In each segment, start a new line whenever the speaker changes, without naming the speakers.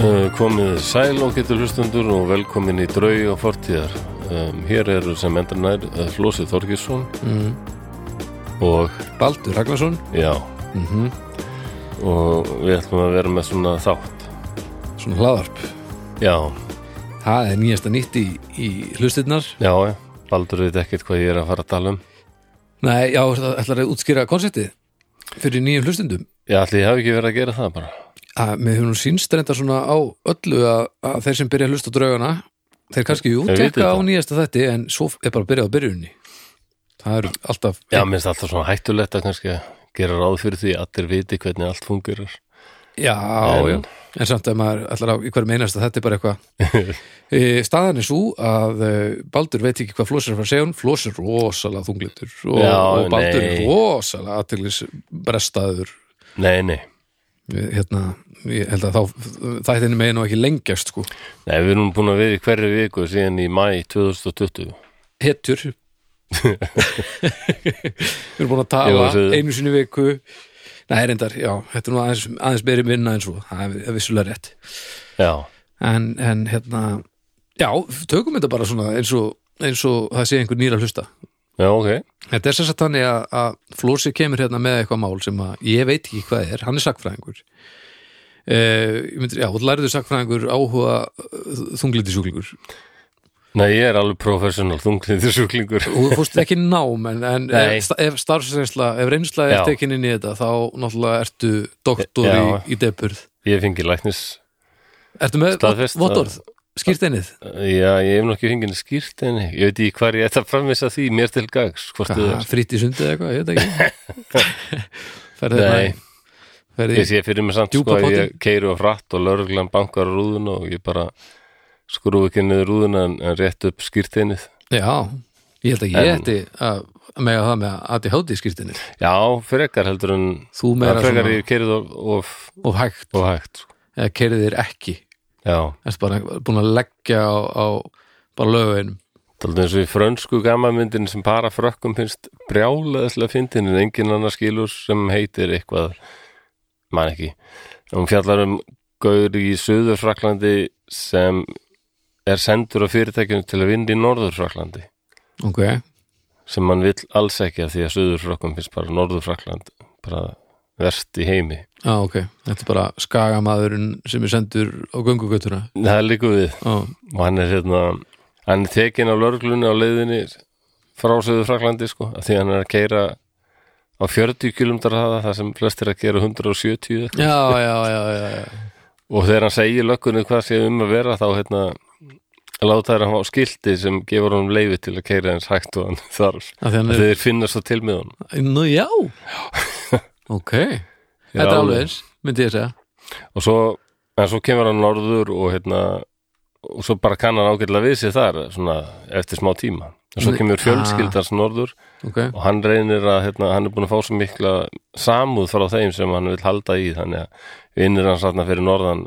Eh, Komið sæl og getur hlustundur og velkomin í draug og fortíðar um, Hér eru sem endur nær eh, Flósi Þorgisson og
Baldur Ragnarsson
já og við ætlum að vera með svona þátt
Svona hlaðarp
Já,
Það er nýjasta nýtt í, í hlustirnar
já, já, Baldur veit ekkert hvað ég er að fara að tala um
Nei, já, það ætlar að útskýra konseptið fyrir nýjum hlustendum
Já, ætli ég hafi ekki verið að gera það bara
að með hefur nú sínst reynda svona á öllu að, að þeir sem byrja að hlusta á draugana þeir kannski jú,
Þeir viti
tekka á
þetta.
nýjasta þetta en svo er bara að byrja á byrjunni Það eru alltaf
Já, minnst alltaf svona hættulegt að kannski gera ráð fyrir því að allir viti hvernig allt fungerar
Já, já,
En-
en samt að maður ætlar að í hverju meinast að þetta er bara eitthvað e, staðan er svo að e, Baldur veit ekki hvað Flósir er að fara að segja hún Flósir er rosalega þunglindur og,
Já,
og Baldur er
nei.
rosalega aðtilis brestaður
Nei, nei,
Við- hérna, ég held að þá þættinni megin og ekki lengjast sko
nei, við erum búin að vera í hverju viku síðan í mæ 2020
hetjur við erum búin að tala
Ég var að segja-
einu sinni í viku Nei, reyndar, já, þetta er nú aðeins, aðeins beri minna en svo, það er vissulega rétt
Já,
en, en hérna já, tökum þetta bara svona eins og, eins og það sé einhver nýra hlusta
já, ok
þetta er sér satt þannig að, að Flósi kemur hérna með eitthvað mál sem að ég veit ekki hvað er hann er sakfræðingur Uh, myndi, já, og læriðu sakfræðingur áhuga eh, þunglindisjúklingur
Nei, ég er alveg professional þunglindi sjúklingur
og þú fórst ekki í nám en, en
Nei.
ef, sta- ef starfsreynsla, ef reynsla er
Já.
tekin inn í þetta þá náttúrulega ertu doktor
Já.
í, í deburð
Ég fengi læknis
Ertu með
Staðfest,
vottorð? Skýrt einnið?
Já, ég hef nú ekki fengið skýrt en ég veit ekki hvar ég ætti að framvisa því mér til gags, hvort þið er
Fritt í sundi eða eitthvað, ég veit ekki hérna Ferði
Nei,
ferði,
ég sé fyrir mig samt sko
Djúpa
að ég
potinn.
keiru á frætt og lörglan bankar á rúðuna og ég bara skrúf ekki niður rúðuna en, en rétt upp skýrtinnið
Já, ég held ekki ég
En-
ætti að að mega það með að þið hátti skýrt einnið
Já, frekar heldur en
Þú meira
að frekar
svona-
ég keirið of, of,
og hægt,
of hægt sko.
eða kerið þér ekki
Já,
Ertu bara búin að leggja á, á bara lögum
taldi eins og í frönsku gammamyndin sem para frökkum finnst brjálaðislega fyndin en engin annar skilur sem heitir eitthvað man ekki hún fjallar um gaur í Suður-Fraklandi sem er sendur á fyrirtækjunum til að vinna í Norður-Fraklandi
Ok,
sem mann vill alls ekki af því að Suður-Frakkum finnst bara Norður-Frakland bara verst í heimi
á, ok Þetta er bara skagamaðurinn sem er sendur á göngugötuna
það er líku við
Ó,
og hann er hérna hann er tekinn á lörglunni á leiðinni frá söðu Fraklandi sko af því hann er að keira á 40 km hraða það sem flestir að gera 170
já, já, já, já, já.
og þegar hann segir löggunni hvað sé um að vera þá hérna láta þær að hafa skilti sem gefur honum leifi til að keira eins hægt og hann þarf
Af því hann er,
þegar þeir finna svo til með honum
nú já ok, þetta er alveg eins myndi ég segja,
og svo, en svo kemur hann norður og hérna og svo bara kann hann ágætlega við sér þar svona eftir smá tíma og svo
Nei,
kemur
ah.
fjölskyldans norður
ok
og hann reynir að hérna, hann er búin að fá svo mikla samúð frá þeim sem hann vil halda í þannig að vinnir hann satna fyrir norðan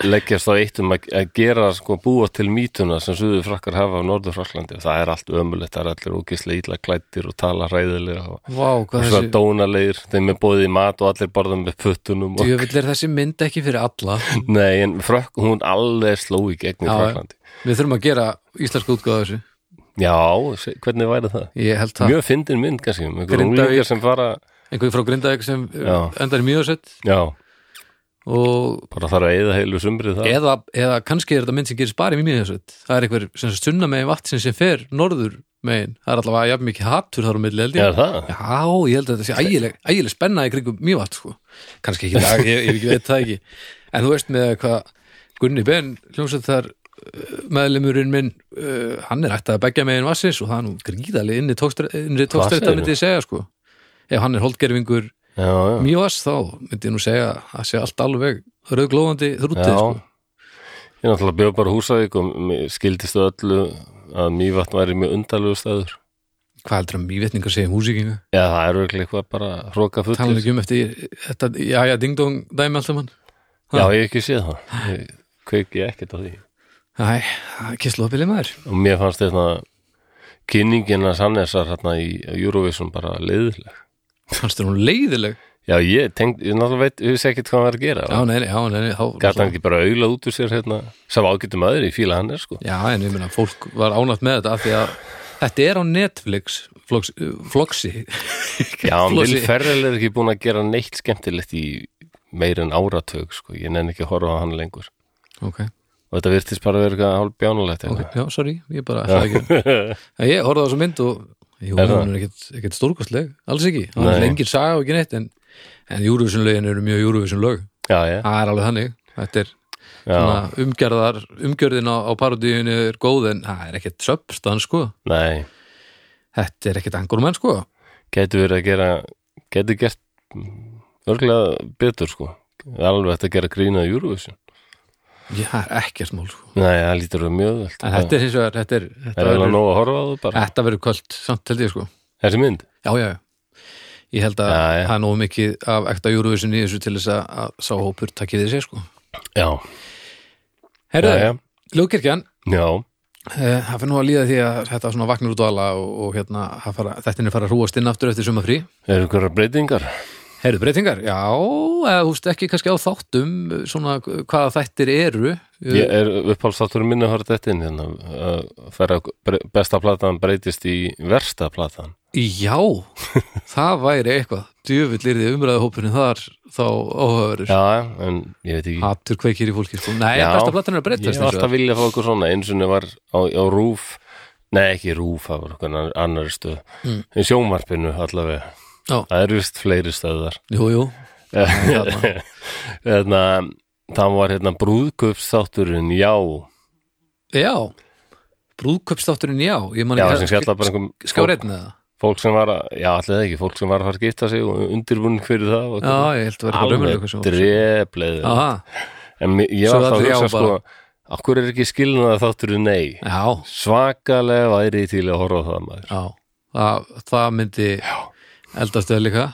leggjast á eitt um að, að gera sko búa til mítuna sem suður frakkar hafa á norður fraklandi og það er allt ömulegt, það er allir ógislega illa klættir og tala hræðilega og,
vá,
og
hvað
svo
þessi
dónalegir þeim er bóðið í mat og allir borða með puttunum og,
djöfull er þessi mynd ekki fyrir alla
nei, en frökk, hún alveg sló í gegn í
Já, já.
fraklandi
við þurfum að gera íslenska útgáða þessu
já, se- hvernig væri það?
ég held það,
mjög fyndin mynd kannski, um einhver
Grindavík.
unglingar sem fara
einhverjum frá Grindavík sem já.
Já.
endar í mjóðsett
já,
og
bara þarf að eyða heilu sumrið það
eða, eða kannski er þetta mynd sem gerist bara í mjóðsett það er einhver sem sagt sunna megin vatn sem, sem fer norður megin, það er allavega jafn mikið hattur þar á milli held ég
er það?
Já, ég held að þetta sé ægileg, ægileg spenna í kringum mývat, sko. Kannski ekki í dag, ég, ég veit það ekki. En þú veist með hvað Gunni Ben, hljómsveit þar meðlumurinn minn, uh, hann er ættið að begja megin vassins og það er nú gríðalega inni tókstreita
segirðu?
myndi ég segja, sko. Ef hann er holdgerfingur
já, já.
mývass, þá myndi ég nú segja að það sé allt alveg rauðglóðandi þrútið,
Já,
sko.
ég náttúrulega bjóð bara á Húsavík og mér skildistu öllu að Mývatn væri mjög undarlegu staður.
Hvað heldur að mývetningar segja músíkinga?
Já, það er auðvitað eitthvað bara hróka
Talan
fullir.
ekki um eftir þetta, já, já, ding-dong dæmi alltaf mann.
Já, ég hef ekki séð það. Ég kveiki ekkert á því.
Æ, kisslóðbili maður.
Og mér fannst þetta kynningin að Sannessar hérna í hérna Eurovision bara leiðileg.
Fannst þér hún leiðileg?
Já, ég tengd, ég náttúrulega veit, ég vissi ekkert hvað hann var að gera
Já, nei, nei, já, nei, nei, þá-
Gat hann ekki bara auðla út úr sér hérna Sá ágættum aður í fíla hann er sko
Já, en ég meina, fólk var ánægt með þetta af því að þetta er á Netflix floks, floksi
Já, um hann vil
Flosi.
ferrel er ekki búin að gera neitt skemmtilegt í meir en áratug sko Ég nenni ekki að horfa á hann lengur
Ok,
Og þetta virtist bara að vera eitthvað hálf bjánulegt
ok, já, sorry, ég bara ætlaði ekki En Ég horfði á þessu mynd og Jú,
Er það?
hún er ekkit, ekkit stórkostleg, alls ekki Það er
Nei.
engin saga og ekki neitt en, en Júruvísun lögin eru mjög Júruvísun lög
Já, já,
Það er alveg þannig, þetta er
já,
svona umgjörðar, umgjörðin á, á parodíunni er góð en það er ekkit substans sko,
nei
þetta er ekkit angurmenn sko
Gæti verið að gera Gæti gert mm, örglega betur sko Það er alveg hægt að gera grína í Eurovision
Já, það er ekkert mál sko
Nei, það lítur að vera mjög velt
En þetta er hins vegar, þetta er, þetta
Það er alveg
verður-
nóg að horfa á þú bara
þetta verður kvöld, samt held ég sko
Þessi mynd?
Já, já, já. Ég held að
Já, já.
það er nógu mikið af ekta júruvísin í þessu til þess að, að sá hópur takkið þið sér sko.
Já, já,
Herðu,
já,
Ljóðkirkjan,
já.
eh, það fyrir nú að líða því að þetta svona vaknar út á alla og, og hérna, það fara, þetta er fara að hrúast inn aftur eftir sumafrí.
Eru ykkur breytingar?
Herðu, breytingar, já, eða þú veist ekki kannski á þáttum, eh, svona eh, hvaða þættir eru. Eh,
Ég er uppálsáttur minni að horfa þetta inn hérna að fara bre- besta platan breytist í versta platan
Já, það væri eitthvað. Djöfull er þið umræðu hópurinn þar þá óhauverur.
Já, en ég veit ekki
Mm. Hatur kveikir í fólki sko. Nei,
Já.
besta platan er að breytast
Ég hef
hins vegar.
alltaf viljað fá eitthvað svona eins og niður var á, á rúf Nei, ekki rúf, það var okkur annar stöð
Mm.
Í sjónvarpinu allavega
Já.
Það eru vist fleiri stöðar
Jú, jú, þarna.
Þannig að það var hérna brúðkaupsþátturinn Já,
Já, brúðköpstátturinn já Ég man
já
ekki
sem fjallar bara um einhver
Skjáreitna það
fólk sem var að, já allir það ekki, fólk sem var að fara að gifta sig og undirbúning fyrir það og
Já, ég held að vera
alveg
eitthvað raumur
drefleð
Já,
en mér- ég
Svo
var alltaf
allir
að
já
hugsa sko okkur er ekki skilnað að þáttur nei
já,
svakalega væri ég til að horfa á það maður
já Það, það myndi eldast eða líka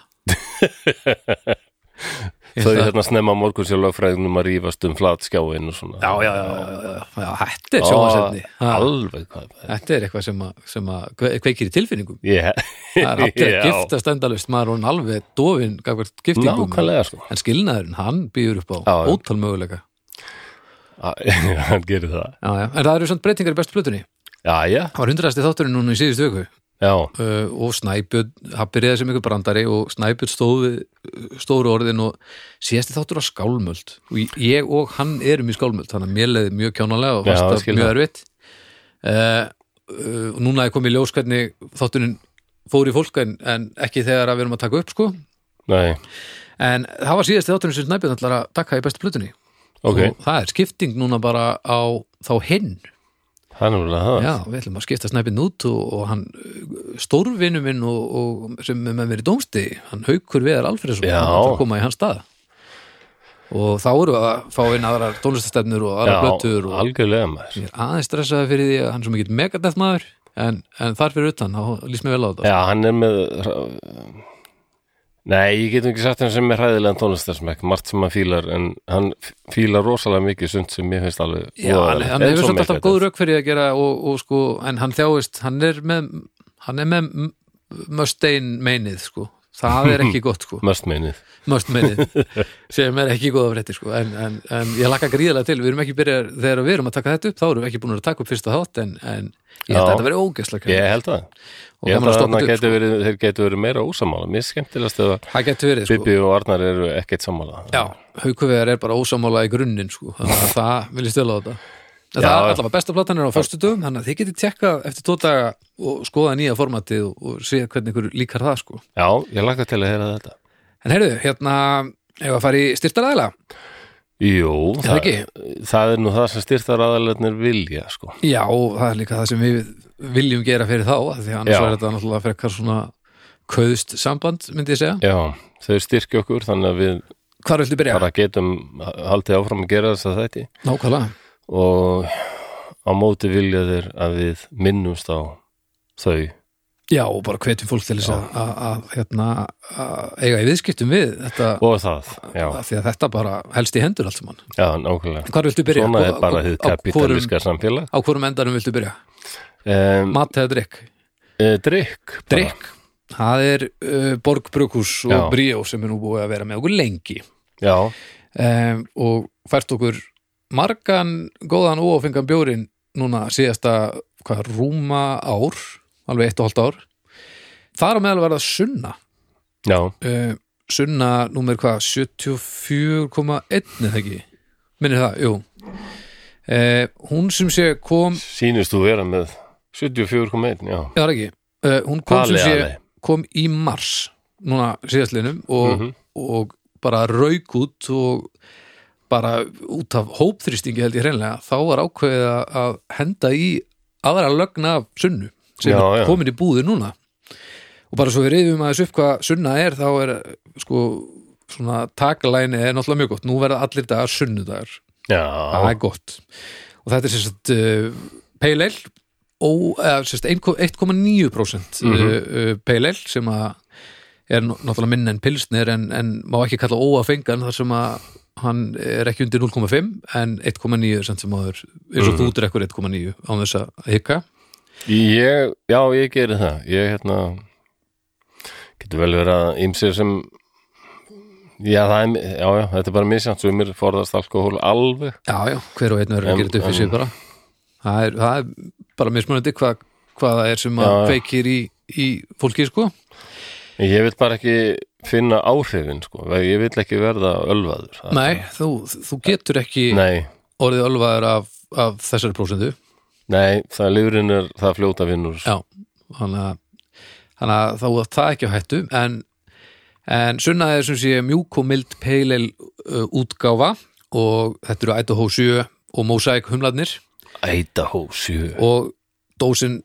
Ég
þau
held að-
hérna snemma morgun sér lögfræðinum að rífast um flat skjáin og svona
Já, já, já, já, já, já, já, þetta er
Ó,
sjónvarsefni
alveg hvað það er
Þetta er eitthvað sem að, sem að kve- kveikir í tilfinningum
yeah.
Það er allir að
Já.
giftast endalaust maður er hún alveg dofin gafvært giftingum
nákvæmlega sko
En skilnaðurinn, hann býður upp á
Já, já.
ótal möguleika
Að- hann gerir það
já, já. En það eru samt breytingar í bestu plötunni
já, já,
Það var hundrasti þátturinn núna í síðustu viku
já,
uh, og Snæbjörn, hann byrjaði sem ykkur brandari og Snæbjörn stóð við uh, stóru orðin og síðasti þáttur var skálmöld og ég- ég og hann erum í skálmöld þannig að mér leiði mjög kjánalega og
Já,
fannst
ég
það
skil
mjög
það.
erfitt uh, uh, og núna er komið í ljós hvernig þátturinn fór í fólk en, en ekki þegar að við erum að taka upp sko
nei,
en það var síðasti þátturinn sem Snæbjörn ætlar að taka í bestu plötunni
ok
og það er skipting núna bara á þá hinn
það er náttúrulega það
Já, við ætlum að skipta snæpinn út og, og hann uh, stórvinu minn og, og sem er með mér í dómsti hann haukur viðar Alfreðsson
Já.
hann ætlar að koma í hans stað og þá eru að fá inn aðrar tónlistastefnur og aðrar blöttur og
algjörlega maður
ég er aðeins stressaði fyrir því að hann er svo mikill megadeth maður en, en þar fyrir utan, þá lýst mér vel á þetta
Já, hann er með Nei, ég get nú ekki sagt hann sem er hræðilegan tónlistarsmekk, margt sem hann fílar en hann f- fílar rosalega mikið sumt sem mér finnst alveg
Já, hann, hann hefur svolítið alltaf góð rauk fyrir að gera og, og sko, en hann þjáist hann er með, hann er með M- Mustaine meinið sko það er ekki gott sko
Mest meinið
must meinið sem er ekki góða frétti sko. en, en, en ég laka gríðlega til við erum ekki byrjað þegar við erum að taka þetta upp þá erum við ekki búin að taka upp fyrsta þátt en, en ég held
Já.
að þetta verið ógæslega
Ég held það
og
Ég held
gaman að
að
stoppa
þarna
þetta upp
getur verið, þeir getur verið meira ósamála Mér er skemmtilegast eða
sko. það getur verið sko.
Bibi og Arnar eru ekkert sammála
já, haukuvegar er bara ósamála í grunninn sko. þannig að það vil ég stela á þetta En
Já.
það er allavega besta platan er á föstudum þannig að þið getið tjekka eftir tvo daga og skoða nýja formatið og, og sé hvernig ykkur líkar það sko.
Já, ég laka til að heyra þetta
En heyrðu, hérna ef að fara í styrtaræðla
Jú,
Er það ekki?
það er nú það sem styrtar aðalegnar vilja sko.
Já, og það er líka það sem við viljum gera fyrir þá, af því að annars
Já.
var þetta náttúrulega frekar svona köðst samband, myndi ég segja.
Já, þau styrkja okkur þannig að við
Hvar viltu byrja?
bara getum haldið áfram að gera þess að þætti
Nákvæmlega.
og á móti vilja þeir að við minnumst á þau
Já, og bara hvetjum fólk til þess að- að að, hérna, að eiga í viðskiptum við þetta,
og það, já,
af því að þetta bara helst í hendur allt saman.
já nákvæmlega
Hvar viltu byrja?
svona er
Á-
bara
á-
þið
á hvorum-
kapitalíska samfélag
Á hvorum endanum viltu byrja?
um,
Mat eða drikk?
e, drikk bara.
Drikk. það er uh, Borg Brukhus og
Já.
Bríó sem er nú búið að vera með okkur lengi
já,
um, og fært okkur margan góðan og ófengan bjórin núna síðasta hvað, rúma ár alveg eitt og hálft ár þar á meðal var það sunna
já,
uh, sunna númer hvað 74,1 eða ekki minnir það, jú uh, hún sem sé kom
sýnist þú vera með 74,1, já
Já, það er ekki. Uh, hún kom
Paley,
sem sé,
alveg.
kom í mars núna síðastlinum og,
Mhm.
og bara rauk út og bara út af hópþrýstingi held ég hreinlega, þá var ákveðið að- að henda í aðra lögna af sunnu sem
Já,
er
já.
komin í búði núna og bara svo við reyðum aðeins upp hvað sunna er þá er sko svona taglæni er náttúrulega mjög gott nú verða allir dagar sunnudagar það
Já,
er gott og þetta er sem sagt uh, Pale Ale ó- eða, sem sagt, 1,9% mm
Mhm.
uh, Pale Ale sem að er nú- náttúrulega minna en pilsnir en, en má ekki kalla óafengan þar sem að hann er ekki undir 0,5 en 1,9 sem sem áður eins og þú
Mhm.
drekkur 1,9 án þess að hika
ég, já, ég geri það Ég, hérna getur vel verið að ymsir sem já, það er já, já, þetta er bara misjant, sumir forðast alkohól alveg,
já, já, hver og einn verður að
En-
gera þetta upp í
en-
sig bara það er, það er bara mismunandi hvað, hvað það er sem að
Já, já.
kveikir í, í fólki sko
en ég vil bara ekki finna áhrifin, sko, ég vil ekki verða ölvaður það-
nei, þú, þú getur ekki
Nei,
orðið ölvaður af, af þessari prósendu
nei, það lifrin er það fljóta vinnur
já, þannig að þannig að þá er það ekki á hættu en, en sunna er sem sé mjúk og mild peilel uh, útgáfa og þetta eru Idaho 7 og Mosaic humladnir
Idaho 7
og dósin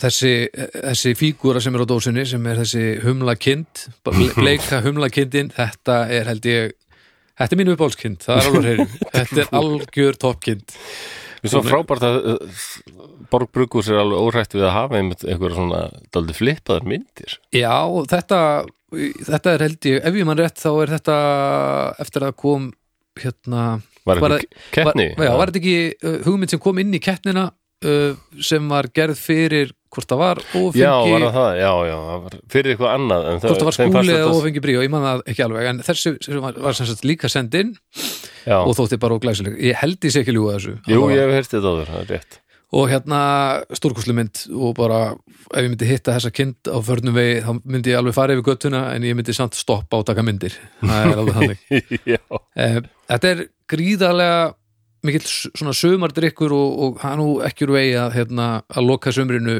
þessi, þessi fígúra sem er á dósinni sem er þessi humlakind bara bleika humlakindin þetta er held ég Þetta er mín uppáhalskind, það er alveg hreinu. Þetta er algjör toppkind.
Mér er svo frábært að uh, Borg Bruggús er alveg órætt við að hafa einmitt einhverja svona daldi flippaðar myndir
Já, þetta þetta er held ég, ef ég mann rétt þá er þetta eftir að kom hérna
Var
Var
eitthvað keppni?
var, já, var þetta ekki uh, hugmynd sem kom inn í keppnina uh, sem var gerð fyrir hvort það var ófengi
Já, var það það, já, já það var fyrir eitthvað annað en
hvort það var
þeim fannst
skúli eða
þetta-
ófengi brí og ég man það ekki alveg en þessi sem var, var sem sagt líka sendin
Já,
og þótti bara óglæsileg ég held ég sé ekki ljúga þessu
jú,
Allavega.
ég hef heyrst þetta áður, það er rétt
og hérna stórkoslu mynd og bara ef ég myndi hitta þessa kind á förnum vegi þá myndi ég alveg fara yfir göttuna en ég myndi samt stoppa og taka myndir það er alveg þannig
Já,
Eh, Þetta er gríðarlega mikill s- svona sömardrykkur og, og hann nú ekki úr vegi að, hérna, að loka sömrinu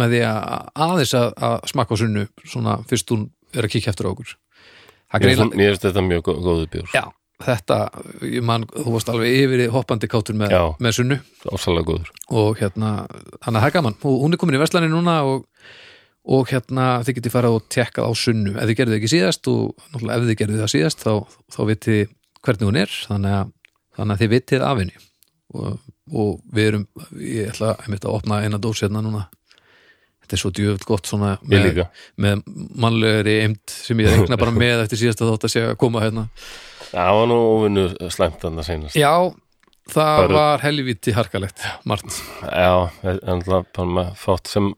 með því að aðeins að, að smakka á sunnu svona fyrst hún er að kíkja eftir á okkur Það
mér finnst-
greina,
mér finnst þetta mjög gó- góðu bjór
já, þetta ég man, þú varst alveg yfir í hoppandi kátur með,
Já.
með sunnu
Ásalega góður
og hérna, hann að það er gaman og hún er komin í verslani núna og, og hérna, þið getið farað og tekkað á sunnu ef þið gerðu ekki síðast og náttúrulega ef þið gerðu það síðast þá, þá vitið þið hvernig hún er þannig að, þannig að þið vitið af henni og, og við erum ég ætla einmitt að opna eina dós hérna núna þetta er svo djöfult gott svona
Ég
með,
líka
með mannlegri eimt sem ég regna bara með eftir síðasta þátt að sé að koma hérna
Það var nú óvinnu slæmt þannig að seinast
já, það
Bara-
var helvíti harkalegt, margt
Já, en það fann maður fátt sem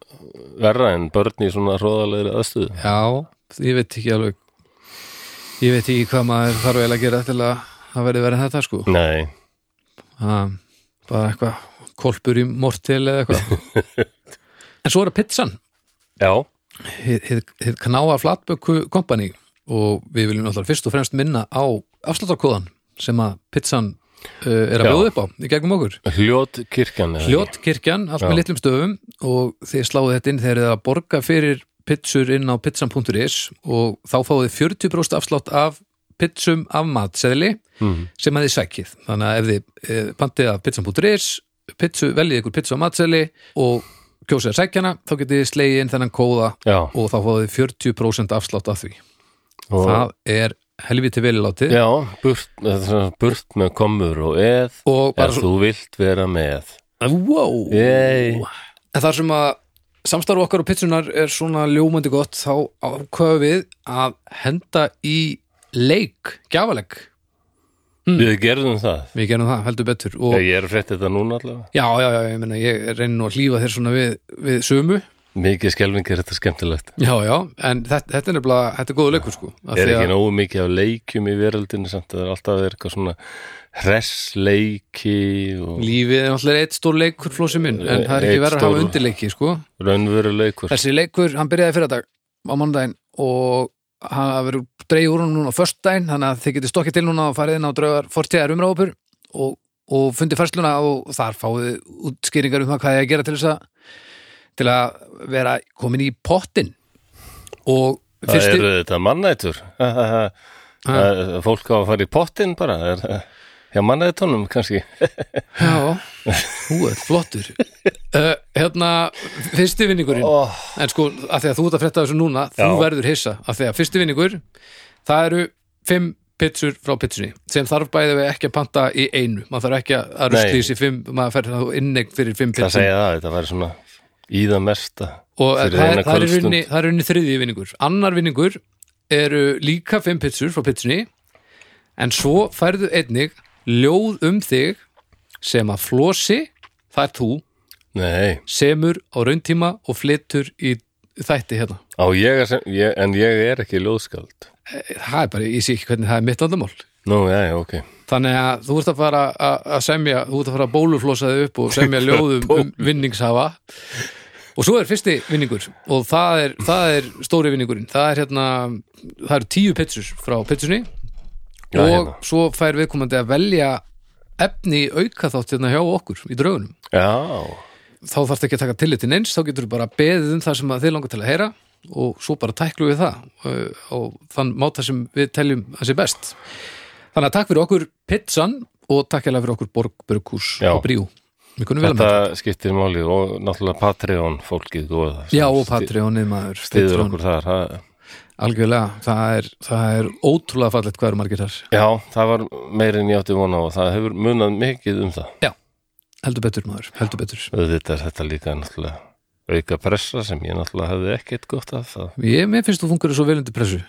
verra en börn í svona hróðalegri aðstöðu
Já, ég veit ekki alveg ég veit ekki hvað maður þarf eiginlega að gera til að það verði verið þetta sko
Nei,
það, bara eitthvað kolpur í mortil eða eitthvað en svo er að pizzan
já,
hið- hið hið knáa flatböku kompani og við viljum alltaf fyrst og fremst minna á afsláttarkóðan sem að pizzan uh, er að
Já.
bjóða upp á í gegnum okkur
hljót kirkjan
Hljótkirkjan, allt með
Já.
litlum stöfum og þið sláðu þetta inn þegar þið er að borga fyrir pizzur inn á pizzan.is og þá fáið þið 40% afslátt af pizzum af matseðli
mm.
sem að þið sækið. Þannig að ef þið eh, pantið af pizzan.is, pizzu, veljið ykkur pizzu af matseðli og kjósið að sækjana, þá getið þið slegið inn þennan kóða
Já,
og þá fáið þið 40% afslátt af því.
og,
Það er helviti velilátið
já burt, þetta er svona burt með komur og eð
og bara
ef þú vilt vera með
Wow.
Yay.
En þar sem að samstarf okkar og pitsunar er svona ljómandi gott þá ákvaðu við að henda í leik, gjafaleik
Við gerðum það
Við gerum það, heldur betur Mm. og,
Ég er frétt þetta núna allavega
Já, já, já, ég meina ég reyni nú að hlífa þér svona við, við sömu
mikið skelvingi er þetta skemmtilegt
Já, já, en þetta, þetta er nefnilega, þetta er góðu leikur sko af
er
því að-
ekki nógu mikið af leikjum í veröldinu samt það er alltaf verið eitthvað svona hressleiki og
Lífið er náttúrulega eitt stór leikur flósi minn, en það er
Einn
ekki verið að hafa
stór-
undirleiki sko
raunveruleikur
Þessi leikur, hann byrjaði fyrir dag á mánudaginn og hann hafa verið dreigð úr hann núna á föstudaginn þannig að þið getið stokkið til núna og farið inn á draugar fortíðar umráfupur og, og fundið færsluna og þar fáið þið útskýringar um það hvað ég að gera til þess að til að vera komin í pottin og
það
fyrsti
eru þetta mannætur Það- fólk á að fara í pottin bara það er, já mannætunum kannski
Já, þú ert flottur uh, Hérna, fyrsti vinningurinn
oh,
En sko, af því að þú ert að frétta þessu núna þú
Já.
verður hissa, af því að fyrsti vinningur það eru fimm pitsur frá pitsunni, sem þarf bæði við ekki að panta í einu, maður þarf ekki að- að
Nei.
rusli þessi fimm, maður fer þá innegn fyrir fimm
það
pitsum
segja það, þetta væri svona í það mesta
og það,
fyrir
það,
eina
er- það er í
kvöldstund.
rauninni- það er í rauninni þriðji vinningur, annar vinningur eru líka fimm pitsur frá pitsunni en svo færðu einnig ljóð um þig sem að flosi, það er þú
nei,
semur á rauntíma og flyttur í þætti hérna
á ég, að sem, ég en ég er ekki ljóðskald
það er bara, ég sé ekki hvernig það er mitt vandamál
nú, já, já, ok
þannig að þú ert að fara að að semja þú ert að fara að bóluflosa þig upp og semja ljóðum um vinningshafa og svo er fyrsti vinningur og það er, það er stóri vinningurinn það er hérna, það eru tíu pitsur frá pitsunni
Já,
og
hérna.
svo fær viðkomandi að velja efni auka þátt hérna hjá okkur í draugunum
já,
þá þarfst ekki að taka tillit til neins, þá getur þú bara beðið um það sem að þið langar til að heyra og svo bara tæklu við það uh, og þann máta sem við teljum að sé best. Þannig að takk fyrir okkur Pizzan og takk hérlega fyrir okkur Borg, Burghús
Já.
og Bríu. Við kunum vel að
þetta
með.
skiptir máli og náttúrulega Patreon fólkið góða
Já, og Patreonið maður.
stiður
Patreon.
okkur þar það,
Algjörlega, það er, það er ótrúlega fallegt hvað eru margir þar.
já, það var meir en ég átti vona á og það hefur munað mikið um það
Heldur betur maður, heldur betur.
auðvitað er þetta líka náttúrulega auka pressa sem ég náttúrulega hefði ekkert gott af það
Ég, mér finnst þú fungur svo vel undir pressu.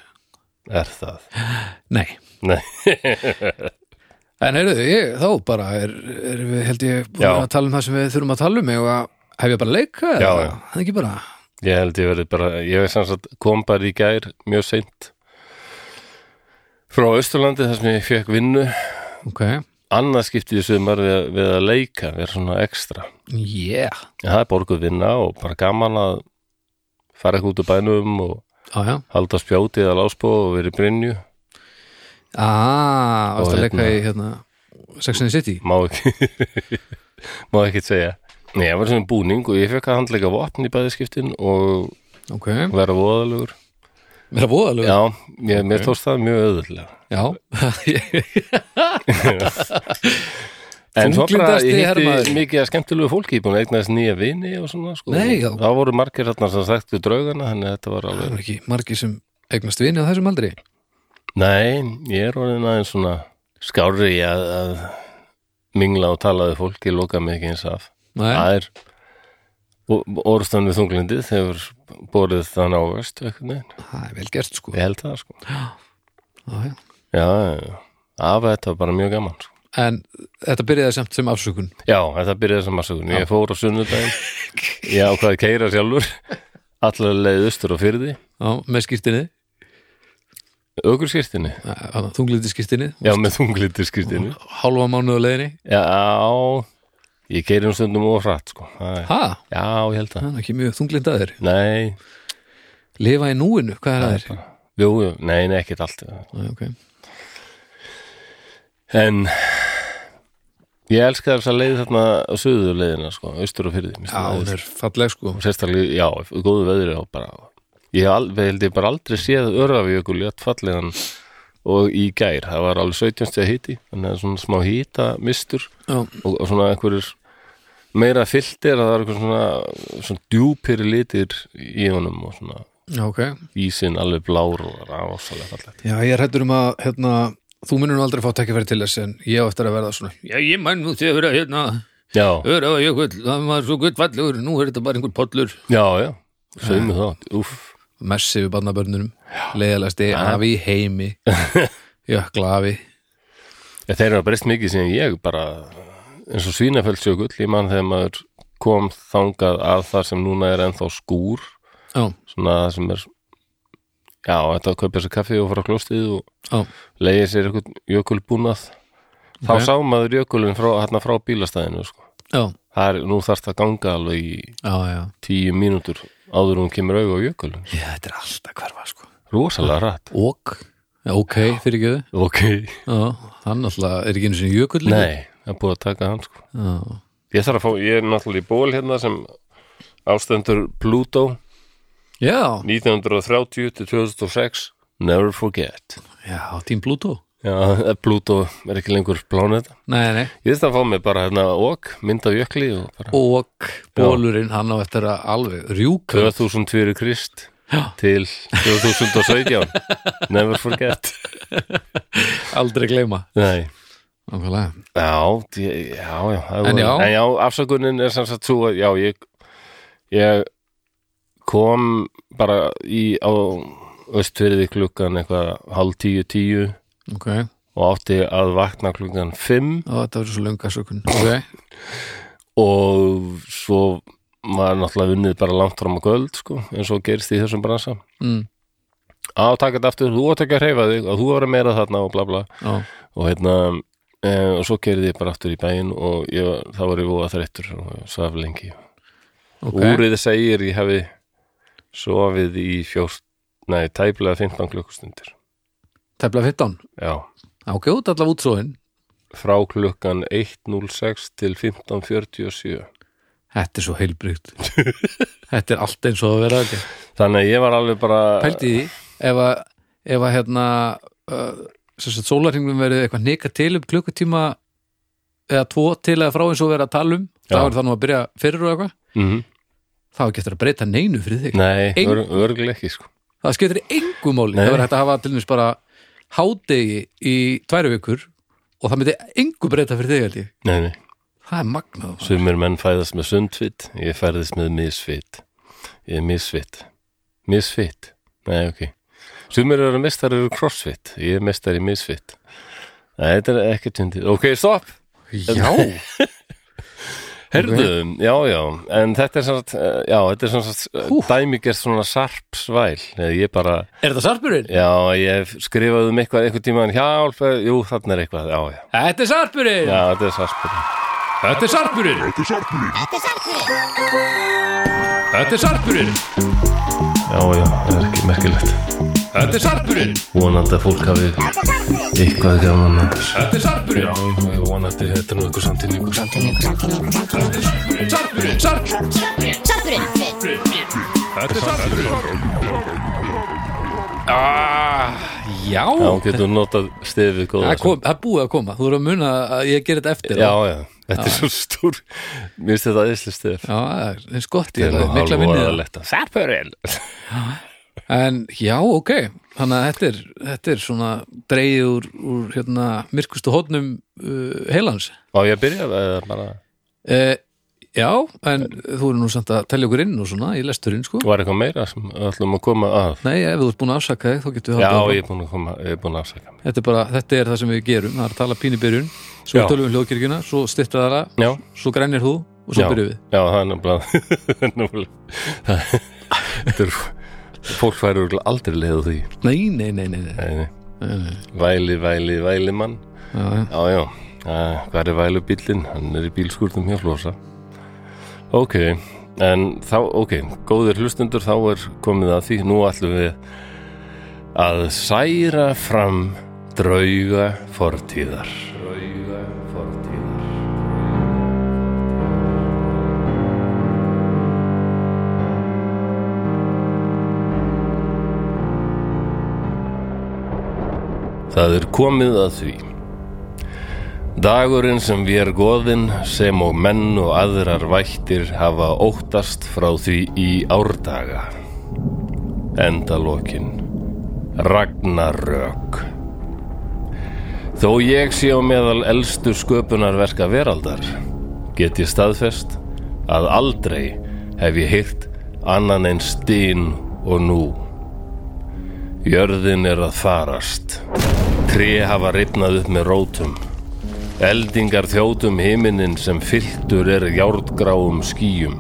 er það
Nei.
Nei.
en heyrðu, ég, þá bara er, er við, held ég, búin
Já.
að tala um það sem við þurfum að tala um eða hef ég bara leika
Já,
eða?
já.
það er ekki bara
Ég held ég verið bara, ég er sem sagt kom bara í gær mjög seint frá Östurlandi þar sem ég fekk vinnu
ok,
annað skipti í sumar við, að- við að leika, vera svona ekstra
yeah
en það er borguð vinna og bara gaman að fara ekki út úr bænum og
á já,
halda spjótið að lásbó og verið brinju
aaa,
Og
varst að leika
hérna-
í hérna Sex and the City
má ekki má ekki segja Nei, ég var svona í búning og ég fekk að handleika vopn í bæðiskiptin og
ok,
vera voðalugur.
mér er að búa alveg
Já, ég, mér tókst það mjög öðvöldlega.
já,
En svo bara,
Þunglyndasti
ég
hermaður.
hitti mikið að skemmtilegu fólki, ég búin að eignaðist nýja vini og svona, sko.
Nei, já.
Það voru margir hérna sem þekktu draugana, þannig að þetta var
það
alveg...
er ekki margir sem eignast vini á þessum aldri
Nei, ég er orðin aðeins svona skárri í að, að mingla og tala við fólk, ég loka mig ekki eins af.
Nei,
Það er orðstan við þunglindið þegar borðið þann ávöxt, eitthvað neginn.
það er vel gert sko
Ég held það, sko.
á, já.
Já, já, já. Af þetta var bara mjög gaman, sko.
en þetta byrjaði samt sem afsökun
Já, þetta byrjaði sem að sögum. Ég fór á sunnudaginn, ég ákvaði að keira sjálfur, allar leið austur og fyrði,
á, með skýrtinni,
augurskirtinni.
þunglindi skýrtinni
Já, með þunglitiskirtinni.
hálfa mánuð á leiðinni
Já, ég keiri um stundum og hratt, sko. Það er-
ha,
Já, ég held það.
það er ekki mjög þunglind að þér
Nei,
lifa í núinu, hvað er að þér?
jú, jú, nei, nei, ekkert allt.
Æ, ok.
En ég elska þess að leið þarna á suður leiðina, sko, austur og fyrði.
Já, hún er falleg sko
og sérstaklega, já, í góðu veðri og bara, ég hef alveg held ég bara aldrei séð örfavíjökul jætt fallegan og í gær, það var alveg 17 stið hiti, þannig að svona smá hýta mistur
Já,
og, og svona einhverjir meira fylltir að það er einhver svona, svona djúpir litir í honum og svona
já, ok
ísinn alveg blár og rásalega fallegt
Já, ég er hættur um að, hérna, þú munur nú aldrei fá tækifæri til þess en ég á eftir að verða svona Já, ég mann nú til að vera hérna
Já,
Öra og jökull, það var svo gutt fallegur nú er þetta bara einhver pollur
já, já, sögum það Úff,
Messi við barnabörnunum, leiðalæsti afi í heimi Jökla afi
Ég, þeir eru að breyst mikið sem ég bara eins og svínafellsjökull, ég mann þegar maður kom þangað að það sem núna er ennþá skúr
já,
svona það sem er já, þetta að kaupa sér kaffi og fara á klóstið og
já,
leiði sér eitthvað jökulbúnað þá
Ok.
sá maður jökulin frá, hérna frá bílastæðinu sko.
já,
það er, nú þarfst að ganga alveg í
já, já.
tíu mínútur áður en hún kemur auga á jökulin
Já, þetta er alltaf hverfa sko
rosalega rætt
Ok, já, ok, fyrir ekki þau
ok,
Já, hann alltaf er ekki einu sinni jökull líka.
nei, það er búið að taka hann sko.
Já,
ég þarf að fá, ég er náttúrulega í ból hérna sem ástendur Pluto
já,
1930 til 2006 Never Forget
já tím Pluto
Já, eh, Pluto er ekki lengur pláneta
Nei, nei,
Ég þess að fá mig bara hérna ok, mynd af jökli og bara
og bólurinn hann á eftir að alveg rjúka
2000 fyrir Krist
Já.
til 2017 Never Forget
Aldrei gleyma
Nei,
Nákvæmlega
já, d- já, já það
En
voru-
já.
en já afsökunin er sem sagt svo að já, ég, ég kom bara í á östfyrði klukkan eitthvað hálf tíu tíu
Ok, og
og átti að vakna klukkan 5
þetta verður svo lönga sökun Ok,
og svo maður náttúrulega unnið bara langt fram á kvöld sko, eins og gerist í þessum bransa
mm.
að taka þetta aftur, þú átt ekki að hreyfa þig og þú var að meira þarna og bla bla
já,
og hérna, e, og svo gerði ég bara aftur í bæinn og ég, það var ég voða þreyttur og svaf lengi
ok
Úrið segir ég hefi sofið í fjórst, nei, tæplega 15 klukkustundir
Tefla 15
já,
Ok, út allavega útsóðin
frá klukkan 1.06 til 15.47
Þetta er svo heilbrygt Þetta er allt eins og að vera ekki
þannig að ég var alveg bara
Pældi því, ef að, ef að hérna uh, sem sagt sólarhingum verið eitthvað hnika til um klukkutíma eða tvo til eða frá eins og verið að tala um þá
Já.
er það nú að byrja fyrir og eitthvað
mm
þá er ekki eftir að breyta neinu fyrir þig
nei,
Eng-
ör, örglega ekki sko
það skiptir engu máli
Nei.
það verður hægt að hafa til nýs bara hádegi í tværi vikur og það myndi engu breyta fyrir þig held ég
nei, nei
það er magnað maður.
Sumir menn fæðast með sundfitt, ég færðist með misfitt. Ég er misfitt. Misfitt? Nei, ok. Sumir eru mestari eru crossfit, ég er mestari misfitt. Nei, þetta er ekki tundið. Ok, stopp!
já,
Herðu, já, já, en þetta er svona, já, þetta er svona
Hú.
Hú. dæmigerst svona sarp svæl. Nei, Ég bara,
er þetta sarpurinn?
já, ég hef skrifað um eitthvað einhvern tímann hjálp, eh, jú, þarna er eitthvað, já, já.
Þetta er sarpurinn!
Já, þetta er sarpur.
Þetta er sarpurinn! Þetta er sarpurinn!
Já, já, það er ekki merkilegt.
Þetta er sarpurinn!
vonandi að fólk hafi eitthvað gaman að
Þetta er sarpurinn!
Já, vonandi þetta er nú eitthvað samtíningu
Sarpurinn! Sarpurinn!
Sarpurinn
Þetta er sarpurinn! Ah, já!
Já, getur notað stefið góða
Það kom- það er búið að koma. Þú eru að muna að ég ger þetta eftir.
Já, já, þetta er svo stór Mér finnst þetta aðeinslega stef
Já, það er skott í það. Mikla vinnið.
Sarpurinn
En já, ok. Þannig að þetta er, þetta er svona dreigið úr, úr hérna, myrkustu hótnum uh, heilans.
Á ég að byrja eða bara
Uh, já, en þú eru nú samt að telja okkur inn og svona í lesturinn, sko.
Var eitthvað meira sem við ætlum að koma að
Nei, ef þú ert búin að afsaka þig, þá getur við
Já,
haldið áfram.
ég er búin að koma, ég er búin að afsaka mig
þetta, er bara, þetta er það sem við gerum, það er að tala pín í byrjun svo
Já.
tölum við um hljóðkirkjuna, svo styrtir það aðra,
Já,
svo grænir þú og svo
já,
byrjum við
Já, það er nefnilega það er nefnilega- Þetta er Fólk væri örugglega aldrei leið á því
Nei, nei, nei, nei, nei.
Nei, nei. Væli, væli, væli mann
Já, já.
Já, já, uh, hvað er vælubílinn? Hann er í bílskúrnum hjá Flosa. Ok, en þá, ok, góðir hlustundur, þá er komið að því. Nú ætlum við að særa fram drauga fortíðar. Drauga fortíðar. Það er komið að því. Dagurinn sem vér goðinn sem og menn og aðrar vættir hafa óttast frá því í árdaga. Endalokin. Ragnarök. Þó ég sé á meðal elstu sköpunarverka veraldar, get ég staðfest að aldrei hef ég hýrt annan en stín og nú. Jörðin er að farast. Tré hafa ripnað upp með rótum. Eldingar þjótum himinin sem fylltur er járgráum skýjum.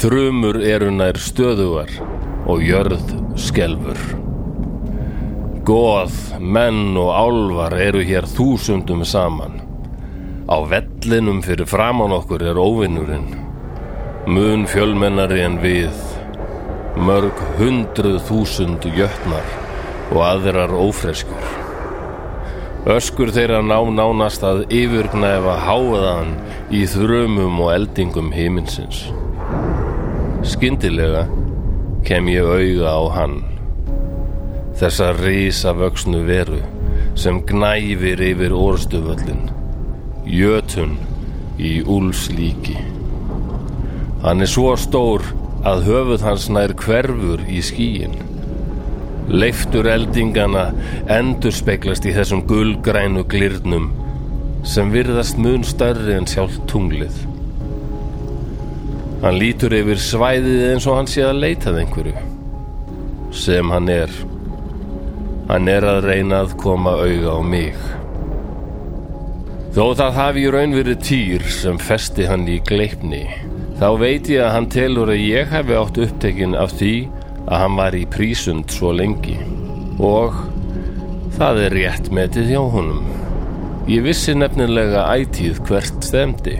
Þrumur eru nær stöðugar og jörð skelfur. Góð, menn og álvar eru hér þúsundum saman. Á vellinum fyrir framann okkur er óvinnurinn. Mun fjölmennari en við. Mörg hundruð þúsund jötnar og aðrar ófreskur. Öskur þeirra ná nánast að yfirgnæfa háðan í þrömum og eldingum himinsins. Skyndilega kem ég auga á hann. Þessa risavöksnu veru sem gnæfir yfir orstuvöllin. Jötun í úls líki. Hann er svo stór að höfuð hans nær hverfur í skíin. Leiftur eldingana endur speglast í þessum gulgrænu glirnum sem virðast mun stærri en sjálf tunglið. Hann lítur yfir svæðið eins og hann sé að leitað einhverju. Sem hann er. Hann er að reyna að koma auga á mig. Þó það hafi í raun verið týr sem festi hann í gleipni. Þá veit ég að hann telur að ég hafi átt upptekinn af því að hann var í prísund svo lengi og það er rétt metið hjá honum. Ég vissi nefnilega ætíð hvert stemdi.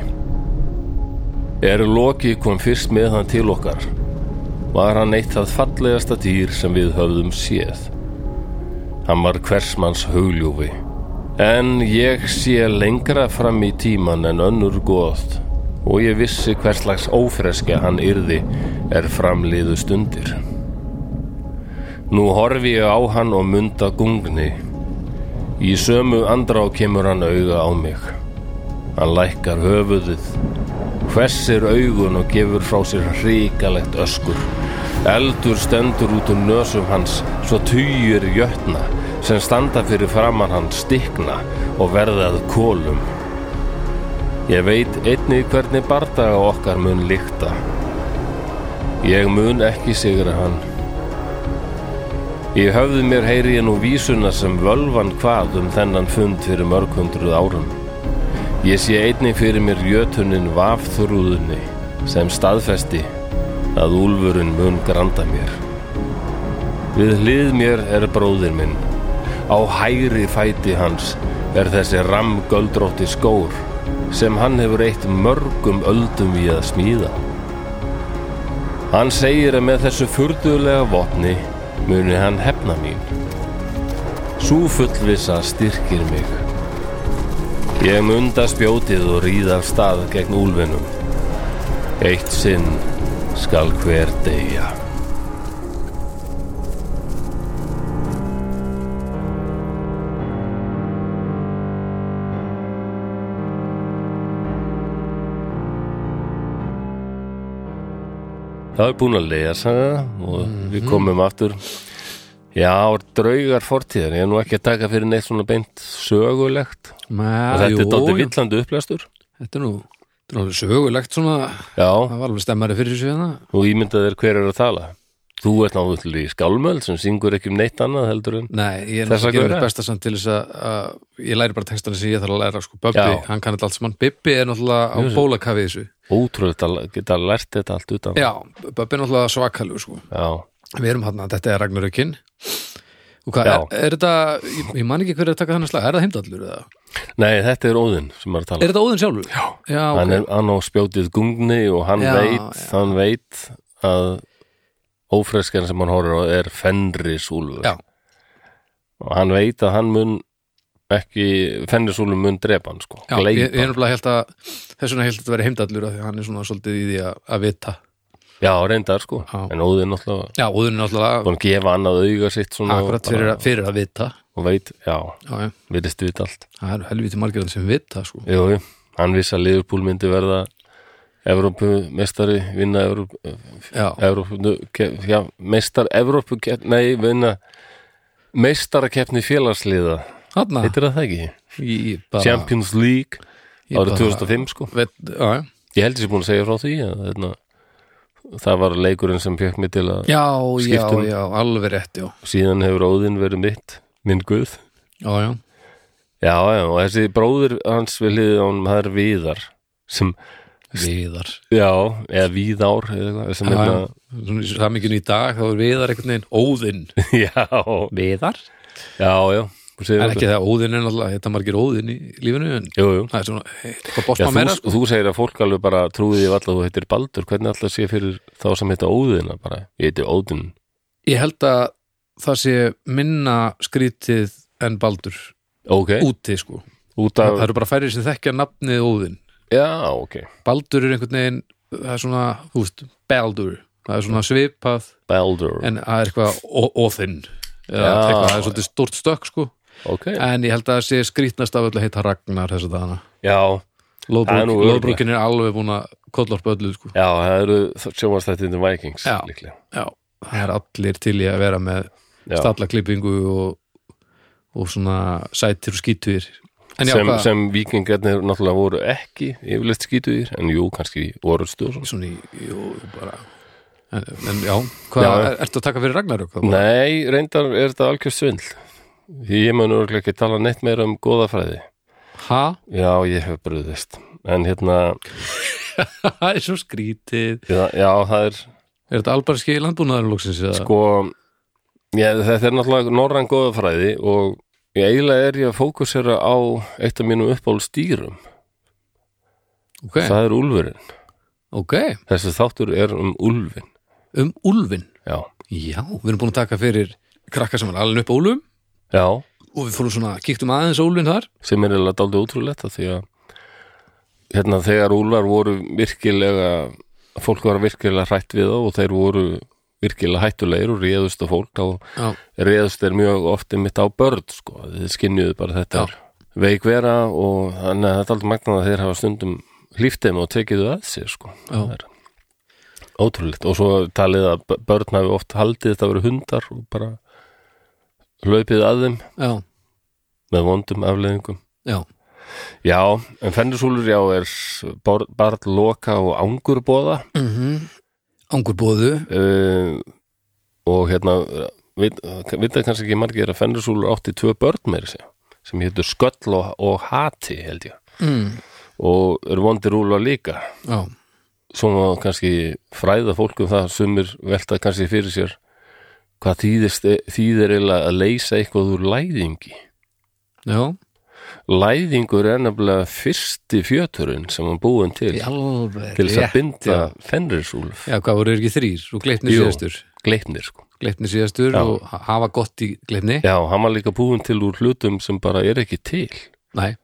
Er Loki kom fyrst með hann til okkar var hann eitt það fallegasta dýr sem við höfðum séð. Hann var hversmanns hugljúfi en ég sé lengra fram í tíman en önnur góð og ég vissi hverslags ófreska hann yrði er framliðu stundir. Nú horfi ég á hann og mynda gungni. Í sömu andrá kemur hann auga á mig. Hann lækkar höfuðið, hvessir augun og gefur frá sér hrikalegt öskur. Eldur stendur út um nösum hans svo týjur jötna sem standa fyrir framann hans stikna og verðað kólum. Ég veit einnig hvernig bardaga okkar mun líkta. Ég mun ekki sigra hann. Í höfðu mér heyri ég nú vísuna sem völvan hvað um þennan fund fyrir mörgundruð árum. Ég sé einnig fyrir mér jötunin vafþrúðunni sem staðfesti að úlfurinn mun granda mér. Við hlið mér er bróðir minn. Á hægri fæti hans er þessi ramgöldrótti skór sem hann hefur eitt mörgum öldum í að smíða. Hann segir að með þessu furdulega vopni muni hann hefna mín. Sú fullvisa styrkir mig. Ég munda spjótið og ríða af stað gegn úlfinum. Eitt sinn skal hver deyja. Það er búin að lesa og við komum aftur Já, draugar fortíðar ég er nú ekki að taka fyrir neitt svona beint sögulegt og þetta er dálítið villandi upplæstur
Þetta er nú, þetta er alveg sögulegt svona,
Já,
það var alveg stemmari fyrir sig hérna.
og ímyndað er hver er að tala Þú ert náttúrulega í skálmöld sem syngur ekki um neitt annað heldur en
Nei, ég er náttúrulega
Þess að
að gera
gera.
mitt besta samt til þess að, að ég læri bara textana sem ég þarf að læra sko, Böbbi,
Já.
hann kann þetta allt saman Bibbi er náttúrulega á
Jú, jú.
bólakafi í þessu
ótrúlega að geta lært þetta allt utan
Já, Böbbi er náttúrulega svakalug sko.
Já,
Við erum hann þetta er Ragnarökin Og hvað,
Já.
er, er þetta ég, ég man ekki hverju að taka þannig slag, er það heimdallur eða?
Nei, þetta er Óðinn sem er að tala
Er þetta óðinn sjálfur? Já, Já ok.
Hann er hann á spjótið gungni og hann
Já,
veit, hann veit að ófreskan sem hann horfir á er Fenrisúlfur
Já.
og hann veit að hann mun ekki, Fenrisúlfur mun drepa hann sko,
Já, ég,
gleypa
ég er náttúrulega held að þess vegna held að þetta verið heimdallur af því að hann er svona svolítið í því að, að vita
já, reyndar sko,
Já.
en Óðinn náttúrulega
Já, óðurinn er náttúrulega
búin að gefa annað auga sitt svona og
akkurat fyrir,
bara-
að- fyrir að vita
og veit, já,
Já, já,
virðist við allt
það eru helviti margir sem vita sko
jú, jú, hann viss að Liverpool myndi verða Evrópumestari vinna Evróp,
Já,
Evrópu, ke- já, meistar Evrópu, ke- nei, vinna meistarakeppni félagsliða
þarna
heitir það það ekki
Ég bara,
Champions League
ég bara-
árið 2005 sko
veit, já, já.
ég held ég sé búin að segja frá því að, hérna, það var leikurinn sem fekk mig til að
já, já,
Skiptum.
já, alveg rétt já,
síðan hefur óðinn verið mitt minn guð
já, já,
já, já, og þessi bróðir hans við hliðið á honum, það er Viðar sem,
Viðar
já, eða Viðár eða eitthvað, sem
Já,
hérna- hefna,
já. Svona í saminginu í dag þá er Viðar einhvern veginn Óðinn
já,
Viðar?
já, já þú segir
En
þetta.
ekki það Óðinn er náttúrulega, þetta margir Óðinn í lífinu en
Jú, jú.
það er svona eh, eitthvað
Já,
bótt maður
þú,
meira sko.
þú segir að fólk alveg bara trúði ég alltaf að þú heitir Baldur, hvernig alltaf sé fyrir þá sem heita Óðina bara, ég heiti Óðin
Ég held að það sé minna skrítið en Baldur
ok,
úti sko
út
Það, það
af,
eru bara færið sem þekkja nafnið Óðinn
já, ok
Baldur er einhvern veginn það er svona, þú veist, Baldur það er svona svipað
Baldur,
en það er eitthvað ó- Óðinn eða
Já.
eitthvað, það er svolítið stórt stökk sko
ok
en ég held að það sé skrítnast af öllu að heita Ragnar þess að dagana
já, Það er nú örugglega.
Lóðbrúkin er alveg búin að kollorpa öllu sko.
já, það eru sjómanstættindi Vikings
Já.
líklega
Já, það er allir til í að vera með
Já.
stallaklippingu og, og svona sætir og skítur En já,
sem,
hvað,
sem vikingarnir náttúrulega voru ekki yfirleitt skítuðir, en jú, kannski voru stjóð
svona í, jú, bara En, en já, hvað,
Já, já.
Er, ertu að taka fyrir Ragnarök? þá?
Nei, reyndar er þetta algjör svindl Því ég mun örgulega ekki tala neitt meira um góðafræði
Ha?
Já, ég hef brugðist En hérna,
Það er svo skrítið
já, já það er
Er þetta albarski landbúnaður lóksins? Sko,
sko já, Þetta er náttúrulega norrann góðafræði og ég eiginlega er ég að fókusera á eitt af mínum uppáhald stýrum
ok,
Það er úlfurinn
ok,
Þessi þáttur er um úlfinn
um úlfin
Já,
Já, við erum búin að taka fyrir krakka sem er alveg upp á úlfum
já
og við fórum svona, kíktum aðeins á úlfin þar
sem er eiginlega daldið útrúlegt af því að hérna þegar úlfar voru virkilega fólk var virkilega hrætt við þá og þeir voru virkilega hættulegir og réðust á fólk þá
Já,
réðust þeir mjög ofti mitt á börn sko, þeir skinjuðu bara
Já.
þetta er veik vera og þannig að þetta er aldrei magnað að þeir hafa stundum hlíftum og tekiðu að sér sko
já,
Það er ótrúlegt og svo talið að b- börn hafi oft haldið þetta að vera hundar og bara hlaupið að þeim
já,
með vondum afleðingum
já.
Já, en fennisúlur já er bar- barð, loka og angurbóða
Mm Angurbóðu
uh, og hérna veit það kannski ekki margir að fennisúlur átti tvö börn meira sig sem hétu Sköll og, og Hati held ég
mm.
og eru vondir úlfa líka
Já,
svona kannski fræða fólk um það sumir velta kannski fyrir sér hvað þýðist, þýðir eiginlega að leysa eitthvað úr læðingi
já,
Læðingur er nefnilega fyrsti fjöturinn sem hann búin til
alveg
til þess að
rétt,
binda
já.
Fenrisúlf
Já, hvað voru þeir ekki þrýr og gleipni
Jú.
síðastur
gleipnir sko.
Gleipni síðastur
Já.
og ha- hafa gott í gleipni
Já, hann var líka búin til úr hlutum sem bara er ekki til
Nei,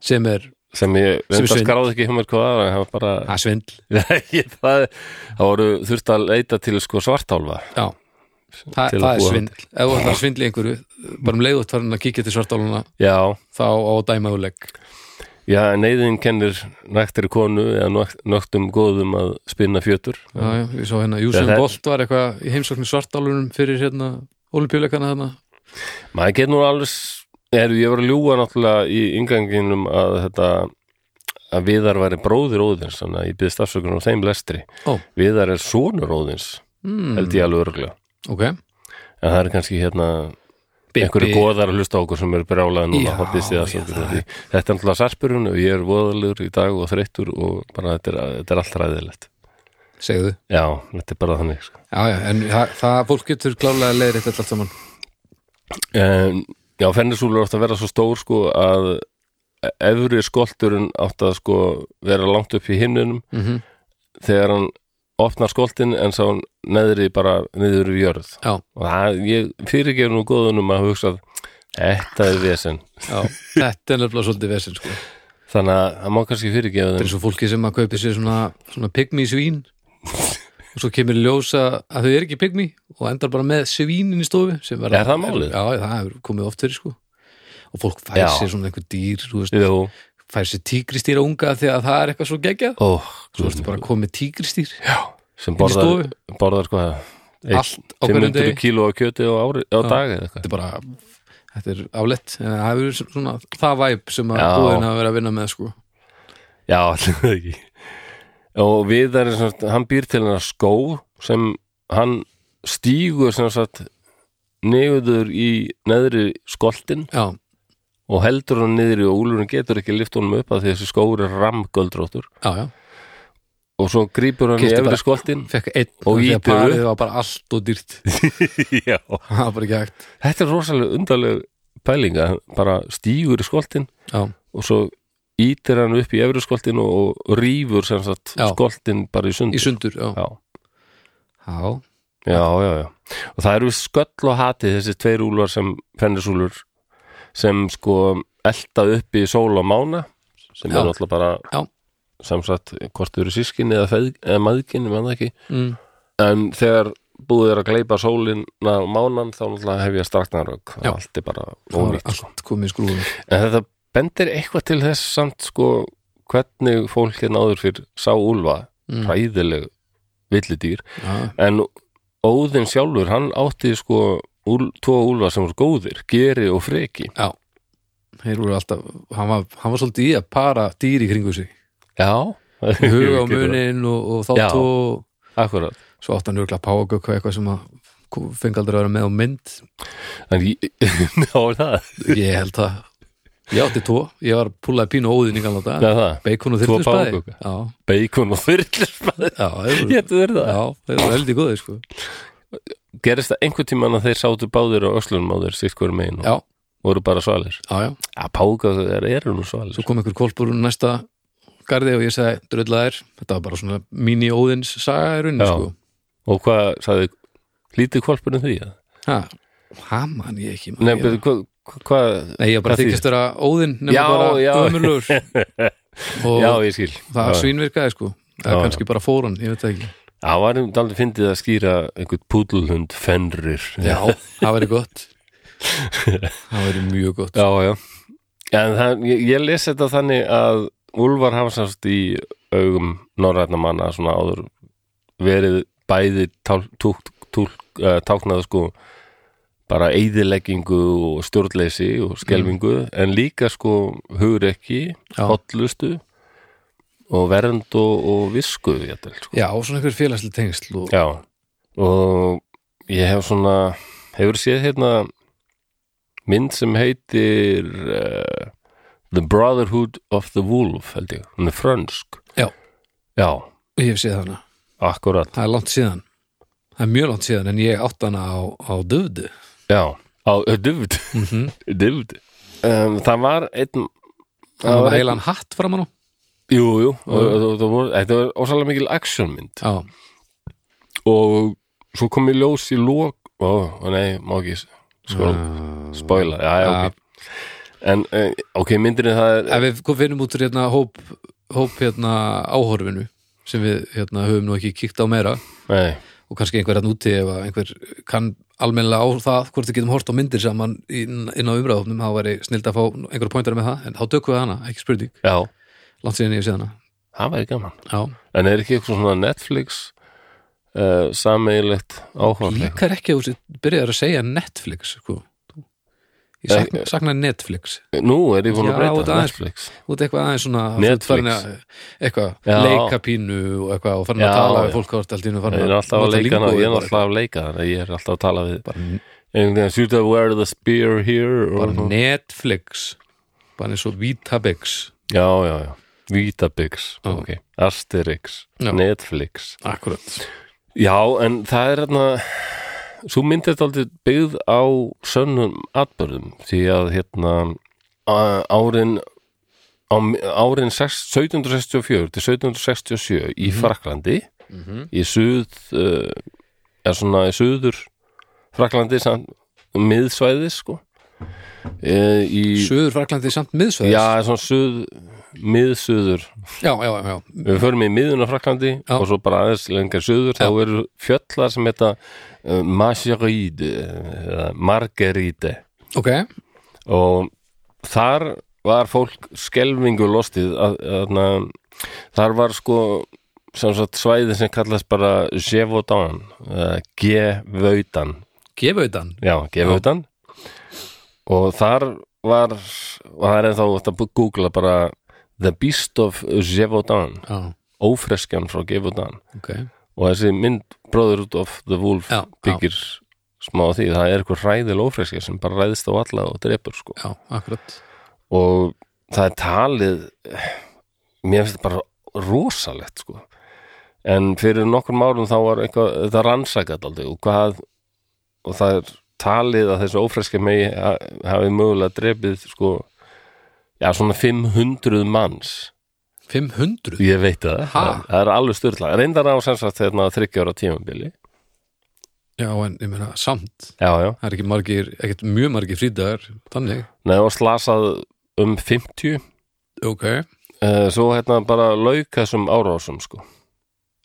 sem er
sem ég
Sem
reynda
svindl.
skráði ekki hjá mér hvað var en hann var bara
að svindl
Nei, það, það voru þurft að leita til sko svartálfa
Já, Þa,
Til að
það er
búa
svindl Ef það er svindl í einhverju, bara um leiðut farin að kíkja til svartáluna
Já,
þá á að dæma úr legg
já, neyðin kennir nægtir konu eða nótt- nóttum góðum að spinna fjötur
Já, já, ég sá hérna, Júsum
það-
Bolt var eitthvað í heimsóknir svartálunum fyrir hérna olimpíuleikana þarna
Maður getur nú alveg er, ég var að ljúga náttúrulega í ynganginum að þetta að Viðar væri bróðir Óðins þannig að ég byggði stafsökunum á þeim lestri
Ó.
Viðar er sonur Óðins
mm,
held ég alveg örgulega
Ok,
en það er kannski hérna
Bibbi.
einhverju góðar að hlusta á okkur sem eru brjálaði núna
Já,
hoppist í það
já,
sem
það
þetta þetta er náttúrulega sarpurinn og ég er voðalegur í dag og þreyttur og bara þetta er, þetta er allt ræðilegt
segðu
já, þetta er bara þannig sko.
Já, já, en það, það fólk getur klálega leiðir þetta allt saman
en, já, fennisúlur átt að vera svo stór sko að efri skolturinn átt að sko vera langt upp í himnunum
mm -hmm.
þegar hann opnar skoltin en sá hann neðri bara niður í jörð
Já,
og það, ég fyrirgefur nú góðunum að hugsa þetta er vesen
já, þetta er nefnilega svolítið vesinn sko. Þetta
Þannig að það má kannski fyrirgefa
er
þeim
svo fólki sem að kaupi sér svona, svona pygmi svín og svo kemur í ljós að að þau eru ekki pygmi og endar bara með svínin í stofu sem verða-
Er það málið?
Já, það hefur komið oft fyrir sko og fólk fær
Já.
sér svona einhver dýr þú veist,
Jú,
fær sér tígristýra unga því að það er eitthvað svo geggjað
ó,
Svo ertu bara að koma með tígristýr
sem
í stofu.
borðar, borðar hvað
Allt á hverjum
500
degi.
kíló af kjöti á, ári, á dag eða
Þetta
eitthvað
er bara, þetta er aflett en það hefur verið svona það væp sem að
Já.
búðin hafa verið að vinna með sko
Já, allir það ekki Og við erum sem sagt, hann býr til hennar skó sem hann stígur sem sagt niður í neðri skoltin
Já,
og heldur hann niðri og úlurinn getur ekki lift honum upp að því þessi skóur er ramgöldróttur
já, já,
og svo grýpur hann
Keypti
í
bara-
efri skoltin
fekk einn
Og
því að
ýtir
parið var bara allt og dýrt
Já
það var bara ekki hægt
Þetta er rosalega undarleg pælinga bara stígur í skoltin
já,
og svo ítir hann upp í efri skoltin og, og rýfur sem sagt
Já.
skoltin bara í sundur
í sundur, já,
Já,
já.
já, já, já Og það eru sköll og hati þessi tveir úlfar sem fennisúlur sem sko elta upp í sól og mána sem
Já.
er náttúrulega bara
Já.
sem sagt hvort þau eru sískinni eða, feð, eða maðginni, menn það ekki
Mm.
en þegar búið er að gleypa sólina og mánan þá náttúrulega hef ég straknarögg
Já.
allt er bara
það var
ónýtt sko.
allt komið í skrúðum
en þetta bendir eitthvað til þess samt sko hvernig fólk hérna áður fyrr sá úlfa
Mm.
hræðileg villidýr
já,
en Óðinn sjálfur hann átti sko úl, tvo úlfa sem voru góðir Geri og Freki
þeir voru alltaf, hann var, hann var svolítið í að para dýr í kringu sig
Já
huga á munin og, og
Já.
þátt og
Akkurat
svo átti hann örgulega págökk og eitthvað sem að kom- fengi aldrei að vera með á mynd
en ég, Ná er það
ég held að ég átti tvo, ég var að púlaði pínu óðin í gamla
Ná
dag,
er það
bacon og
Tvo
þyrluspaði
páfagauka?
já,
Bacon og þyrlismæður
já, þeir voru-
Getur verið það
já, þeir eru heldig góði sko
Gerist það einhvern tímann að þeir sátu báðir og öslunum á þeir sitt hverju megin og
já,
voru bara svalir
já, já,
Að páka þeir eru nú svalir
svo kom einhver kvolpur úr næsta garði og ég sagði, dröðla þær þetta var bara svona mini óðins saga í rauninni
Já.
sko
Og hvað sagði Lítið kvalpurinn því að
ha, ha man ég ekki man,
Nei,
ég,
betur, hvað hvað,
nei, ég var bara
hvað
þykist vera óðin nema
Já,
bara
já.
ömurlugur og
já, ég skil
það
Já.
svínvirkaði sko eða
Já, já.
kannski bara fóran, ég veit það ekki
Það var um daldið fyndið að skýra einhvern púdlhund fennrir
já, það væri gott það væri mjög gott
já, já. En það, ég, ég les þetta þannig að Úlfar hafa sást í augum norræna manna svona áður verið bæði tál- túlk- túlk- eh, táknað sko bara eyðileggingu og stjórnleysi og skelfingu en líka sko hugrekki,
Já.
hotlustu og vernd og, og visku jætel, sko.
Já, og svona einhver félagslega tengsl og...
Já, og ég hef svona, hefur séð hérna mynd sem heitir uh, The Brotherhood of the Wolf, held ég, hún er frönsk.
Já.
Já,
Ég hef séð hana,
akkurat,
það er langt síðan Það er mjög langt síðan en ég átt hana á, á döfdu
já, á dufd,
Mhm.
dufd. Um, það var einn,
Það var
einn-
heilan hatt framan á
jú, jú, og, og, og, og, og, þetta var ósalega mikil actionmynd
Já,
og svo kom ég ljós í lók, ó, ó, nei, má ekki, sko,
Ah.
spoiler, já, já,
Já.
ok. En, eh, ok, myndinni það er
ef við kom- finnum út úr hérna hóp, hóp hérna áhorfinu sem við hérna höfum nú ekki kíkt á meira
Nei,
og kannski einhver hann úti ef að einhver kann almennilega á það hvort við getum hort á myndir saman inn, inn á umræðofnum þá væri snild að fá einhver pointar með það en þá tökum við hana, ekki spurning
já,
langt síðan ég hef séð hana
það væri gaman
Já,
En er ekki eitthvað svona Netflix uh, sameigilegt áhverfleg
líkar ekki að þú sér- byrjar að segja Netflix sko. ég sakna,
Eh,
sakna Netflix
Nú er ég búin
Já,
að breyta
út aðeins.
Netflix
út eitthvað aðeins svona þú ert
Netflix.
farin að- eitthvað,
Já.
leika pínu og eitthvað og farin
Já.
að tala við fólk árt allt í einu
Ég
farin
er alltaf að
nota
leika hana,
lingóið
ég er
bara
alltaf að leika hana Ég er alltaf að tala við
eitthvað.
Einhvern veginn, shoot up where the spear here
bara, bara
og,
Netflix bara eins og Vitabix
Já, já, já Vítabix,
Já.
ok, Asterix
Já.
Netflix
akkurat
Já, en það er hérna svo myndið þetta aldrei byggð á sönnum atbörðum því að hérna á- árin á, árin 6, 1764 til 1767 í Fraklandi í suð uh, eða svona í suður Fraklandi samt miðsvæði sko e, í,
Suður Fraklandi samt miðsvæðis
já, svona suð miðsuður
já, já, já, já.
Við förum í miðuna Fraklandi
Já.
og svo bara aðeins lengar söður þá eru fjöldlar sem heita uh, Maseride eða Margerite
ok,
og þar var fólk skelfingu lostið að, að, þar var sko sem sagt svæði sem kallast bara Gevaudan eða Gevaudan
gefauðan
já, Gevaudan og þar var og það er ennþá hægt að googla bara The Beast of Gevaudan
já,
ófreskjan frá Gefudan
ok,
og þessi mynd Brotherhood of the Wolf
Já,
byggir smá á því, það er eitthvað hræðil ófreskja sem bara ræðist á alla og drepur sko
já, akkurat
og það er talið mér finnst þetta bara rosalegt sko en fyrir nokkrum árum þá var eitthvað, þetta rannsakat aldrei og hvað og það er talið að þessi ófreska megi ha- hafi mögulega drepið sko já svona 500 manns
500?
ég veit það,
Ha?
það, það er alveg styrla reyndar á sem sagt þegar það þryggjóra tímabili
Já, en ég meina, samt
já já,
Það er ekki margir, ekkert mjög margir frídagar Þannig,
neða og slasað um 50
ok
uh, svo hérna bara lauk þessum árásum sko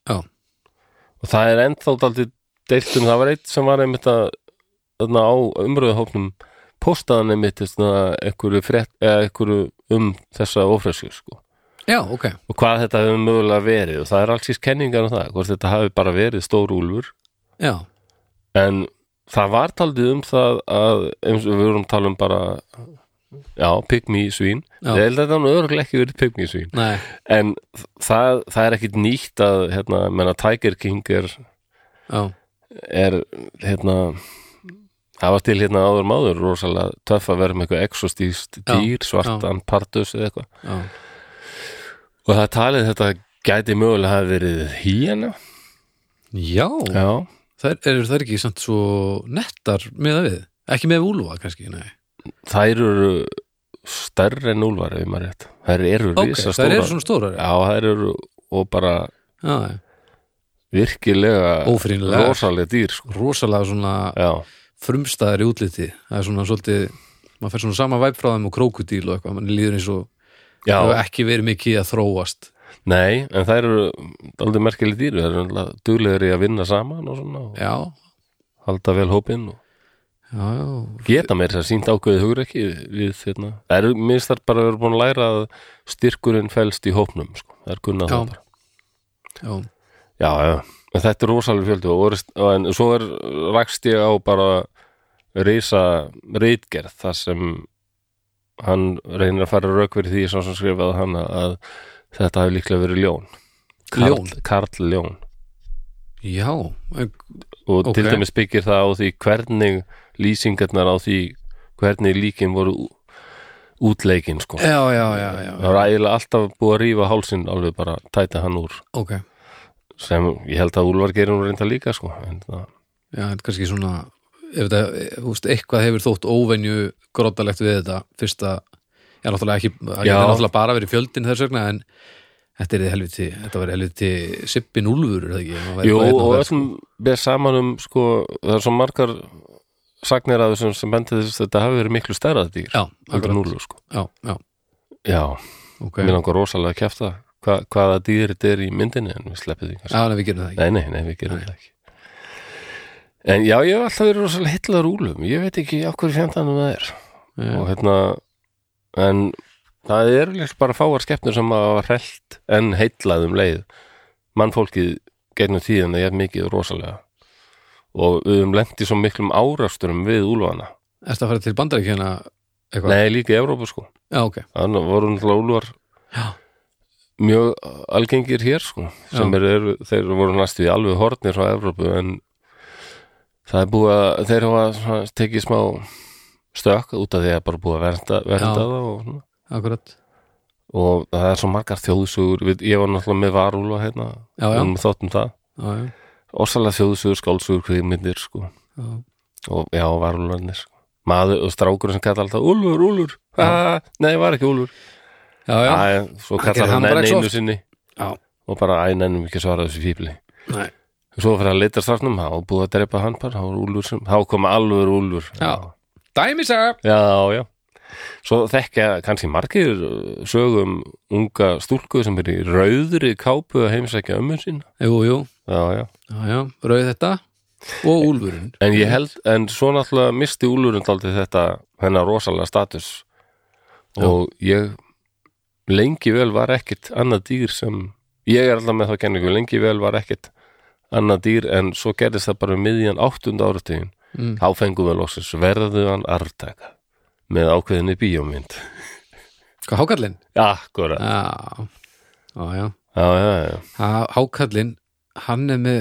Já.
og það er ennþá daldið deiltum, það var eitt sem var einmitt að þarna á umröðuhóknum postaðan einmitt þarna einhverju frétt, eða einhverju um þessa ofresku sko
Já, ok,
og hvað þetta hefur mögulega verið og það er alls ís kenningar um það, hvort þetta hafi bara verið stór úlfur
já,
en það var taldið um það að eins og við vorum að tala um bara já, pygmi svín
Já.
ég held að það nú örugglega ekki verið pygmi svín
nei
en það, það er ekkit nýtt að hérna, menna Tiger King er,
Já,
er hérna það var til hérna áður máður rosalega töff að vera með eitthvað exostíst dýr, svartan pardus eða eitthvað
já,
og það er talið þetta gæti mögulega hafi verið híjana
já.
já,
Þær, eru þær ekki samt svo nettar með að við? Ekki með úlfa, kannski, nei
þær eru stærri en úlfar ef maður rétt, þær eru
Ok,
risa
þær
stórar
eru svona stórar Já,
já, þær eru og bara
já,
virkilega
ófrýnilega
rosalega dýr sko.
Rosalega svona
já,
frumstæðar í útliti Það er svona svolítið maður fer svona sama væp frá þeim og krókudíl og eitthvað, mann líður eins og
já
hefur ekki verið mikið að þróast
Nei, en þær eru aldrei merkileg dýr, þær eru alltaf duglegur í að vinna saman og svona og
Já,
halda vel hópinn og
já, já,
geta mér þess að sínt ákveðið hugur ekki við hérna. Þær eru minnst þar bara að vera búin að læra að styrkurinn fælst í hópnum, sko. Þær kunna
Já.
það bara.
já.
Já, já, en þetta er rosalega fjöldi og orist, en svo er rakst ég á bara reysa reytgerð þar sem hann reynir að fara rauk fyrir því sá sem skrifaði hann að þetta hafi líklega verið ljón.
Ljón?
Karl, Karl ljón.
já. en-
og
Ok.
til dæmis byggir það á því hvernig lýsingarnar á því hvernig líkin voru ú- útleikin sko.
já, já, já, já,
Það var ægilega alltaf búið að rífa hálsinn alveg bara tæta hann úr
ok
sem ég held að Úlfar gerir hún reynda líka sko. en það,
Já, en kannski svona ef þetta, þú veist, eitthvað hefur þótt óvenju grottalegt við þetta fyrst að, já, náttúrulega ekki það
Já.
er náttúrulega bara verið fjöldin þess vegna en þetta er helviti, þetta var helviti sippin úlfur, er það ekki? Maður væri
Jú,
bara einn á
og
ferð,
öllum ber saman um sko, það er svo margar sagnir af þessum sem bendið þess að þetta hafi verið miklu stærra dýr
Já,
heldur
akkurat.
núlu sko.
Já, já,
Já,
ok
mér langar rosalega að kjafta hva, hvaða dýr þetta er í myndinni en við sleppið því kannski.
Já, nei, við gerum það ekki
Nei, nei, nei, við gerum það ekki En já, ég hef alltaf verið rosalega hillaður úlum Ég veit ekki á hverju fjandanum það er
Já,
Og hérna En það eru líka bara fáar skepnur sem að hafa hrellt en heillað um leið Mannfólkið gegnum tíðan það er mikið rosalega Og við höfum lent í svo miklum árasturum við úlfana
Ertu að fara til bandaríkjana eitthvað?
Nei, líka í Evrópu sko
Já, ok
Þannig voru náttúrulega úlfar
Já,
mjög algengir hér sko sem
Já.
er, er, þeir voru næstu í alveg hornir frá Evrópu en það er búið að þeir hafa svona tekið smá stök út af því að bara búið að vernda, vernda
Já.
það og, svona.
akkurat
og það er svo margar þjóðsugur við, ég var náttúrulega með varúlfa hérna
Já, já,
um þáttum það
já, já,
ósalega þjóðsugur, skálsugur, kvíðmyndir sko
já.
og já, varúlfarnir sko maður og strákur sem kalla alltaf Úlfur, Úlfur, ah, nei, var ekki Úlfur
já, já.
Æ, svo
Hann
kallar
gerir
hann
hann bara
enn
ekki
einu
oft.
sinni
Já.
og bara æ, nennum ekki að svara þessu fíbli
Nei.
Svo fyrir að leita strafnum, þá var búið að drepa hann bara, þá var úlfur sem, þá kom alveg úlfur.
Já. Dæmisaga
Já, já. Svo þekkja kannski margir uh, sögum unga stúlku sem er í rauðri kápu að heimsækja ömmu sín.
Jú, jú,
Já, já.
já, já, rauð þetta og úlfurinn
En ég held, en svo náttúrulega misti úlfurinn aldrei þetta, hennar rosalega status. Og ég lengi vel var ekkit annað dýr sem, ég er alltaf með þá kenningu, lengi vel var ekkit annað dýr en svo gerðist það bara um miðjan áttunda árategin
mm.
Þá fengum við loksins verðugan arftaka með ákveðinni bíómynd.
Hvað, hákallinn?
Akkúrat.
Já, já, já.
Já, já, já.
Há- Hákallinn, hann er með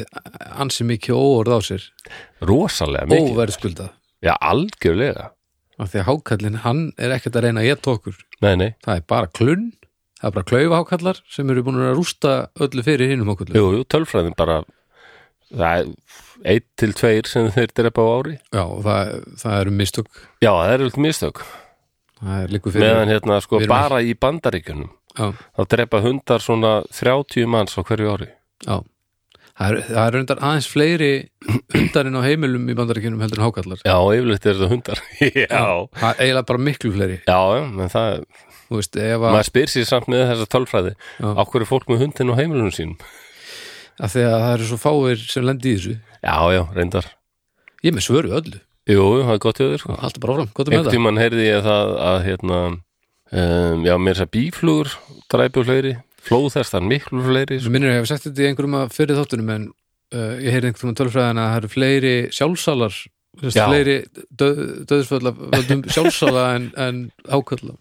ansi mikið óorð á sér,
Rosalega mikið.
óverðskuldað
Já, algjörlega.
af því að hákallin, hann er ekkert að reyna að geta okkur,
nei, nei,
það er bara klunn það er bara klaufa hákallar sem eru búin að rústa öllu fyrir hinnum okkur
jú, jú, tölfræðin bara það er eitt til tveir sem þeir drepa á ári
Já, og það, það eru mistök
já, það er eitthvað mistök
það er líku fyrir
meðan hérna sko
við erum
bara í bandaríkjunum
Já,
þá drepa hundar svona 30 manns á hverju ári
já. Það eru er reyndar aðeins fleiri hundarinn á heimilum í bandaríkjunum heldur en hákallar
já, yfirleitt er þetta hundar já,
Það er eiginlega bara miklu fleiri
já, já, menn það
Þú veist, ef að,
maður spyr sér samt með þessa tölfræði
Já.
á hverju er fólk með hundin á heimilunum sínum
að því að það eru svo fáir sem lendi í þessu
já, já, reyndar
Ég er með svöru öllu,
jú, jú, það er gott í þau sko
alltaf bara áfram, gott um
einhvern
þetta
tímann heyrði ég það að hérna, um, já, mér þess að bíflugur dræpu fleiri, flóðhestar miklu fleiri, sko.
Svo minnir ég hef sagt þetta í einhverjum að fyrir þáttunum en uh, ég heyrði einhverjum tölfræðina að það eru fleiri sjálfsalar þú veist,
Já.
fleiri döð, döðsfölla völdum sjálfsala en, en hákalla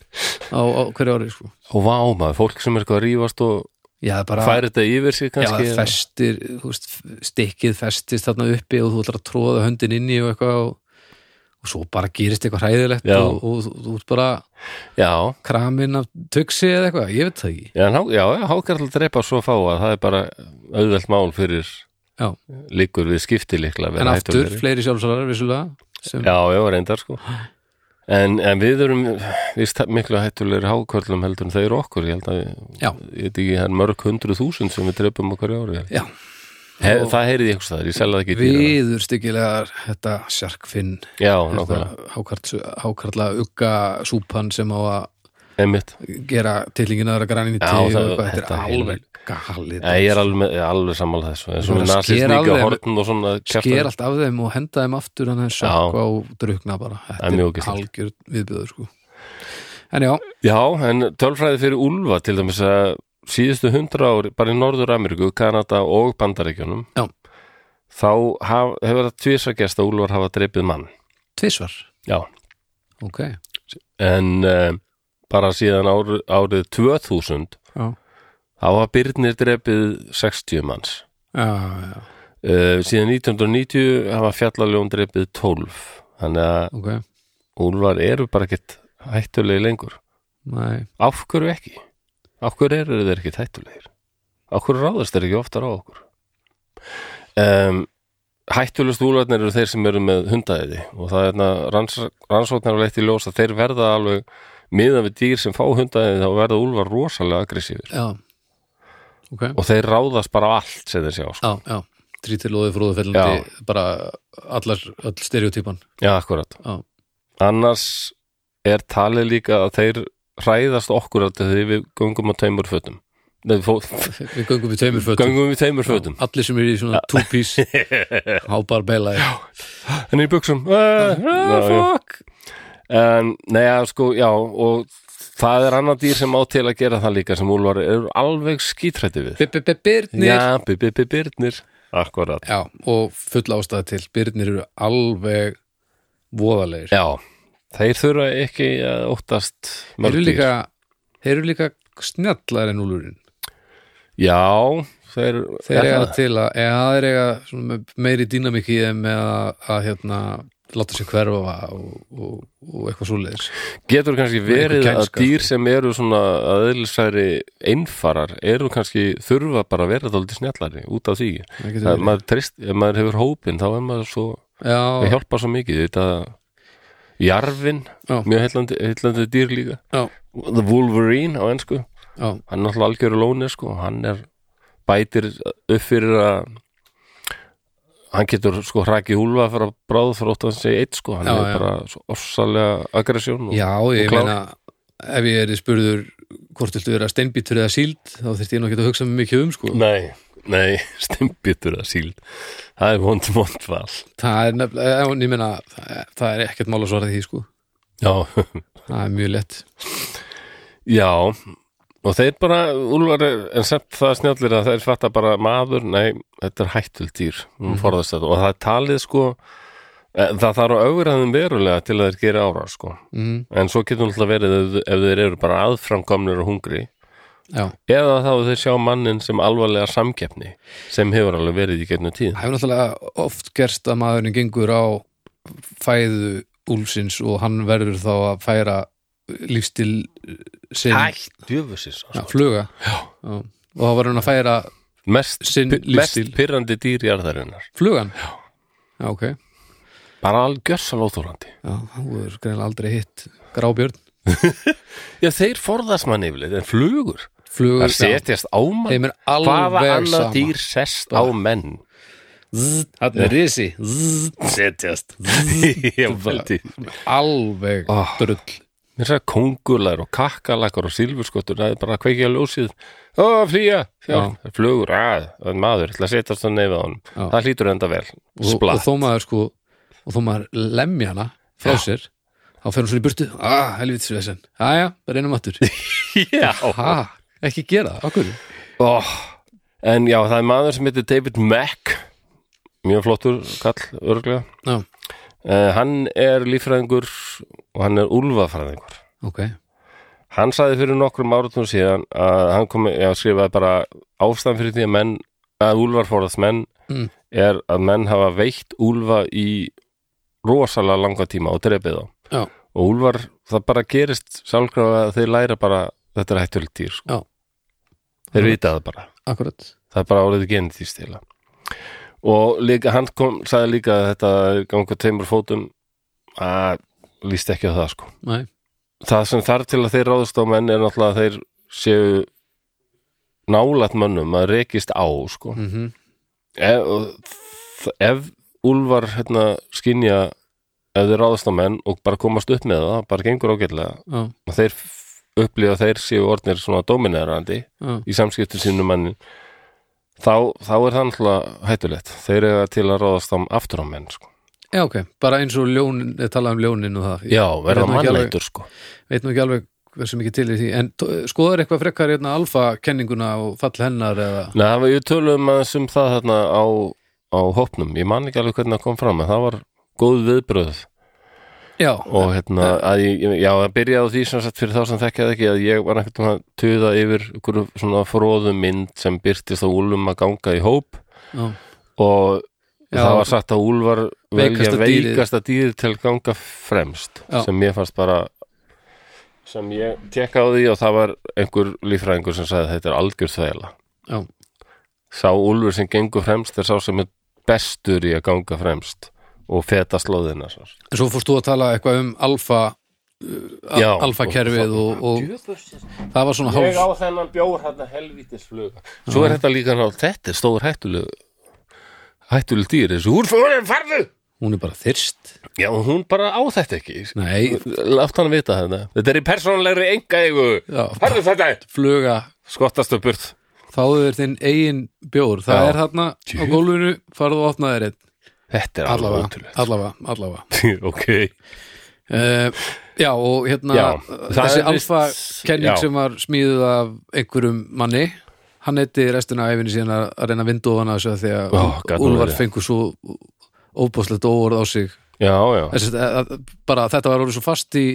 á, á hverju ári sko.
og vá maður, fólk sem er eitthvað að rífast og
Já, bara
færi þetta yfir sig
Já,
kannski
festir, þú veist, stikkið festist þarna uppi og þú ætlar að tróða höndin inni og eitthvað og, og svo bara gerist eitthvað hræðilegt
Já.
og, og, þú- þú ert bara
já,
kramin af tuxi eða eitthvað, ég veit það ekki
já, há- já, já hákarl drepa svo fá að það er bara auðvelt mál fyrir
Já.
líkur við skipti líkla
En aftur, fleiri sjálfsalar vissulega sem,
já, já, reyndar sko en, en við erum víst, miklu hættulegri hákarlum heldur en þau eru okkur, ég held að við,
Já.
ég veit ekki, það er mörg hundruð þúsund sem við drefum okkur í ári
Já.
He, það heyrði ég eitthvað staðar, ég selja það ekki dýra
viður styggilegar þetta sjarkfinn
Já, nákvæmlega,
hákarla ugga súpan sem á að
einmitt
gera tillingina þeirra graninn í
Já,
tíu og
það-
eitthvað, þetta
þetta
er
er
alveg galið
Nei, ég er alveg, ég er alveg sammála þessu eins og
Þú
með
verður að skera
nasisníka
alveg-
hortn og svona
sker
kjartan
allt af þeim og henda þeim aftur hann er sökka og drukna bara
Það er mjög
þetta er
ógeðslegt.
algjör viðbjöður sko. en já,
Já, en tölfræði fyrir Úlfa til dæmis að síðustu hundra ári bara í Norður-Ameríku, Kanada og Bandaríkjunum
Já.
þá haf, hefur það tvísa gest að Úlfar hafa dreipið mann
tvisvar
Já,
ok,
en uh, bara síðan ár, árið 2000
já,
þá hafa Byrnir dreipið 60 manns
já, já
uh, síðan 1990 hafa fjallaljón dreipið 12 þannig að
ok,
Úlfar eru bara ekkert hættulegi lengur.
nei,
Af hverju ekki? Af hverju eru þeir ekkert hættulegir? Af hverju ráðast þeir ekki oftar á okkur? Um, hættulegust úlfarnir eru þeir sem eru með hundaðiði og það er hérna ranns, rannsóknar að leitt í ljós að þeir verða alveg miðan við dýr sem fá hundaðiði þá verða úlfar rosalega aggressífir
já ok,
og þeir ráðast bara á allt sem þeir sjá. Sko.
já, já trítilóði fróðufellandi, bara allar, all stereotypan
Já, akkurat.
Já.
Annars er talið líka að þeir hræðast okkur að þeir við göngum á taumur fötum. Nei, fó,
við göngum við tveimur fötum
Göngum við teimur fötum
allir sem eru í svona two-piece hábar beila
En í buksum
Eh,
uh,
fuck
En, nei, ja, sko, já Og það er annað dýr sem á til að gera það líka sem úlvar eru alveg skítrætti við
Birnir
Já, bibibibirnir Akkurat
já, og full ástæða til Birnir eru alveg voðalegir
Já, þeir þurfa ekki að óttast
Þeir
mörg
eru
dýr.
líka, þeir eru líka snjallar en úlurinn
Já, þeir,
Þeir
er
eiga
það?
til að, eða þeir eiga svona með meiri dýnamík í þeim með að, að hérna, láta sér hverfa og, og, og eitthvað svoleiðis
Getur kannski verið
Einhver
að
kænska, sko.
dýr sem eru svona aðeinsæri einfarar eru kannski þurfa bara að vera þóldi snjallari út af því
Það getur
það,
verið.
maður trist, ef maður hefur hópin þá er maður svo, það
Já,
hjálpar svo mikið þetta jarfin
Já.
mjög heillandi, heillandi dýr líka
já,
The Wolverine á ennsku
já,
hann er náttúrulega algjöru lóni sko hann er bætir upp fyrir að hann getur sko hrakið húlfa fyrir að bráð þrótt að hann segja eitt sko hann
Já,
er
já.
bara svo orsalega aggressjón og,
já, ég
sko. og klár.
meina ef ég er spurður hvort viltu vera steinbítur eða síld þá þyrst ég nú ekki að hugsa mig mikið um sko
nei, nei, stimbitur að síld það er vond vond val
Það er nefnilega, en ég meina það, það er ekkert mál að svara því sko
já,
Það er mjög lett
Já, og þeir bara, Úlfar er, en semt það snjallir að þeir fatta bara maður, nei, þetta er hættul dýr, mm. forðast þetta, og það er talið sko, e, það þarf að augraðum verulega til að þeir gera ára sko,
mm,
en svo getur náttúrulega verið ef, ef þeir eru bara aðframkomnir og hungri,
Já,
eða þá að þeir sjá mannin sem alvarlega samkeppni, sem hefur alveg verið í gegnum tíð.
það hefur náttúrulega oft gerst að maðurinn gengur á fæðu úlfsins og hann verður þá að færa lífstil sinn
Ætt, djöfusins
Já, fluga Já. og þá var hann að færa
Mest,
Sinn
pi- mest
lífstíl.
pyrrandi dýr í arðarinnar
flugan Já, ok Já,
Bara algjörsal óþólandi
hún er greinlega aldrei hitt grábjörn
Já, þeir forðast mann yfirleitt, en flugur
flugur
Það setjast á mann
þeim er alveg
Hvaða annað
sama.
dýr sest á menn
Þannig er risi Zzz,
Setjast Ég valdi
alveg
Ah.
drull
Mér sagði kongular og kakkalakar og silfurskottur það er bara að kveikja ljósið Ó, flýja, fjár, flugur að, að maður, ætla að setjast á nefið á hann
Já.
Það hlýtur enda vel,
og, og
splatt
þó maður sko og þó maður lemja hana frá
Ah.
sér þá fer hún svo í burtu ah, helvitis vesen, aðja, reynum um aftur
Já,
ha, ekki gera það, okkur
Oh, en já, það er maður sem heitir David Mack mjög flottur kall, örglega
já,
uh, hann er líffræðingur og hann er úlfafræðingur
ok,
hann sagði fyrir nokkrum áratum síðan að hann kom, já, skrifaði bara ástæðan fyrir því að menn, að úlfar fórast menn
Mm.
er að menn hafa veitt úlfa í rosalega langa tíma og drepið þá
já,
og úlfar, það bara gerist sjálfkrafa að þeir læra bara þetta er hættulegt dýr sko.
Já.
þeir vita það bara
akkurat
það er bara áriði genetist heila og líka, hann kom, sagði líka að þetta er ganga á tveimur fótum að líst ekki á það sko
Nei.
það sem þarf til að þeir ráðast á menn er náttúrulega að þeir séu nálætt mönnum að rekist á sko
Mm
ef, og þ- ef úlfar hérna skinja ef þeir ráðast á menn og bara komast upp með það bara gengur ágætlega
já,
og þeir f- upplifa að þeir séu orðnir svona dominerandi
já,
í samskiptum sínum mannin þá, þá er það náttúrulega hættulegt þeir eru til að ráðast á aftur á menn sko.
já, ok bara eins og ljónin, ég talaði um ljónin og það ég
já, verða
veit nú ekki alveg-
mannleitur sko.
veit nú ekki alveg hversu mikið til í því en t- skoðar eitthvað frekar hérna alfa kenninguna og fall hennar eða
Nei, það var ég tölum aðeins um það þarna á, á hopnum, ég man ekki alveg hvernig það kom fram en það var góð viðbröð
já,
og hérna, að ég, já, að byrja á því sem sagt fyrir þá sem þekkja það ekki að ég var ekkert um að tuða yfir ykkur svona fróðum mynd sem byrtist á úlum að ganga í hóp
já,
og
Já.
það var sagt að úlfar velja
Veikasta dýrið.
veikasta dýrið til að ganga fremst
Já.
sem ég fannst bara sem ég tekka á því og það var einhver líffræðingur sem sagði að þetta er algjör þvæla
já,
sá úlfur sem gengur fremst er sá sem er bestur í að ganga fremst og feta slóðina svo.
en svo fórst þú að tala eitthvað um alfa
Já,
alfa kerfið og, og það var svona
Ég á
hálf
þennan bjór hérna helvítis fluga Svo er þetta líka nátt, þetta er stóður hættuleg hættuleg dýr þessu úrfóðurinn farðu
hún er bara þyrst
Já, og hún bara á þetta ekki
nei,
Látt hann vita þetta Þetta er í persónulegri enga eigu
Já.
Herðu þetta
fluga
Skottast upp burt
fáðu þér þinn eigin bjór það
Já.
er þarna á gólfinu farðu og opna þér einn
Þetta er alveg
allavega,
ótrúlegt
allavega, allavega.
Ok
Uh, já og hérna
Já, það
þessi
er vist-
alfa kenning
já.
sem var smíðuð af einhverjum manni hann heiti restina af æfinni síðan að, að reyna vindóðan að þessu af því að
Ó, gat nú
Úlfar
verið.
fengur svo óbúslegt óorð á sig
Já, já
þessi, að, að, bara þetta var orðið svo fast í,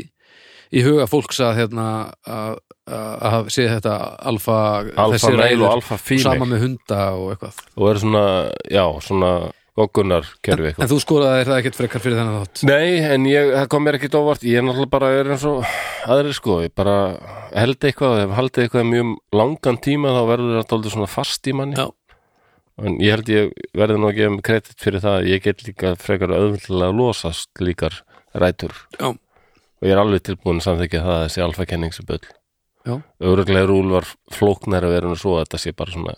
í huga fólks að hérna að að hafa séð þetta alfa
Alfa
þessi
meil
ræður
og alfa
sama
fímil
með hunda og eitthvað
Og er svona, já, svona Goggunar kerfi eitthvað
en þú skoraði það ekkert frekar fyrir þennan þátt
Nei, en ég, það kom mér ekkit óvart Ég er náttúrulega bara er eins og aðri sko Ég bara held eitthvað Ef haldið eitthvað mjög langan tíma Þá verður þetta aldrei svona fast í manni
Já.
En ég held ég verði nú að gefa mér kredit fyrir það Ég get líka frekar auðvitað að losast líkar rætur
Já.
Og ég er alveg tilbúin að samþykja það að Þessi alfakenning sem böll
Já.
Öruglega rúl var flóknar að vera en svo að Þetta sé bara svona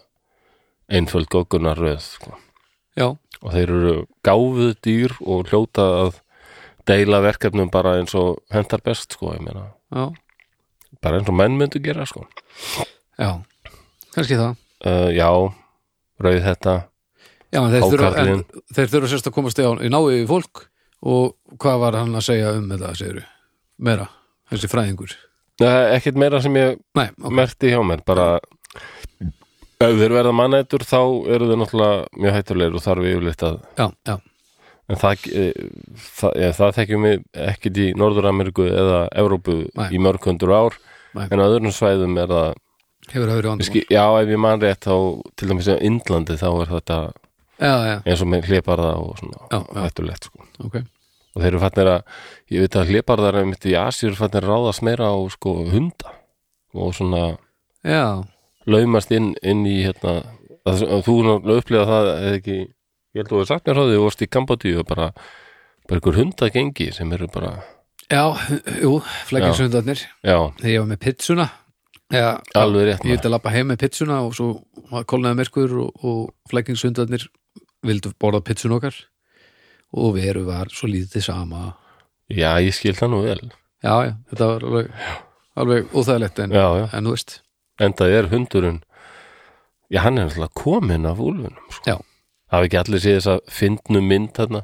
einföld gókunar röð sko
já,
og þeir eru gáfuð dýr og hljóta að deila verkefnum bara eins og hentar best sko, ég meina,
já,
bara eins og menn myndu gera sko.
já kannski það
Uh, já, rauð þetta
já, en þeir, þurfa, en,
Hákarlinn.
þeir þurfa sérst að komast í, í náið í fólk og hvað var hann að segja um þetta segir meira, þessi fræðingur
uh, ekkert meira sem ég
nei, ok,
merti hjá mér, bara ef þeir verða mannættur þá eru þeir náttúrulega mjög hættulegir og þarf yfirleitt að
já, já,
en það, eh, það, ja, það þekkjum við ekkert í Norður-Ameríku eða Evrópu
Nei.
í mörg hundur ár
Nei.
en á öðrum svæðum er það
hefur það verið vandum
Ski, já, ef ég man rétt þá til dæmis á Indlandi þá er þetta
já, já,
eins og með hlébarða og svona
Já, já.
hættulegt sko.
ok
og þeir eru fannir að, ég veit að hliparðar mitt í Asi eru fannir að ráðast meira á sko hunda og svona
já,
laumast inn, inn í hérna, að, að þú náttúrulega upplifa það eða ekki, ég held að þú hefur sagt mér frá því þú varst í Kambodíu og bara bara ykkur hunda gengi sem eru bara
já, jú, flækinsöndarnir
já,
þegar ég var með pizzuna já,
alveg rétt
ég
maður.
vildi að lappa heim með pizzuna og svo var kólnaði merkur og, og flækingshundarnir vildu borða pizzun okkar og veru var svo lítið sama
já, ég skil það nú vel
já, já, þetta var alveg, alveg óþægilegt en,
já, já,
en þú veist
en það er hundurinn já, hann er náttúrulega kominn af úlfunum sko.
Já.
hafa ekki allir séð þess að fyndnu mynd þarna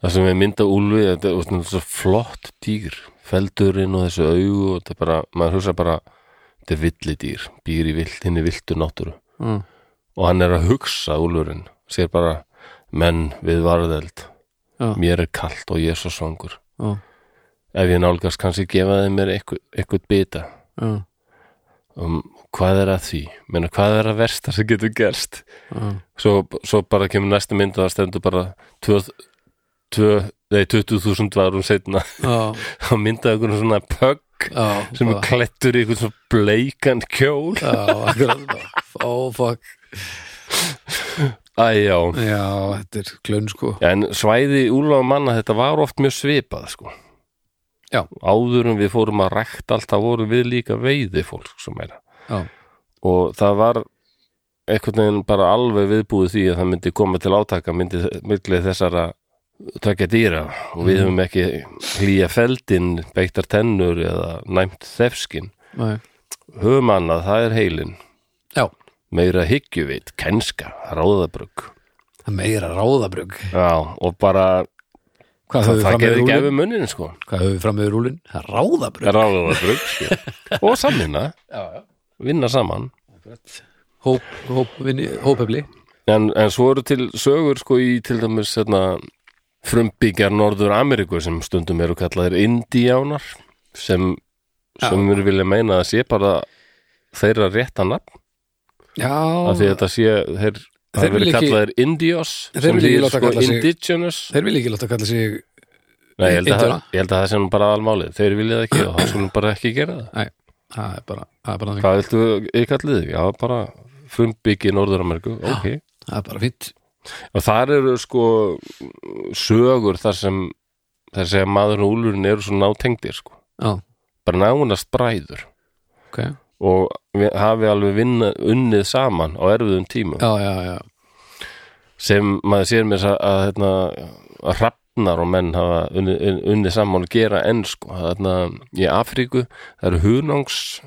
það sem er mynd af úlfi þetta er svona svo flott dýr feldurinn og þessu augu og þetta er bara, maður hugsa bara þetta er villi dýr, býr í vilt, hinn er viltu náttúru
mm.
og hann er að hugsa úlfurinn sér bara menn við varðeld
Já.
mér er kalt og ég er svo svangur
já,
ef ég nálgast kannski gefa þeim mér eitthvað, eitthvað bita
já,
um, hvað er að því Meina, hvað er að versta sem getur gerst
já,
svo, svo bara kemur næsta mynd og það stendur bara tvö, tvö, nei, 20.000 varum setna
já,
að mynda einhvern svona pögg
já
sem er
bara-
klettur í einhvern svona bleikan kjól
já, akkurat bara, ó, fuck
Æ, já.
já, þetta er klönn sko
en svæði úlfa manna þetta var oft mjög svipað sko
Já.
áður en við fórum að rækta allt það vorum við líka veiði fólk svo meira
já,
og það var einhvern veginn bara alveg viðbúið því að það myndi koma til átaka myndi myndlið þessara tvekja dýra og
Mm.
við höfum ekki hlýja feldin, beittar tennur eða næmt þefskin
nei,
höfum annað, það er heilin
já
meira hyggjuvit, kenska, ráðabrug
það er meira ráðabrug
já, og bara
hvað
það,
höfum við
það
fram með
gerði ekki
rúlin?
efum munnin sko
hvað höfum við fram með rúlin? það er ráðabrug
ráðabrug sko. og samvinna,
já, já
vinna saman
hóp, hóp, vinni, hópefli
en, en svo eru til sögur sko í til dæmis hérna, frumbyggjar Norður Ameríku sem stundum eru kallaðir indíánar sem sem eru vilja meina að sé bara þeirra rétta nafn
já,
af því að þetta sé
Þeir
þeir þeir
vilja
vilja
ekki-
kallaðir indios
Þeir
sem
vilja ekki
þýðir
láta
sko
kalla sig-
indigenous
þeir vilja ekki láta kalla sig
Nei, ég held, að,
Indíána.
það- ég held að það sem bara almálið þeir vilja það ekki og það skulum bara ekki gera það
Nei, það er bara, það er bara, þannig.
hvað viltu ekki kallið þig? Já, bara frumbyggi Norður Ameríku, ok
það er bara fínt
og þar eru sko sögur þar sem þar sem maður og úlurinn eru svo nátengdir sko.
Já,
bara nánast bræður
ok Já,
og við, hafi alveg vinna, unnið saman á erfiðum tímum
já, já,
sem maður sér mér að, að, hérna, að hrafnar og menn hafa unnið, un- unnið saman og gera enn sko. þarna, í Afríku það eru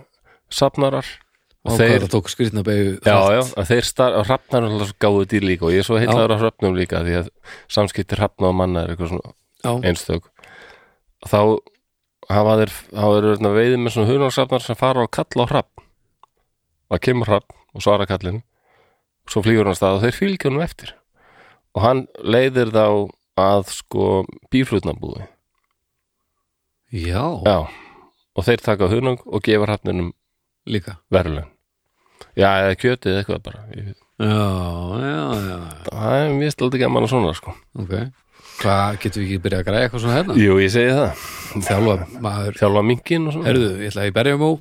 hunangssafnarar
og
og
hvað
þeir
það tók skrýtna beigju
Já, já, að þeir star, að hrafnar er alltaf gáðu dýr líka og ég er svo heitlaður á hrafnum líka því að samskipti hrafna og manna er eitthvað svona
já,
einstök þá hafa þeir hafa þeir verið veiði með svona hunarsafnar sem fara og kalla á hrapp það kemur hrapp og svara kallin svo flýgur hann af stað og þeir fylgja hann eftir og hann leiðir þá að sko bíflutnabúi
já,
já, og þeir taka hunang og gefa hrappninum
líka
verðlun já, eða kjötið eða eitthvað bara Ég-
Já, já, já,
það er mjög staldi gaman að svona sko
ok Hvað, getum við ekki byrjað að græja eitthvað svona hérna?
jú, ég segi það,
Þjálfa, maður,
þjálfa minkin og svona
herðu, ég ætla að ég berja mó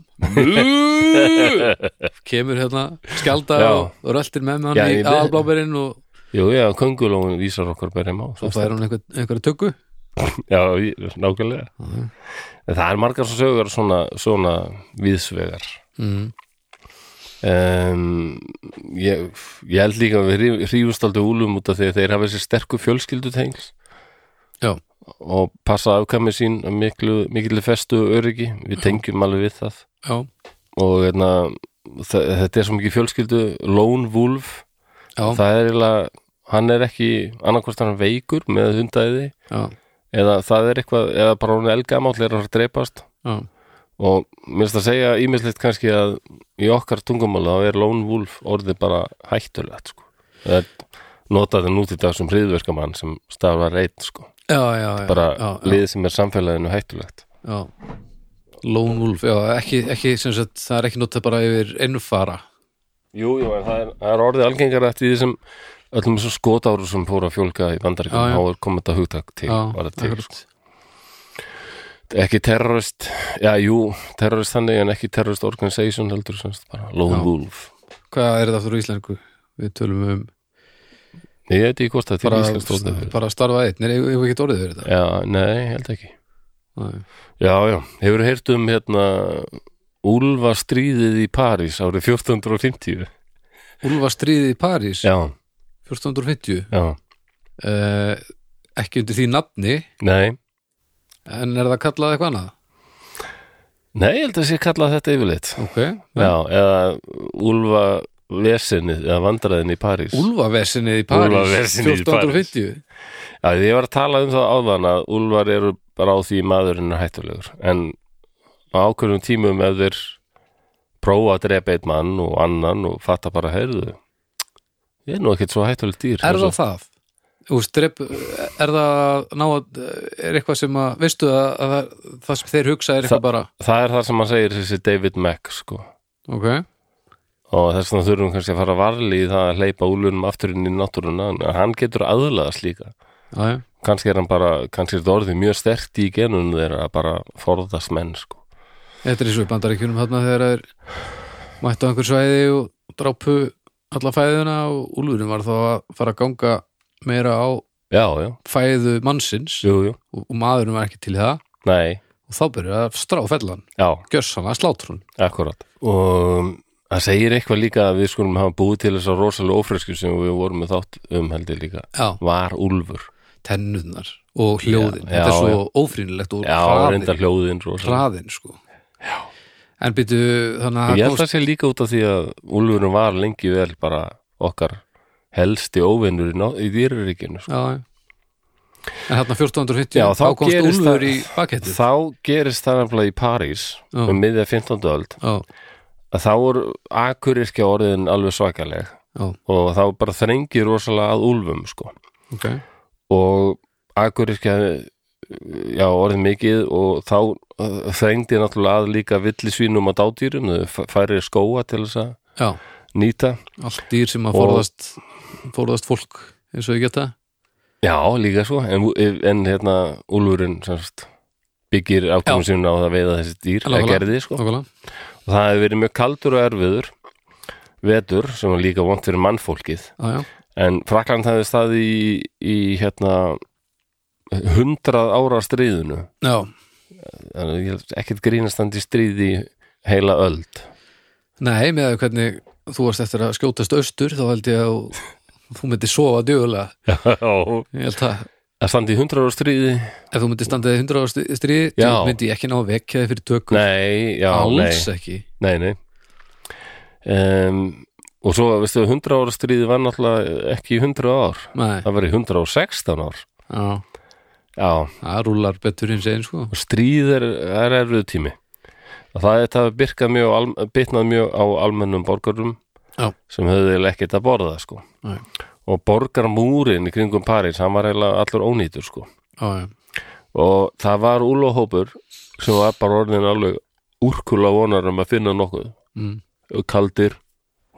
Kemur hérna, skjálda
Já.
og, og röltir með með
Já,
hann í
ég-
aðalbláberinn og
jú, já, köngulóin vísar okkur berið má
svo fær hún einhver, einhverja tökku
Já, í- nákvæmlega En Það er margar svo sögur svona, svona viðsvegar
mm.
um, ég, ég held líka að við hrífust aldrei úlum út af því að þeir hafa þessi sterku fjölskyldutengs
Já,
og passa afkæmi sín af miklu, miklu festu og öryggi við tengjum alveg við það
já,
og hérna, þe- þetta er svo mikið fjölskyldu Lone Wolf
já,
það er eiginlega, hann er ekki annarkvort hann er veikur með hundæði
já,
eða það er eitthvað, eða bara hún er elgamáll er að fara að dreipast
já,
og mér finnst að segja ímislegt kannski að í okkar tungumála þá er Lone Wolf orðið bara hættulegt sko. það er notaði nú til dag sem hriðverkamann sem stafar reitt sko.
já, já, já
bara
já, já.
lið sem er samfélaginu hættulegt
Já, Lone Wolf, já, ekki, ekki sem sagt, það er ekki notað bara yfir einnfara
Jú, jú, en það er, það er orðið algengar eftir því sem öllum þessum skotáru sem fóru að fjölga
Já,
í
já.
bandaríkjum þá er komið þetta hugtak til,
Já,
var það til
akkurat,
sko. ekki terrorist já, jú, terrorist þannig en ekki terrorist organization heldur semst bara lone
Já.
wolf
Hvað er þetta aftur á íslensku? Við tölum um
ég veit ekki hvort það er til
bara,
íslensk orðið fyrir
bara að starfa einn Nei, ég hef ekki orðið fyrir þetta
já, nei, ég held ekki
Nei.
já, já, hefur heyrt um hérna Úlfa stríðið í París árið 1450
Úlfa stríði í París
já,
1450
já,
uh, Ekki undir því nafni
nei
En er það kallað eitthvað annað?
nei, ég held að sé kallað þetta yfirleitt
Ok,
já, eða Úlfa vesinið eða vandræðin í París
Úlfavesinni í París
Úlfavesinið í París.
1450
Já, því ég var að tala um það áðan að úlvar eru bara á því maðurinn er hættulegur en á ákveðnum tímum ef þeir prófa að drepa einn mann og annan og fatta bara heyrðu ég er nú ekkert svo hættulegt dýr
Er það það? Úst, drep, er það ná að er eitthvað sem að, veistu að, að það- það sem þeir hugsa er eitthvað bara
það er það sem hann segir þessi David Mack sko
ok,
og þess vegna þurfum við kannski að fara varli í það að hleypa úlunum aftur inn í náttúruna en hann getur aðlaðast líka
aðeim
kannski er hann bara, kannski er þetta orðið mjög sterkt í genunum þeirra að bara forðast menn sko
Þetta er eins og í bandaríkjunum þarna þegar þeir mættu á einhver svæði og drápu alla fæðuna og úlfurinn var þá að fara að ganga meira á
já, já,
fæðu mannsins og,
jú, jú,
og maðurinn var ekki til í það
nei,
og þá byrjuði að strá fellan,
já
gjössan að slátur hún
Akkurat og það segir eitthvað líka að við skulum hafa búið til þessar rosalega ófresku sem við vorum með þátt um heldur líka
Já,
var úlfur
tennurnar og hljóðin
Já,
Þetta er
já,
svo ófrýnilegt og
já,
hraðin,
reyndar hljóðin rosalega
hraðin sko já. En byrju, þannig að
ég
hann
held
komst
það sé líka út af því að úlfurinn var lengi vel bara okkar helsti óvinnur í, ná- í dýruríkinu sko.
já, já. En hann 1450
Já,
þá
þá
komst
gerist
úlfur í
það-
bakettið
þá gerist það nefnilega í París
Já.
um miðja 15. öld
Já,
að þá er akuryrkja orðin alveg svakaleg
já,
og þá bara þrengir rosalega að úlfum sko
ok
og akuryrkja já, orðið mikið og þá uh, þrengdi náttúrulega að líka villisvínum og dádýrum, þau færi skóa til þess að
Já
nýta
allt dýr sem að
Og-
forðast forðast fólk eins og ég geta
já, líka svo, en, en hérna úlfurinn semst byggir afkomum sinna á það að veiða þessi dýr að
Nákvæmlega.
gerði, sko.
Nákvæmlega.
og það hefur verið mjög kaldur og erfiður vetur sem var líka vont fyrir mannfólkið
Já, já,
en Frakland hefði staði í, í hérna hundrað ára stríðinu
já,
þannig að ég held ekkert grínastandi stríði heila öld
nei, með að hvernig þú varst eftir að skjótast austur þá held ég að þú myndir sofa djögulega,
Já,
ég held að
að standi í 100 ára stríði
ef þú myndir standaði 100 ára stri- stríði
Já.
þá myndi ég ekki ná að vekja þið fyrir tökum
Nei, já,
alls ekki,
nei, nei, nei. Um, Og svo, veistu, 100 ára stríði var náttúrulega ekki í 100 ár
nei
Það var í 116 ár
já,
Já,
það rúlar betur hins einn sko
og stríð er, er erfið tími og það þetta hafi byrkað mjög, á al, bitnað mjög á almennum borgarum
Já.
sem höfðu eiginlega ekkert að borða sko.
Nei.
og borgarmúrin í kringum París, hann var eiginlega allur ónýtur sko.
já, já,
og það var úlóhópur sem var bara orðin alveg úrkula vonar um að finna nokkuð
mm,
kaldir,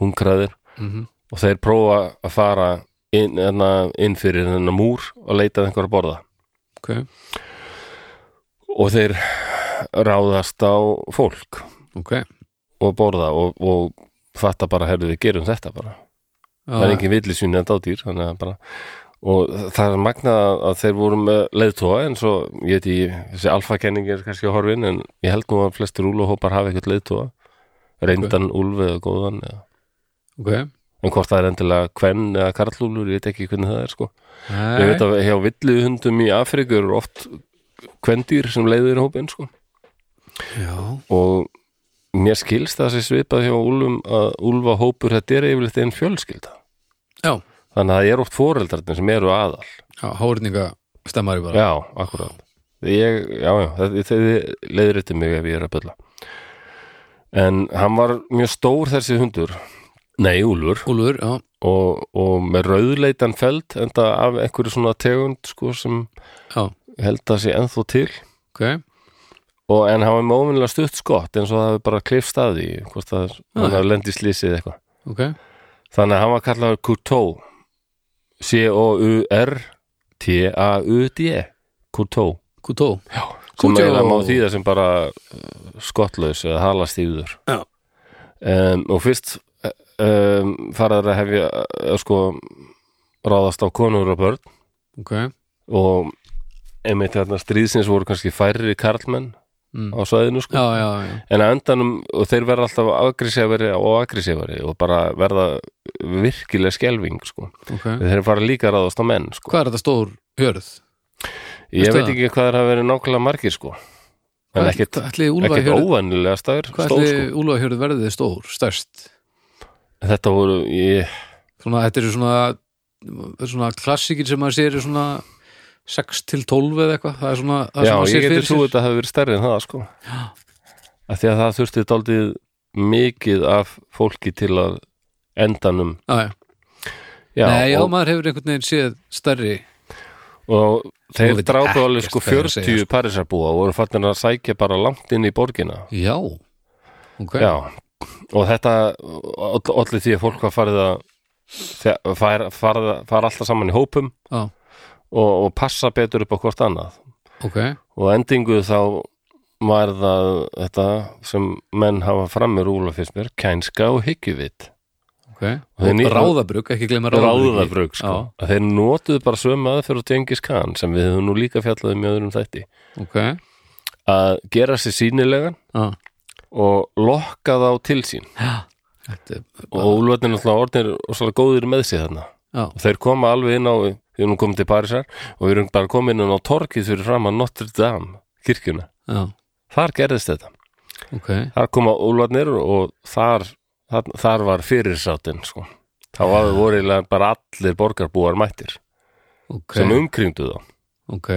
hungraðir
mm
og þeir prófa að fara inn, enna, inn fyrir þennan múr og leita að einhverja að borða
ok,
og þeir ráðast á fólk
ok já,
og borða og, og fatta bara, herðu við gerum þetta bara það er
já,
engin villisvín en dádýr þannig að bara og það er magnað að þeir voru með leiðtóa en svo, ég veit ég, þessi alfakenning er kannski á horfin en ég held nú að flestir úlóhópar hafi eitthvað leiðtóa reyndan okay. úlf eða góðan eða.
ok
en hvort það er endilega kvenn eða karlúlur, ég veit ekki hvernig það er sko ég
nei,
veit að hjá villuhundum í Afríku eru oft kvendýr sem leiður í hópin sko
já,
og mér skilst það sem svipað hjá úlfum að úlfa hópur þetta er yfirleitt einn fjölskylda
já,
þannig að það er oft foreldrarnir sem eru aðal
já hórninga stemmari bara
Já, akkurat ég, Já, já, þið, þið leiður yttir mig ef ég er að byrla En hann var mjög stór þessi hundur Nei, úlfur
Úlfur, já,
og, og með rauðleitan feld enda af einhverju svona tegund sko, sem
já,
held að sé ennþá til
ok
og en hann var með óvinnilega stutt skott eins og það hefði bara klifst að því hvort það
Já,
hann
já.
hefði lendi slísið eitthvað
ok
Þannig að hann var kallaður Couteau C-O-U-R-T-A-U-D Kutó
Kutó
Já, sem
Kútó.
eiginlega má þýða sem bara uh, skottlaus eða halastýður
Já.
um, og fyrst um, faraður að hefja uh, sko ráðast á konur og börn
Ok,
og einmitt þarna stríðsins voru kannski færri karlmenn
Mm.
á svæðinu sko
já, já, já
en að endanum, og þeir verða alltaf agressífari og agressífari og bara verða virkilega skelving sko.
okay.
þeir fara líka að ráðast á menn sko.
Hvað er þetta stór hjörð?
ég
veistu
veit
það?
ekki hvað þeir hafa verið nákvæmlega margir sko. en ekkert,
Ætli
ekkert
úlfahjörð
óvanilega stær
Hvað
stór,
ætli
sko.
úlfahjörð verðið stór, stærst?
þetta voru ég,
Svona, þetta eru svona svona klassikin sem maður sér er svona 6 til 12 eða eitthvað það er svona, það er
já,
svona maður
ég
sér
geti
fyrir
trú
sér
þetta hafi verið stærri en það sko. af því að það þurfti daldið mikið af fólki til að endanum
Já, já.
já,
Nei, já,
og,
maður hefur einhvern veginn séð stærri
og
Þú
þeir
veit
drápu alveg
ekkert
sko
hvað þeir segja,
40 parísarbúa og voru fattin að sækja bara langt inn í borgina
Já, ok
Já, og þetta oll- olli því að fólk var farið að þe- fara far, far alltaf saman í hópum
Já,
og, og passa betur upp á hvort annað
ok,
og að endingu þá var það þetta sem menn hafa frammur úla fyrst mér, kænska og hyggjuvit
ok
Og þeir
Og
nýta-
Ráðabrug, ekki glemma ráðabrug
ráðabrug sko, að þeir notuðu bara sömu aðferð og tengis kann sem við höfum nú líka fjallað um í öðrum þætti
Ok, já,
að gera sér sýnilegan og lokka þá til sín
þetta er
og úlfarnir náttúrulega orðnir og svolítið góðir með sig þarna
Já,
og þeir koma alveg inn á við erum komin til Parísar og við erum bara komin inn á torkið fyrir fram að Notre Dame kirkjuna,
já,
þar gerðist þetta
ok
þar koma úlfarnir og þar, þar, þar var fyrirsáttin sko. þá var voru eiginlega bara allir borgarbúar mættir
Ok,
sem um- umkringdu þá
ok,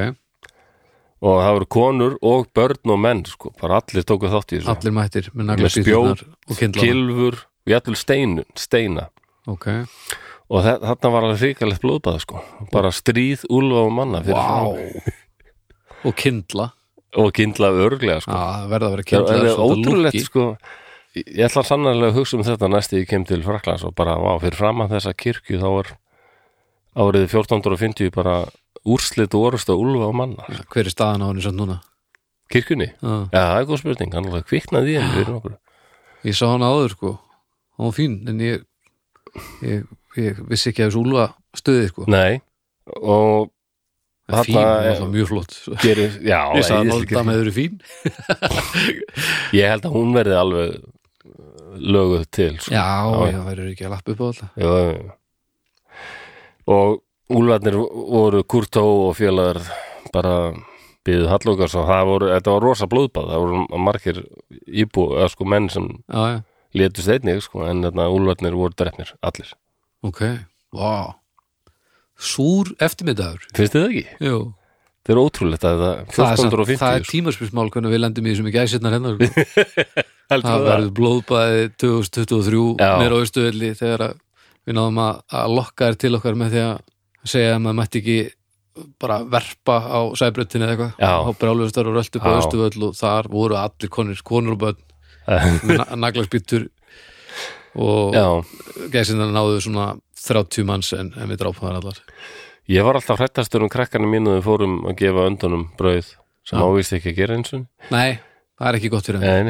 og það voru konur og börn og menn sko. bara allir tóku þátt í þessu
allir mættir með
Með
naglabíðunar og kindlana
kilfur, við allir steinu, steina
Ok,
og þe- þarna var alveg hrikalegt blóðbað sko. bara stríð úlfa og manna fyrir
vá
framan.
Og kindla,
og kindla örglega sko.
já, það verða að vera
það
kindla
er ótrúlegt sko ég ég ætla sannarlega að hugsa um þetta næst þegar ég kem til Fraklands og bara, vá, fyrir framan þessa kirkju þá er árið 1450 bara úrslit og orust á úlfa og manna
Hver er staðan á henni samt núna?
kirkjunni,
Já,
já, það er góð spurning hann alveg kviknaði í henni fyrir nokkur
Ég sá hana áður, sko Hún var fín, en ég ég, ég vissi ekki að þessu úlfa stuði, sko
nei, og
En Fín,
þarna
hún
er-
var það mjög flott
gerir, já,
Ég sagði að
æðisleg kirkja.
það með eru fín
ég held að hún verði alveg uh, löguð til sko.
Já,
Já,
já, verður ekki að lappa upp á alltaf
Já, já, já. og úlfarnir voru Kurtó og félagar bara byggðu Hallókars og það voru, þetta var rosa blóðbað það voru margir íbú eða sko menn sem
Já, já,
létust einnig sko, en þarna úlfarnir voru drefnir allir,
ok, vá Súr eftirmiddagur
finnst þið það ekki?
Jú,
Þetta er ótrúlegt að það
það er, samt-
1450
það er tímarspursmál hvernig við lendum í þessum ekki æsirnar hennar sko. Það
Heldur þú
verður blóðbæði 2023
Já.
mér á austuvelli þegar að við náðum að, að lokka þér til okkar með því að segja að maður mætti ekki bara verpa á sæbröttinni eða
Já.
eitthvað á brjálustar og röltu upp á
Já.
austuvöll og þar voru allir konur, konur og börn með na- naglaspýtur og
Eh, Já,
gæsinnar náðu svona 30 manns en, en við drápum þar allar
ég var alltaf hrættastur um krakkana mínu þegar fórum að gefa öndunum brauð sem ávist ekki að gera eins og
Nei, það er ekki gott fyrir henni
en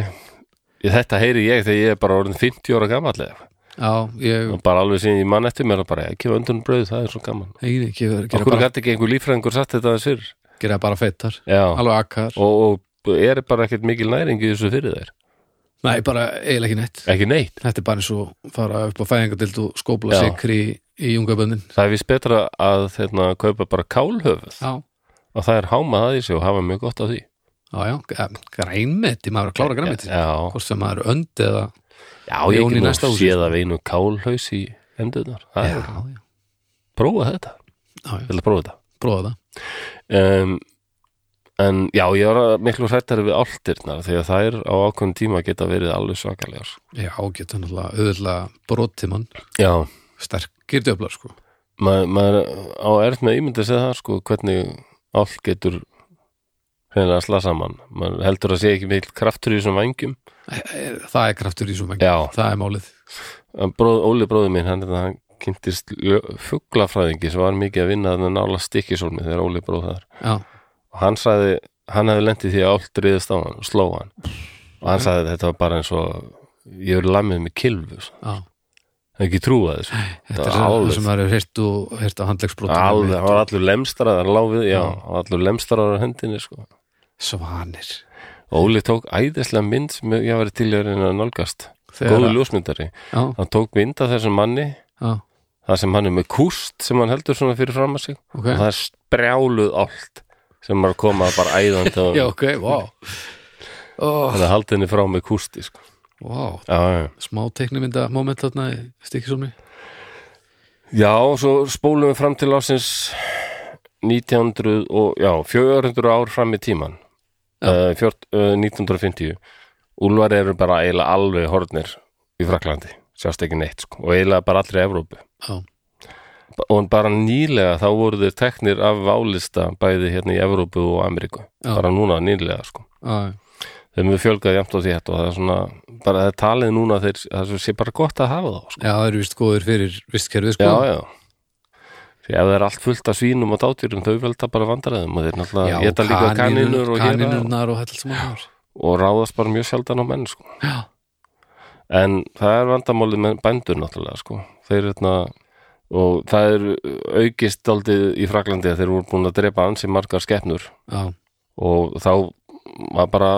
ég- þetta heyri ég þegar ég er bara orðin 50 ára gamallega
Já, ég
og bara alveg sem ég mann eftir mér að bara ekki öndun brauð, það er svo gaman
eigin ekki gera,
okkur
gera, bara,
gæti ekki einhver líffræðingur satt þetta þessir
gera bara feitar
já,
alveg akkar
og, og er bara ekkert mikil næring í þessu fyrir þær,
Nei, bara eiginlega ekki neitt
ekki neitt
Þetta er bara eins og fara upp á fæðingadild og skópla
Já.
sikri í, í jungaböndin
það er vist betra að hérna, kaupa bara kálhöfuð
Já,
og það er hámað að þessu og hafa mjög gott á því
já, já, g- grænmeti maður er að klára grænmeti
já,
hvort sem maður er önd eða
já ég
Jón í
ekki nú
næsta húsi.
séð af einu kálhaus í endunar, það
Já,
er
já,
prófa þetta,
já, já,
ég ætla að prófa þetta
prófa það
um, en já, ég var miklu hrættari við áltirnar því að þær á ákveðin tíma geta verið alveg svakalega
Já, getur náttúrulega auðvitað brotið mann
já,
sterkir djöflar sko
maður, maður á erft með ímyndið segja það sko hvernig allt getur hreinlega að slasa mann maður heldur að sé ekki mikil kraftur í þessum vangjum
Það er kraftur í svo mengi,
já,
það er málið
bróð, Óli bróður minn hann, hann kynntist fuglafræðingi sem var mikið að vinna þannig að nála stikkisólmi þegar Óli bróð þar
já,
og hann sagði, hann hefði lendið því að allt riðist á hann og sló hann og hann sagði þetta var bara eins og ég er lammið með kilfu sko.
já
það er ekki trúa þessu
Þetta er
var
það
alveg-
sem maður hefur heyrt og heyrt á handlegsbrotum
alveg, hann var allur lemstraðar láfið, já, hann var allur lemstraðar á hendinni sko.
Svanir
Óli tók æðislega mynd sem ég hafa verið til í að reyna að nálgast
Þegar-
góðu ljósmyndari,
Já,
hann tók mynd af þessum manni
já,
það sem hann er með kúst sem hann heldur svona fyrir fram að sig
ok
og það er sprjáluð allt sem maður koma bara æðandi á
Já, ok, wow oh,
þannig að haldi henni frá með kústi sko.
Wow,
já, já.
smá teiknimynda moment þarna í stikkisómi
já, og svo spólum við fram til ásins 1900 og já, 400 ár fram í tíman uh, fjort, uh, 1950 Úlfar eru bara eiginlega alveg hornir í Fraklandi, sjást ekki neitt sko. og eiginlega bara allri Evrópu
Já,
og bara nýlega þá voru þeir teknir af válista bæði hérna í Evrópu og Ameríku
Já.
bara núna nýlega sko
já,
þeim við fjölgaði jæmt og þétt og það er svona bara það er talið núna þeir, það sé bara gott að hafa þá sko.
já, það eru vist góðir fyrir vistkerfið sko
já, já því ef það er allt fullt af svínum og dátýrum þau velta bara vandræðum og þeir náttúrulega geta líka kaninur og hérna og,
kaninurnar og þetta sem maður
og ráðast bara mjög sjaldan á menn sko.
Já,
en það er vandamálið með bændur náttúrulega sko. þeir hérna og það er aukist aldrei í Fraklandi að þeir voru búin að drepa ansi margar skepnur
já,
og þá var bara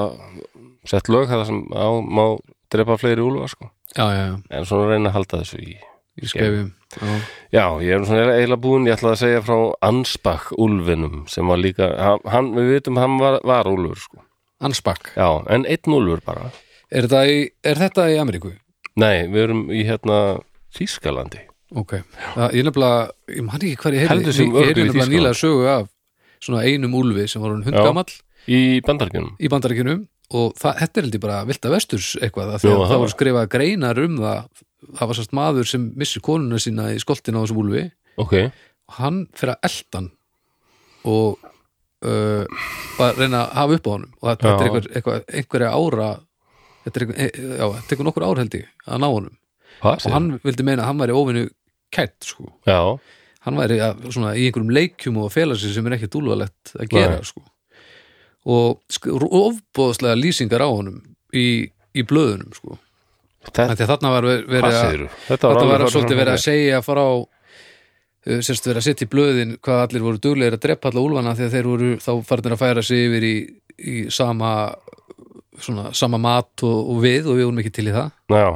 sett lög það sem á, má drepa fleiri úlfa sko.
já, já, já,
en svona reyna að halda þessu í
í skefjum Já,
já, ég er svona eiginlega búinn, ég ætla að segja frá Ansbach Úlfinum sem var líka, hann, við vitum hann var, var Úlfur sko,
Ansbak
já, en einn Úlfur bara
Er þetta í, er þetta í Ameríku?
nei, við erum í hérna Þýskalandi,
Ok, það, ég nefnilega, ég man ekki hvað ég heyrði
Heldur sem
Ég heyrði
öruggur í
nefnilega
Þýskalandi.
nýlega sögu af svona einum úlfi sem var hún
Já.
hundgamall
í bandarkjunum
í bandaríkjunum og það, þetta er heldur bara vilda vesturs eitthvað, af því að
Jú,
það
það
voru skrifað greinar um það, það var sást maður sem missir konuna sína í skoltin á þessum úlfi
ok,
og hann fyrir að eldan og uh, bara reyna að hafa upp á honum og þetta, þetta er
Já.
einhver, einhver, einhverja ára þetta er einhver, e- já, þetta tekur nokkur ár held ég að ná honum
hvað
og hann vildi meina að hann væri óvinu kætt sko,
já,
hann væri að, svona, í einhverjum leikjum og að fela sig sem er ekki dúlvalegt að gera
Nei.
sko. og sk- ro- ofboðslega lýsingar á honum í, í blöðunum sko.
þetta,
Þannig að þarna var ver- verið
hvað
að
segir þetta
þetta var
alveg
svolítið
fram-
verið að segja frá uh, semst verið að setja í blöðin hvað allir voru duglegir að drepa alla úlfana þegar þeir voru þá farnir að færa sig yfir í, í sama svona, sama mat og, og við og við vorum ekki til í það
já,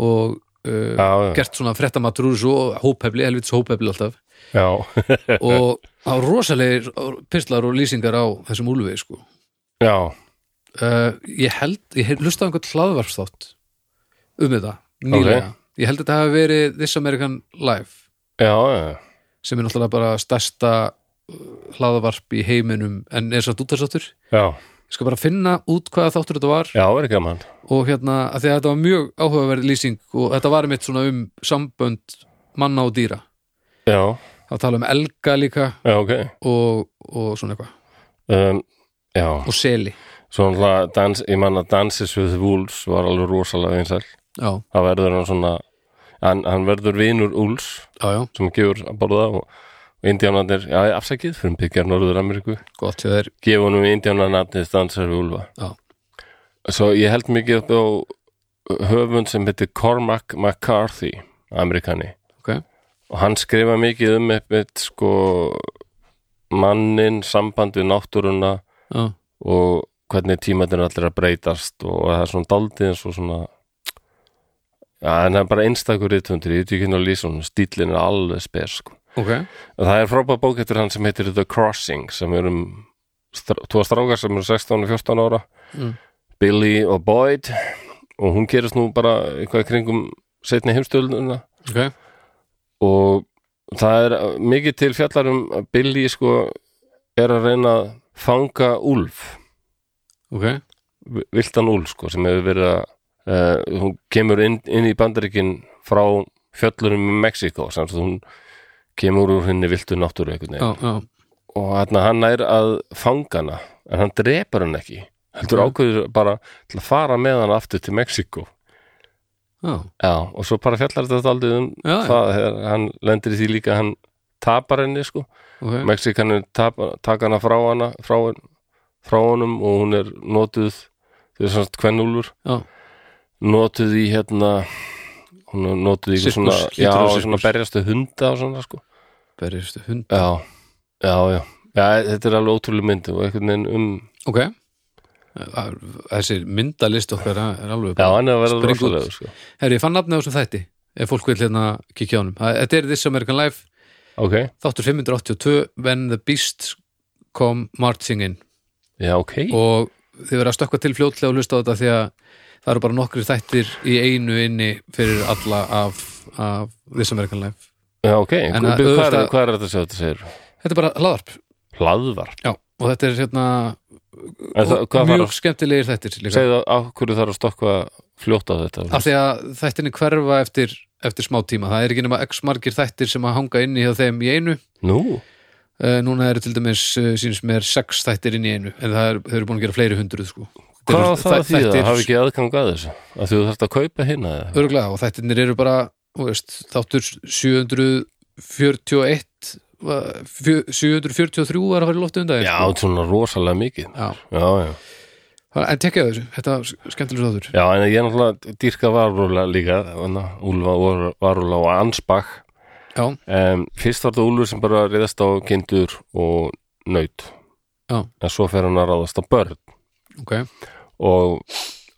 og uh,
já, já,
gert svona frettamatur úr svo hópefli, helvits hópefli alltaf
já,
og það var rosalegir pislar og lýsingar á þessum úlfi sko.
já
uh, ég held, ég hef hlustað á einhvern hlaðvarpsþátt um þetta, nýlega ég held að þetta hafi verið This American Life
já, já,
sem er náttúrulega bara stærsta uh, hlaðavarp í heiminum en er satt útastáttur
já,
ég skal bara finna út hvaða þáttur þetta var
já, er gaman
og hérna, að því að þetta var mjög áhugaverð lýsing og þetta var mitt svona um sambönd manna og dýra
já,
það tala um elga líka
já, ok
og, og svona eitthvað
um, já,
og seli,
svona dans, ég man að Dances with Wolves var alveg rosalega einsæl
já,
það verður hann svona hann, hann verður vinur Úls
já, já
sem gefur að borða og, og indjánarnir, já, afsækið, fyrir byggjar Norður Ameríku,
gott, það er,
gefa honum indjánarnafnið Dansar við Úlfa
já,
svo ég held mikið upp á höfund sem heitir Cormac McCarthy Amerikani
ok
og hann skrifa mikið um eitthvað sko mannin, samband við náttúruna
já,
og hvernig tímatin allir að breytast og það er svona daldið eins og svona já, en það er bara einstakur rithundir, ég veit ekki hérna að lýsa hún stílinn er alveg spes sko.
ok,
En það er frábæð bók eftir hann sem heitir The Crossing sem er um str tvo strákar sem eru 16 og 14 ára
Mm.
Billy og Boyd og hún gerist nú bara eitthvað í kringum setni heimstölduna
ok
og það er mikið til fjallar um að Billy sko er að reyna að fanga úlf
ok,
viltan úl sko, sem hefur verið að uh, hún kemur inn, inn í bandaríkin frá fjöllurum í Mexiko sem sagt, hún kemur úr henni viltu náttúru
já,
einhvern veginn
já,
og hann, hann nær að fanga hana en hann drepur hann ekki heldur
Já.
ákveður bara til að fara með hann aftur til Mexiko
já,
já, og svo bara fjallar þetta aldrei um
já, já,
það, er, hann lendir í því líka að hann tapar henni sko
ok
Mexikanin tapa, taka hana frá hana frá, frá honum og hún er notuð þau er svona kvennúlur
Já.
notuð í hérna hún er notuð í
Sirkus,
eitthvað svona,
hlýtur
já,
að vera sirkus.
svona berjastu hunda og svona sko
Berjast hund,
já, já, já, já þetta er alveg ótrúlega mynd og einhvern veginn um
ok Það- Þessi myndalist okkar er alveg
já, hann er að vera
Spring út.
rosalega sko.
Herri, ég fann nafnið á þessum þætti ef fólk vil hérna kikja á honum Það- Þetta er This American Life,
ok,
þáttur 582 When the Beast Come Marching In
já, ok
og þið verða að stökkva til fljótlega og hlusta á þetta því að það eru bara nokkri þættir í einu inni fyrir alla af, af This American Life
já, ok,
En
hvað,
að
hvað, er,
auðvitað-
hvað er þetta að segja þetta segir
Þetta er bara hlaðarp
hlaðvarp,
Já, og þetta er hérna
en það, hvað
mjög
var
skemmtilegir þættir
að
líka
segja það, af hverju þarf að stokka fljótt á þetta
af því að þættinni hverfa eftir, eftir smá tíma, það er ekki nema x margir þættir sem að hanga inni hjá þeim í einu
nú,
uh, núna eru til dæmis uh, sínst mér sex þættir inn í einu en það er, þau eru búin að gera fleiri hundruð sko Þetta
Hvað á
eru
það
þæ-
að þýða?
þættir-
Hafi ekki aðgang að þessu? Að þú þarft að kaupa hérna eða?
Örgulega, og þættirnir eru bara þú veist, þáttur 741 var- fjö- 743 var að fara í loftu undan
Já, svona rosalega mikið.
já.
Já, já.
Þannig- En tekja þessu, þetta var skemmtilegur þáttur
Já, en ég er náttúrulega dýrka varúla líka, þannig að Úlfa var- varúla og ansbakk.
Já,
Um, fyrst var það Úlfur sem bara reyðast á kindur og naut.
Já.
En svo fer hann að ráðast á börn
ok
og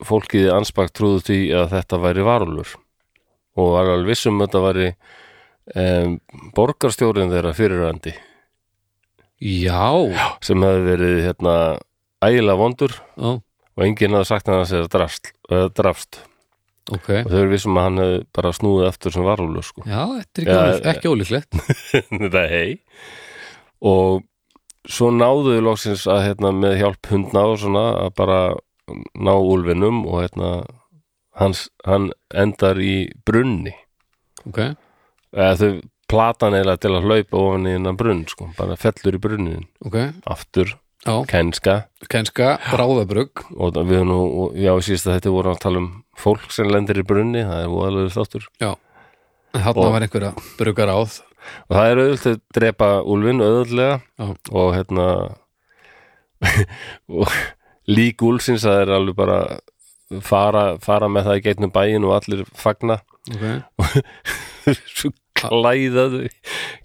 fólkið ansbakk trúðu því að þetta væri varúlur og var alveg vissum að þetta væri um, borgarstjórin þeirra fyrirrandi
Já, já,
sem hefði verið hérna ægilega vondur
ok
og enginn hafði sagt hann að segja drafst, uh, drafst. og þau eru vissum að hann hefði bara snúið aftur sem varúlu sko.
Já, þetta er ekki,
Já,
ólík, ekki ólíklegt
þetta er hei og svo náðu þau loksins að hérna, með hjálp hundna og svona að bara ná úlfinum og hérna hans, hann endar í brunni
Ok,
eða þau platan eiginlega til að hlaupa ofan í hennan brunn sko, bara fellur í brunnin
ok
aftur,
Já,
kænska
kenska ráðabrugg
og það- við nú, og- já, síðast að þetta voru að tala um fólk sem lendir í brunni, það er voðalegur þáttur
En þarna
Og-
var einhverja bruggar áð
og það er auðvitað að drepa úlfin auðvitað
Já,
og hérna og lík úlfsins það er alveg bara fara, fara með það í geitnum bæin og allir fagna
ok
svo klæðaðu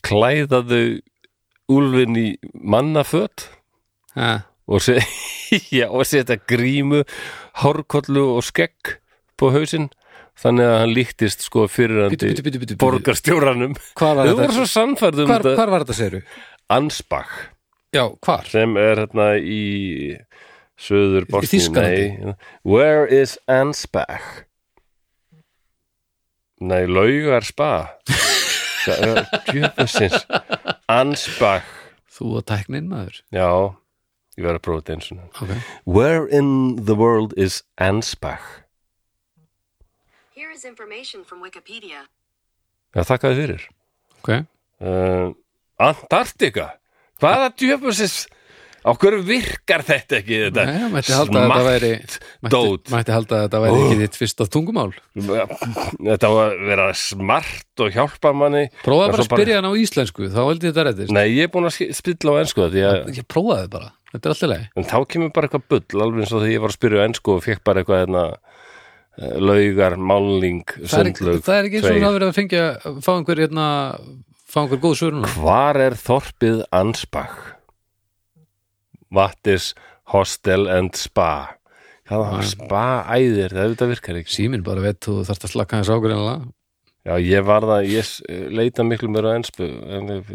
klæðaðu úlfin í mannaföt
ha,
og, se, já, og setja grímu hárkollu og skegg på hausinn þannig að hann líktist sko
Bítu,
fyrirandi
bítu, bítu, bítu, bítu.
borgarstjóranum
Hvar var
þau voru
þetta?
svo sannfærðum
Hvar,
þetta
hvar var þetta, segirðu?
Ansbach
Já, hvar?
sem er hérna í söður Bosníu
Þýskalandi.
nei, hérna, Where is Ansbach? Nei, laugar spa djöfusins Ansbach
Þú og tæknin, maður
já, ég verið að prófa þetta eins og
Ok
Where in the world is Ansbach?
Here is information from Wikipedia.
Já, þakkaði fyrir.
Ok.
Uh, Antarktika? Hvaða djöfusins? Á hverju virkar þetta ekki þetta?
Nei, mætti halda að þetta væri
dót.
mætti, mætti halda að þetta væri ekki þitt fyrsta tungumál
Þetta var að vera smart og hjálpa manni.
Prófaði
Já,
bara
svo
að spyrja hann á íslensku þá held ég þetta reddist
Nei, ég er búin að sk- spilla á ensku það því að
Ég prófaði bara, þetta er alltaf leið
en þá kemur bara eitthvað bull alveg eins og þegar ég var að spyrja á ensku og fekk bara eitthvað hérna eh, laugar, málning,
það er, ekki,
sundlaug
það er ekki eins og
tveir.
það verið að fengja fá einhver, hérna, fá einhver góð svör núna
Hvar er þorpið Ansbach? What is hostel and spa? Hvað
Ah.
var spa æðir? Það auðvitað virkar ekki.
Síminn bara veit, þú þarft að slaka hans águr ennlega
Já, ég var það, ég s- leita miklu mér á ensku. en-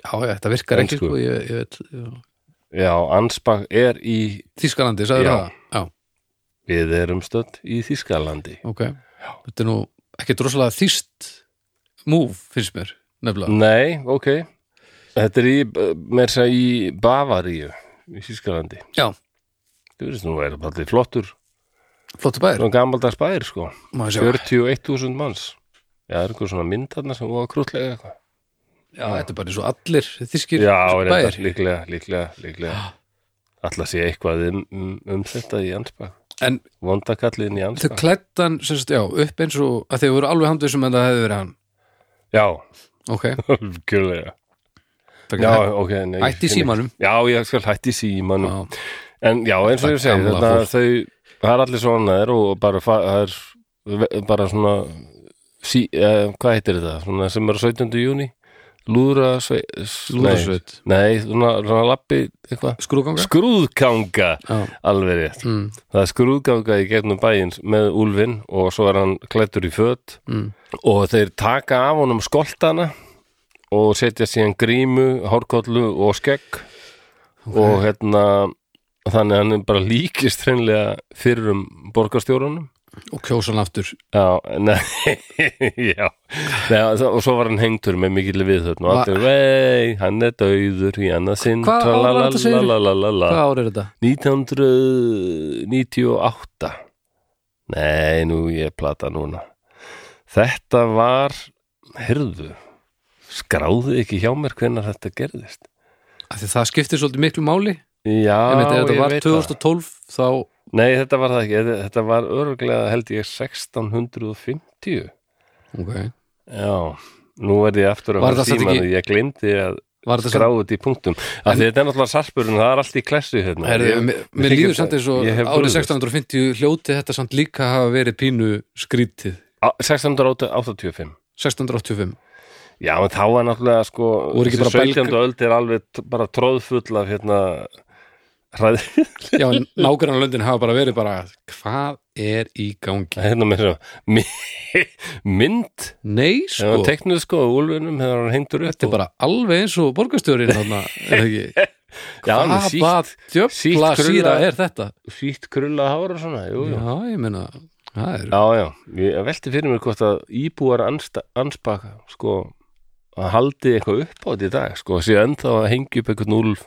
Já, já, þetta virkar ekki
Ensku.
sko, ég, ég veit já.
Já, Ansbach er í,
Þýskalandi, sagði
Já.
það Já,
við erum stödd í Þískalandi.
ok Þetta er nú ekki drosalega þýst múf, finnst mér, nefnilega
Nei, ok. Þetta er í, eh, meira að segja í Bavaríu í Þískalandi.
Já,
Þú veist nú, er það allir flottur.
flottu bæður
Svona gamaldags bæir, sko.
Má ég sjá.
41.000 manns. Já, það er einhver svona mynd þarna sem var krútlega eitthvað.
Já, þetta er bara eins og allir þýskir
Já, reyndar,
bæir
líklega, líklega, líklega Alla sé eitthvað um, um, um þetta í Ansbach
en
vondakalliðin í
þau
anska
klættan sérst, já, upp eins og að þau voru alveg handvissum en það hefði verið hann
já,
ok,
kjörlega já,
Frekar-
ok, nei,
Hætti í
ég-
símanum.
já, ég skal hætti í símanum
já,
En já, eins og ég segi,
Gamla
þetta þau, það er allir svona þeir og bara, fa- það er ve- bara svona, sí, eh, hvað heitir þetta, svona sem er á 17. júni, lúðra sveit,
Lúðrasveit.
nei, nei, svona, svona lappi, eitthvað,
skrúðganga
skrúðkanga,
já,
alveg rétt,
mm,
það er skrúðganga í gegnum bæins með úlfinn og svo er hann klættur í föt
mm,
og þeir taka af honum skoltana og setja síðan grímu, hárkollu og skegg og hérna þannig að hann er bara líkist hreinlega fyrir um borgarstjórunum
og kjósa hann aftur
Já, nei, já nei, og svo- og svo var hann hengtur með mikill viðhörn
Va-
og allir, vei, hann er dauður í annað sinn
Hvað ár var þetta, segirðu?
tralalalalalalala."
hvað ár er þetta?
1998 Nei, nú ég plata núna Þetta var Hyrðu Skráði ekki hjá mér hvenær þetta gerðist
Af því það skiptir svolítið miklu máli
Já,
Einmitt, ef þetta
ég
var
veit
2012 þá
Nei, þetta var það ekki, Þetta- þetta var örglega held ég 1650
okay.
Já, nú verði ég aftur að
Var
fara
þetta samt
símann
ekki-
og Ég glemdi að
var þetta
skráði þetta í punktum Af því þetta er náttúrulega sarpurinn, það er allt í klessu hérna
Herðu,
Ég-
mér,
mér
mér
þykir-
líður samt eins og
ég hef
árið
brugðist.
1650 hljóti þetta samt líka hafa verið pínu skrítið
Á- 1685
1685
Já, en þá er náttúrulega sko
Voru ekki
þessi
bara
17. öld er alveg t- bara tróðfull af hérna hræð,
Já, en nágrann löndin hafa bara verið bara hvað er í gangi?
hérna með þessu mynd
Nei,
sko.
sko,
teiknuð sko á úlfinum þegar hann hengdur upp
þetta er bara alveg eins og borgarstjórin þarna, er það ekki?
Já, hann er
Hvað
sítt-
bara djöfla
sítt krulla-
síra er þetta?
sítt krulla hár og svona jú, jú.
Já, ég meina, það er
Já, já, ég velti fyrir mér hvort að íbúar ansta, anspaka sko að haldi eitthvað upp á þetta í dag sko, sé ennþá að hengja upp eitthvað núlf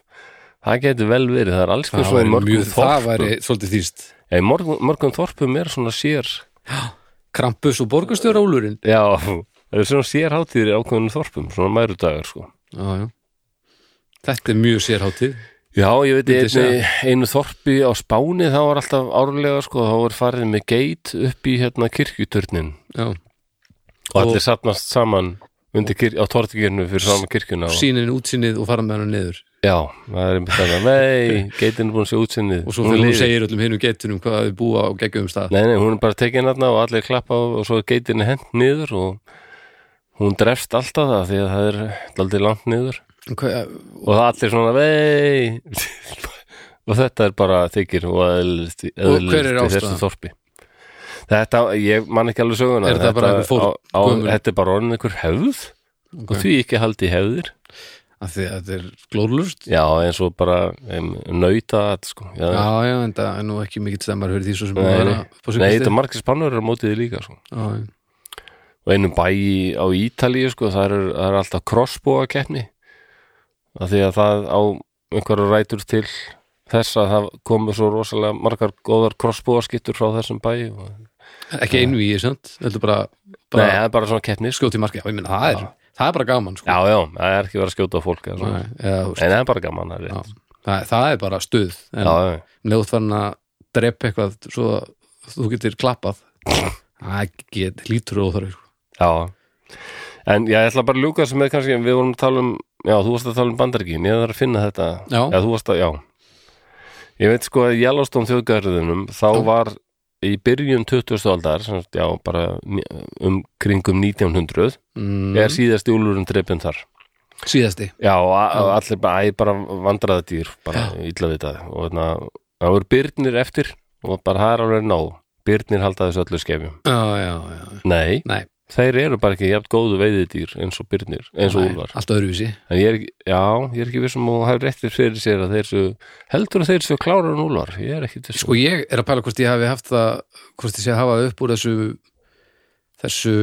það geti vel verið, það er alls
það
fyrir svona í
væri
mörgum
mjög- það
þorpum
væri svolítið þýst
Já, í mörgum, mörgum þorpum er svona sér
Krampus og borgarstjóra úlurinn
Já, það er svona sérháttíðir í ákveðunum þorpum, svona mærudagar sko.
Já, já Þetta er mjög sérháttið
Já, ég veit
Myndi
ég einu, einu þorpi á Spáni þá var alltaf árlega sko, þá var farið með geit upp í hérna kirkjuturnin
Já,
og, allir satnast saman undir kirk, á tortikirnu fyrir saman kirkjuna og,
sínin útsýnið og fara með hana niður
Já, það er einmitt þetta, nei geitin er búin að sé útsinnið
og svo fyrir hún
lifir.
segir öllum hinnum getunum hvað þau búa á geggjum stað
Nei, nei, hún er bara tekin hérna og allir klappa og, og svo er geitin hent niður og hún drefst alltaf það því að það er aldrei langt niður
Hvað-
og það allir svona vei og þetta er bara þykir og eðlist í
Og hver er
eðlilegt í þessu
ástæðan?
þorpi þetta, ég man ekki alveg söguna
Er þetta bara einhver fólk-
á, á,
gömul?
þetta er bara orðin einhver hefð sko. og því ekki haldi í hefðir
af því að þetta er glóðlust
já, eins og bara um, nauta þetta sko já,
Já, já, en það er nú ekki mikill stemmar fyrir því svo sem
nei,
búið að upp
nei,
á
nei,
síðkastið.
þetta margir spannur er á mótið því líka sko.
Já, já.
og einum bæ í- á Ítalíu sko, það er, það er alltaf crossbóa keppni af því að það á einhverju rætur til þess að það komu svo rosalega margar góðar crossbóa skittur frá þessum bæ og...
Ekki einu í, sant? Þetta er bara,
Nei,
bara
það er bara svona keppni sko.
skjóti marki Já, ég meina, það er, það er bara gaman sko.
Já, já, það er ekki verið að skjóta á fólk eða svona.
Nei, já, þú veist,
En það er bara gaman það er
já.
rétt.
það, það er bara stuð en
Já, já,
nefnt farin að drepa eitthvað svo að þú getur klappað Það get, lítur og óþar
já En já, ég ætla bara að ljúka sem með kannski við vorum að tala um, já, þú varst að tala um bandaríkin ég þarf að finna þetta
Já.
já þú varst að, já Ég veit sko að í Yellowstone þjóðgarðinum þá
Já.
var í byrjun 20. aldar, sem, sagt, já, bara ní- um kringum 1900
mm,
er síðasti úlfurinn dreipin þar
Síðasti
Mhm. Já, og a- og allir bara, æ, bara vandraða dýr, bara illa við það og hérna, þannig að það voru byrnir eftir og bara það er alveg nóg byrnir halda þessu öllu skefjum
Já, já, já
Nei,
Nei,
þeir eru bara ekki jafn góðu veiðidýr eins og byrnir, eins og
nei,
úlfar
allt öðruvísi
en ég er, ekki- já, ég er ekki vissum og það er réttir fyrir sér að þeir séu heldur að þeir séu klárar en úlfar, ég er ekki til
Sko ég er að pæla hvort ég hafi haft það hvort ég sé að hafa það upp úr þessu þessu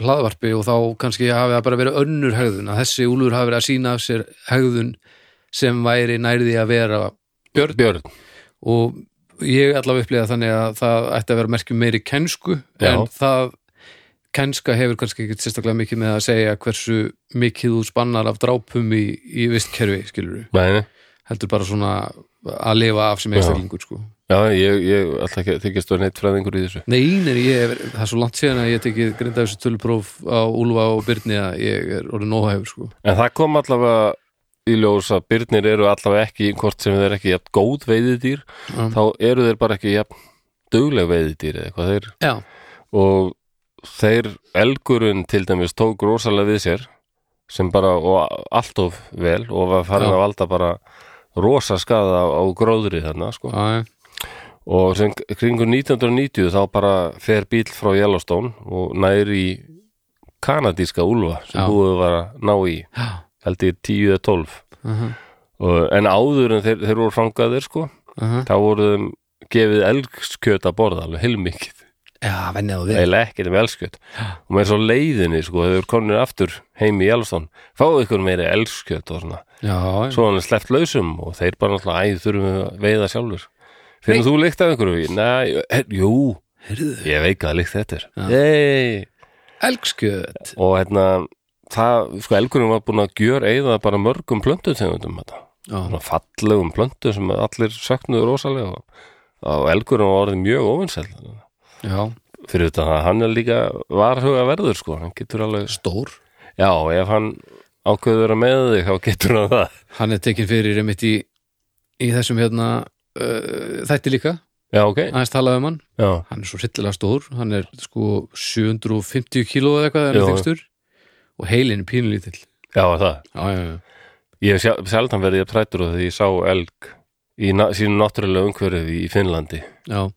hlaðvarpi og þá kannski hafi það bara verið önnur hegðun að þessi úlur hafi verið að sína af sér hegðun sem væri nærði að vera
Björn, Björn.
og ég allavega upplýða þannig að það ætti að vera merkjum meiri kensku
Já.
en það kenska hefur kannski ekkert sérstaklega mikið með að segja hversu mikið þú spannar af drápum í, í vistkerfi skilur
Nei, nei.
heldur bara svona að lifa af sem einstaklingur sko
Já, ég, ég alltaf ekki þykist þú neitt fræðingur í þessu
Nei, nei, ég, er- það er svo langt síðan að ég tekið grinda þessu tölupróf á Úlfa og Byrni að ég er orðin óhæfur sko.
En það kom allavega í ljós að byrnir eru allavega ekki hvort sem þeir eru ekki jafn góð veiðidýr
Mm.
þá eru þeir bara ekki jafn dugleg veiðidýr eða eitthvað þeir
Já,
og þeir elgurinn til dæmis tók rosalega við sér sem bara og allt of vel og var farin
Já.
að valda bara rosa skada á, á gróðri þarna sko.
já,
og sem kringu 1990 þá bara fer bíl frá Yellowstone og nær í kanadíska úlfa sem
Já.
búið var að ná í
já
held ég 10 eða 12
aha,
og, en áður en þeir, þeir voru fangaðir sko,
aha.
þá voru þeim gefið elgskjöt að borða alveg heilmikið
Já, vennið á þig
eiginlega ekkert um elskjöt og með svo leiðinni sko, hefur konir aftur heim í Jálfstón fáðu ykkur meira elskjöt og svona
Já, já,
svo hann er sleppt lausum og þeir bara náttúrulega æð þurfum við að veiða sjálfur finnum þú líkt af einhverju? Nei, her, jú,
heyrðu
ég veit hvað líkt þetta er Nei,
Elgskjöt
og hérna það, sko, elgurinn var búin að gjör eða bara mörgum plöntutegundum þetta
Já,
svona fallegum plöntu sem allir söknuðu rosalega og- og elgurinn var orðið mjög ofinsæl
já,
fyrir þetta að hann er líka varhuga verður sko, hann getur alveg
stór
Já, ef hann ákveður að með þig þá getur hann það
Hann er tekin fyrir einmitt í, í þessum hérna uh, þætti líka,
Já, ok,
aðeins talaði um hann
já,
Hann er svo hryllilega stór, hann er sko 750 kíló eða eitthvað þegar hann
Já.
er þyngstur og heilin er pínlítill
já er það
Já, já, já,
Ég hef sjaldan verið að prættur og því ég sá elg í na sínu náttúrulega umhverfi í Finnlandi
já,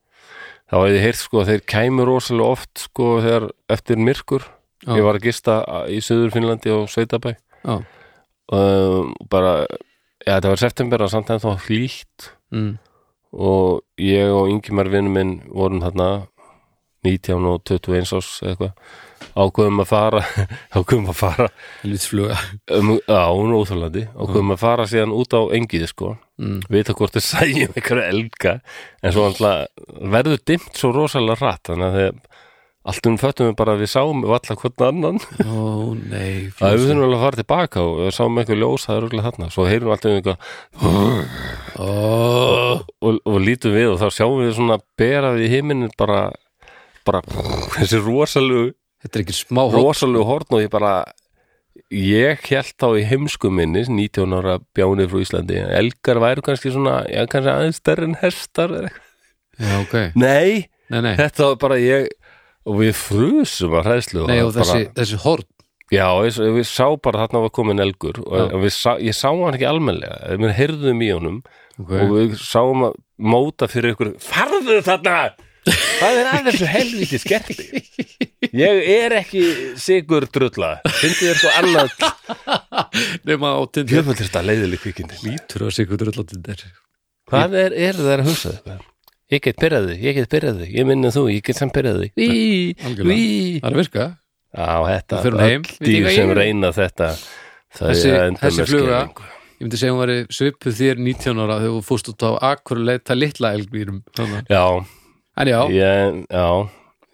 þá hef ég heyrt sko að þeir kæmu rosalega oft sko þegar eftir myrkur
Já.
ég var að gista í söður Finnlandi og Sveitabæ
já.
um, bara, já þetta var september en samt en þá hlýtt
Mm.
og ég og Ingimar vinnum minn vorum þarna 19 og 21 árs eða eitthvað ákveðum að fara ákveðum að fara
Lýtsfluga
um, á Nóþurlandi ákveðum að fara síðan út á engið sko
mm.
vita hvort þið sæjum einhverja elga en svo alltaf verður dimmt svo rosalega rætt þannig að þegar allt um föttum við bara að við sáum alltaf hvern annan
Ó, nei
að við
fjósi.
þurfum alveg að fara tilbaka og við sáum einhver ljós það er örgulega þarna svo heyrum við alltaf um eitthvað
Ó,
og, og lítum við og þá sjáum við svona bera við himinin bara, bara þessi rosalegu,
Þetta er ekki smá hótt
rosalegu horn og ég bara ég held þá í heimsku minni 19 ára bjánið frá Íslandi elgar væru kannski svona, já kannski aðeins stærri en hestar eða eitthvað.
Já, ok
nei,
Nei, nei,
þetta var bara ég og við frusum að hræðslu
nei og
það bara,
þessi, þessi hótt
já, ég, við sá bara þarna var komin elgur og við sá, ég sá hann ekki almennlega við heyrðum í honum og
okay.
við sáum að móta fyrir ykkur farðu þarna það er aðeins helviti skerti ég er ekki sigur drulla, fyndi þér svo annað
Nefna á tindir
jöfnveld þetta leiðileg kvikindi
Lítur að sigur dröll á tindir
hvað er, er það að hugsa þetta? ég get byrjaði, ég get byrjaði, ég minna þú ég get samt byrjaði Í,
Algjörlega.
í.
Það er að virka
á þetta,
Við förum heim.
öll
Við
dýr
tíka
sem
í.
reyna þetta það
Þessi-
er að enda
þessi
með
fluga.
skerðingu
Ég myndi segja hún væri svipuð þér 19 ára þegar þú fórst út á akkurleita litla elgvírum Þannig.
já,
En já,
ég, já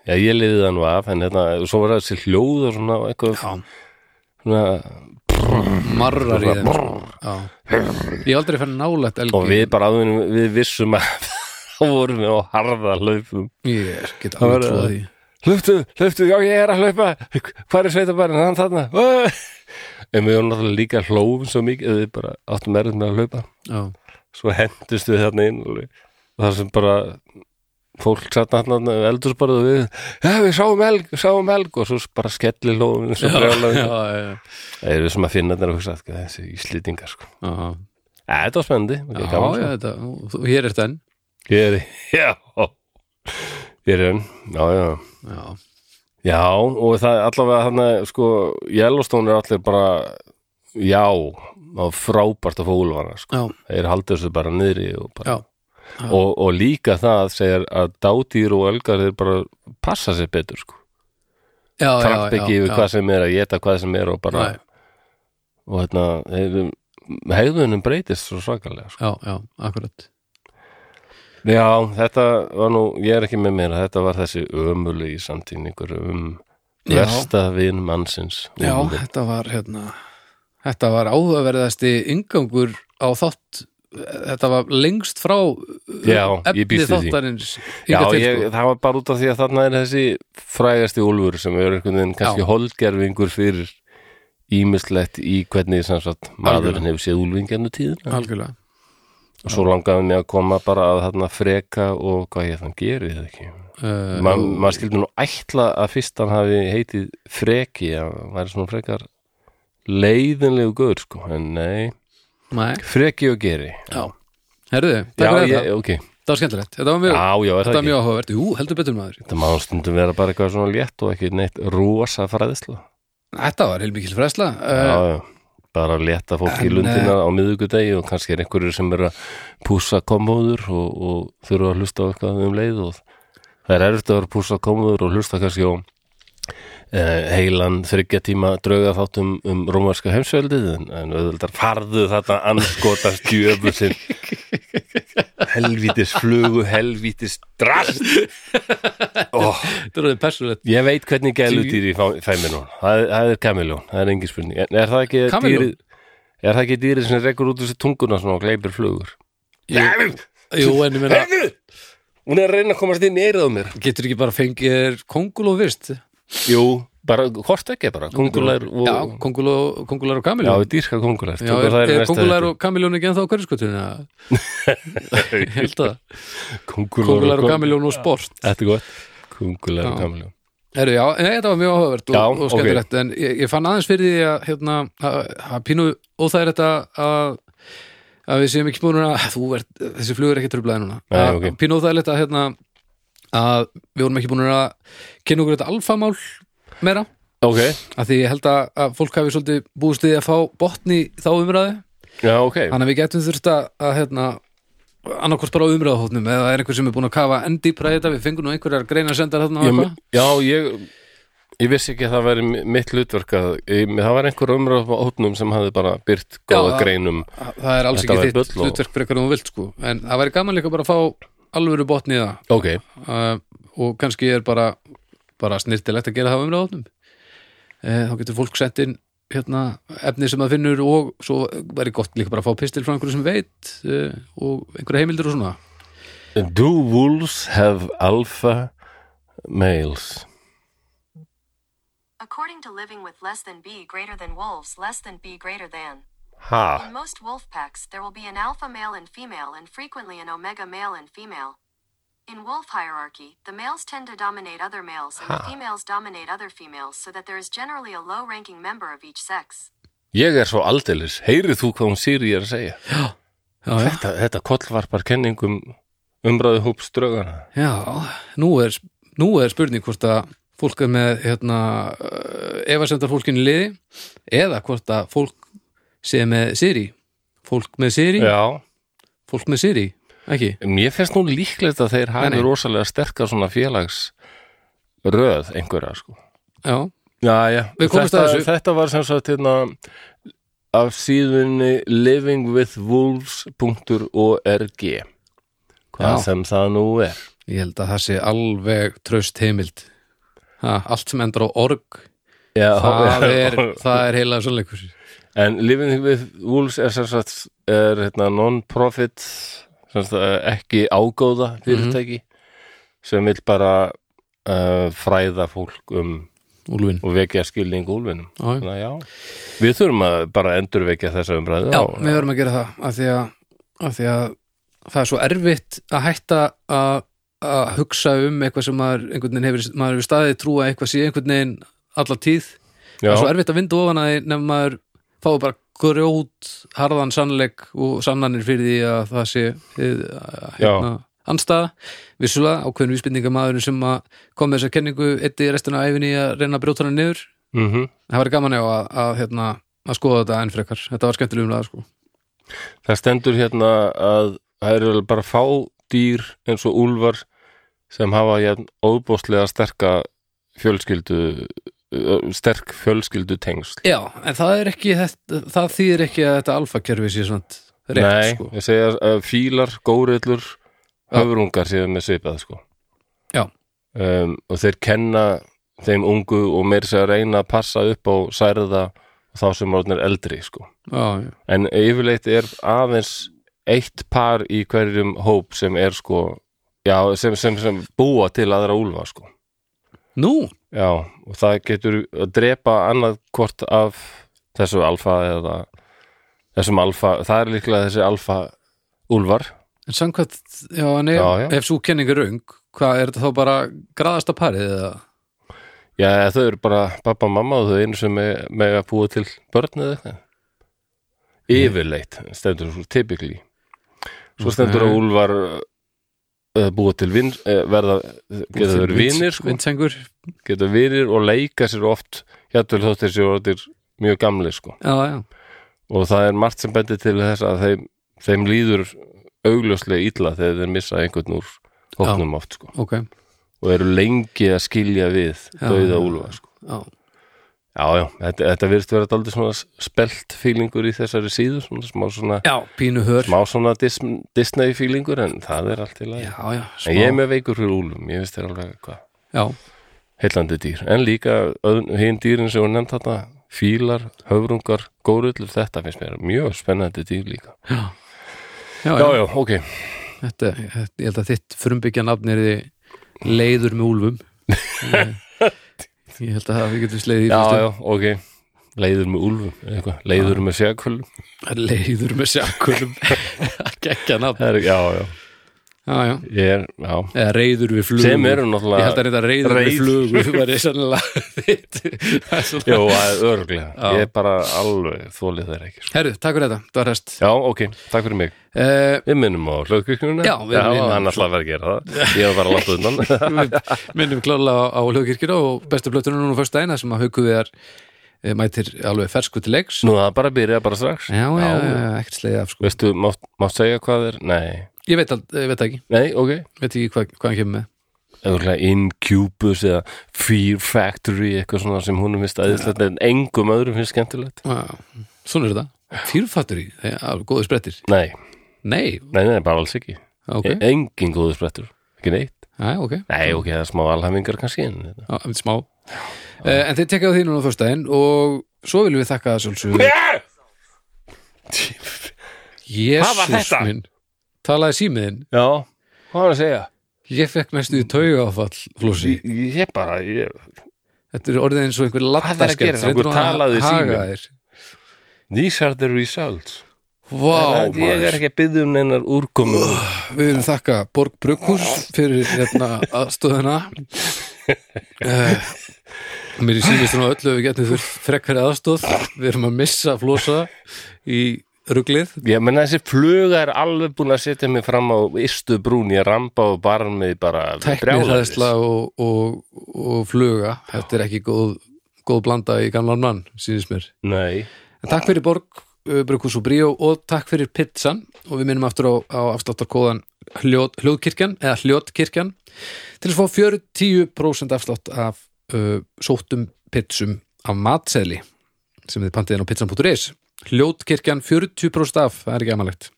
Já, ég liðið hann var af, en hérna, svo var það þessi hljóð og svona, eitthvað,
já
svona,
marrar í þeim sko. Já. Ég hef aldrei fann nálægt
og við
elgvírum
bara áðunum, við vissum að þá vorum við á harða hlaupum
Ég get
Það
alveg
var-
trúið því
hlauptu, hlauptu, já ég er að hlaupa hvað er sveitabærin, hann þarna Ö! en við vorum náttúrulega líka hlófum svo mikið að við bara áttum erfitt með að hlaupa
Já,
svo hendust við þarna inn og við- og það sem bara fólk satt hann eldursbarð og við já við sáum elg, við sáum elg og svo bara skelli hlófum við svo
já,
brjála
já,
það eru sem að finna þetta að hugsa sko, þessi íslýtingar sko
já. já.
Æ, þetta var spennandi, þetta
Já,
er gaman, sko.
já, þetta, þú- hér er enn
Ég er, já Ég er enn, já, já
Já,
Já, og það er allavega þannig, sko, Yellowstone er allir bara já, það var frábært að fá úlfana, sko,
já,
þeir haldur þessu bara niðri og bara,
já. Já.
og, og líka það segir að dádýr og elgar þeir bara passa sér betur, sko
já, já,
tramp
já,
ekki yfir
já.
hvað sem er að geta hvað sem er og bara,
Nei.
og hérna þeir, hegðunum breytist svo svakalega, sko
Já, já, akkurat
Já, þetta var nú, ég er ekki með mér þetta var þessi ömulegi samtíningur um
Já.
versta vin mannsins
Já,
Úlfur.
þetta var hérna Þetta var áhugaverðasti yngangur á þátt þetta var lengst frá uh,
Já, ég
efni
býst við því.
þáttarins
Já,
hingað til,
ég,
sko.
það var bara út af því að þarna er þessi frægasti úlfur sem er einhvern veginn kannski
Já.
holdgerfingur fyrir ímislegt í hvernig sem sagt maðurinn hefur séð úlfingjarnu tíðina
algjörlega
og svo langaði mig að koma bara að þarna freka og hvað ég þann gerið það ekki
uh,
Ma, maður skildi nú ætla að fyrst hann hafi heitið freki að hann væri svona frekar leiðinlegu gaur sko, en nei
Nei,
freki og geri
já Herðu,
Já,
takk fyrir
ég,
þetta,
ok,
það var skemmtilegt Þetta var mjög,
já, já, er það
þetta var
ekki
mjög áhugavert Jú, heldur betur maður
Það má stundum vera bara eitthvað svona létt og ekki neitt rosa fræðisla
Þetta var heilmikil fræsla uh,
Já, já. bara létta fólk í
en,
lundina á miðvikudegi og kannski er einhverjur sem eru að pússa komóður og, og þurfa að hlusta á eitthvað um leið og það er erfitt að vera að pússa komóður og hlusta kannski á e, heilan þryggja tíma drauga þátt um, um rómarska heimsveldið en, en auðvitað farðu þetta anskotast gjöfu sinn helvítis flugu helvítis drast oh,
Þetta er orðið persónulegt
Ég veit hvernig gæludýri fæ, fæ mér núna það, er- það er kamiljón, það er engin spurning En er það ekki
Kameljón?
dýrið Er það ekki dýrið sem rekur út úr sér tunguna svona og gleipir flugur?
Jú, jú, en ég meina,
Heyrðu! Hún er að reyna að komast inn í eyrað á mér
getur ekki bara fengið þér kongul og vist
Jú, bara, hvort ekki bara, kongulær og
Já, kongul og, kongulær og
Já,
kamiljón
við dýrka kongulær
Já, er, er, er kongulær og kamiljón ekki ennþá á hverjuskotinu? Ég held að það. Kongulær og kamiljón og sport
Þetta er gott, kongulær og
Já.
kamiljón
Heru, já, nei, þetta var mjög áhugavert og,
Já,
og skemmtilegt en ég, ég fann aðeins fyrir því að hérna, að- að pínu óþægilegt að að að við séum ekki búin að þú ert, þessi flugur er ekki tröflaði núna
Nei,
Að-
ok.
pínu óþægilegt að hérna að við vorum ekki búin að kynna okkur þetta alfamál meira
Ok,
að því ég held að, að fólk hafi svolítið búist við að fá botni þá umræði
já, ok
þannig að við getum þurft að, að hérna annarkvort bara á umræðahóttnum eða er einhver sem er búin að kafa enn dýpra í þetta við fengum nú einhverjar greina sendar hérna og
ég,
eitthvað.
já, ég ég vissi ekki að það væri mi- mitt hlutverk að, ég, það var einhver umræð á hótnum sem hafði bara byrt góða
Já,
greinum
það er alls
Þetta
ekki
væri
þitt
bull og-
hlutverk frekar en þú vilt sko en það væri gaman líka bara að fá alvöru botni í það
ok,
uh, og kannski er bara bara snirtilegt að gera það á umræðahóttnum uh, þá getur fólk sett inn hérna efni sem það finnur og svo væri gott líka bara að fá pistil frá einhverju sem veit uh, og einhverja heimildir og svona
do wolves have alpha males
According to living with less than B greater than wolves less than B greater than.
ha,
In most wolf packs, there will be an alpha male and female and frequently an omega male and female. In wolf hierarchy, the males tend to dominate other males and the females dominate other females so that there is generally a low ranking member of each sex.
ég er svo aldeilis heyrið þú hvað hún Siri er að segja
já, já.
þetta, þetta kollvarpar kenningum umræðu hóps draugana
Já, nú er, nú er spurning hvort að fólk er með hérna, uh, efasendar fólkinu liði eða hvort að fólk sé með Siri fólk með Siri,
já,
fólk með Siri ekki,
mér finnst nú líklegt að þeir
Nei,
hafi
nei.
rosalega sterkar svona félags röð einhverja sko
já,
Já, já,
Við komumst
þetta,
að þessu.
þetta var sem sagt hérna af síðunni livingwithwolves.org hvað
Já.
sem það nú er
ég held að það sé alveg tröst heimild ha, allt sem endur á org
já,
það er, það er heila sannleikur
en livingwithwolves er sem sagt er hérna non-profit sem sagt, eh, ekki ágóða
Mhm.
fyrirtæki sem vil bara uh, fræða fólk um
Úlfin,
og vekja skilning úlfinum
já, já.
Þannig að já, við þurfum að bara endurvekja þessa umræðu
Já,
á-
við verðum að gera það af því að, af því að það er svo erfitt að hætta að, að hugsa um eitthvað sem maður, einhvern veginn hefur, maður hefur staðið trú að eitthvað sé einhvern veginn alla tíð það
já.
er svo erfitt að vinda ofan að því nefn maður fáið bara grjót harðan sannleik og sannanir fyrir því að það sé hið, að-
Já.
hérna, anstaða, vissulega ákveðin vísbendingamaðurinn sem að kom með þessa kenningu eitthi restina af æfinni að reyna að brjóta hana niður
Mhm.
það var gaman já að, að, hérna, að skoða þetta enn frekar þetta var skemmtilegum laga sko
Það stendur hérna að það eru bara fá dýr eins og úlfar sem hafa jæn óbóðslega sterka fjölskyldu ö, sterk fjölskyldu tengsl
Já, en það er ekki þetta, það þýðir ekki að þetta alfakerfi sé svona rétt,
Nei,
sko.
ég segja að fílar, góriðlur
Já.
höfurungar séu með svipað sko
Já.
um, og þeir kenna þeim ungu og meir sér að reyna að passa upp á særða þá sem orðin er eldri sko
Já, já,
en yfirleitt er aðeins eitt par í hverjum hóp sem er sko já, sem, sem, sem búa til aðra úlfa sko
Nú,
já, og það getur að drepa annað hvort af þessu alfa eða þessum alfa, það er líklega þessi alfa úlfar
en samkvæmt, já, en ef,
Já, já.
ef svo kenning er röng, hvað er þetta þá bara graðasta parið eða?
já, eða þau eru bara pappa og mamma og þau einu sem me- mega búa til börn eða eitthvað
Mm.
yfirleitt, stendur svo typically svo stendur að úlfar eh, búa til vin, eh, verða, geta verið vinir sko.
Vindsengur,
geta vinir og leika sér oft hjáttul þótt þeir séu orðir mjög gamli sko.
já, já,
og það er margt sem bendir til þess að þeim, þeim líður augljóslega illa þegar þeir missa einhvern úr hóknum oft sko.
ok,
og eru lengi að skilja við
Já.
dauða úlfa sko.
já,
já, já, þetta, þetta virðist vera daldið svona spelt fílingur í þessari síðu svona, smá svona,
já, pínu hör,
smá svona dis, Disney fílingur en það er allt í lagi
já, já, smá,
en ég er með veikur fyrir úlfum, ég veist þér alveg hvað
já,
heillandi dýr en líka hinn dýrin sem við nefnd þarna fílar, höfrungar, górullur þetta finnst mér mjög spennandi dýr líka
já, já,
já, já, ok
Þetta, þetta, ég held að þitt frumbyggja nafn er þið leiður með úlfum ég, ég held að það við getum sleið í
já,
fyrstu.
já, ok, leiður með úlfum eða eitthvað, leiður með sjökulum
leiður með sjakkulum gekkja nafn já,
er, já, já,
já.
ég er, já
eða reyður við flugum
sem eru
ég held að
náttúrulega,
þetta reyður
Reið.
við flugum var ég sannlega þitt Það er svona-
já, örglega
Já.
ég er bara alveg þólið þeir ekki sko.
herru, takk fyrir þetta, það var hest
já, ok, takk fyrir mig
uh,
við minnum á hlöðkirkjuna
Já, við minnum á-
hann ætlaði að vera að gera það ég var bara að láta undan
við minnum klálega á, á hlugkirkina og bestu blöttunum núna fyrst dæna sem að hauku við er mætir alveg fersku til leiks
nú það bara byrja bara strax
já, já, já, ekkert sleið af sko
veistu, mátt má segja hvað er nei,
ég veit, al- ég veit það ekki,
nei, ok
veit ekki hvað, hvað hann kemur með
Örugglega Incubus eða Fear Factory eitthvað svona sem húnum finnst æðislegt en engum öðrum finnst skemmtilegt
Já, svona er þetta Fyrfattur í, það er alveg góðu sprettir
Nei,
Nei,
nei, nei, bara alls ekki
ok,
okay. Engin góður sprettur, ekki neitt
Æ, ok
Nei, ok, það er smá alhæmingar kannski en þetta-
Já, einmitt smá Eh, En þeir tekjaðu því núna á föstudaginn og svo viljum við þakka svolsög
Hvað var
Jésús
þetta?
minn Talaði símiðinn
Já, hvað var að segja?
Ég fekk næstu í tauga áfall flósi
Ég, ég bara, ég
Þetta er orðið eins og einhver
er að gera?
lattaskert
Einhver talaði í símann.
þér
These are the results
Vá,
Ég er
maður
ekki að byggja um neinar úrkomu
Við viljum þakka Borg Brukkurs fyrir hérna aðstöðuna uh, Mér sýnist nú á öllu að við getum fyrir frekkari aðstöð Við erum að missa flosa í ruglið
Ég menna þessi fluga er alveg búin að setja mig fram á ystu brún, ég ramba og barn mig bara brjálæðis.
Tæknirhæðsla og, og, og fluga Þetta er ekki góð, góð blanda í gamlan mann, sýnist mér
Nei,
En takk fyrir Borg Brukkurs og Bríó og takk fyrir pizzan og við minnum aftur á, á afsláttarkóðan hljóð, hljóðkirkjan eða hljóðkirkjan til að fá 40% afslátt af uh, sóttum pizzum af matseðli sem þið pantið inn á pizzan.is hljóðkirkjan 40% af, það er ekki amalegt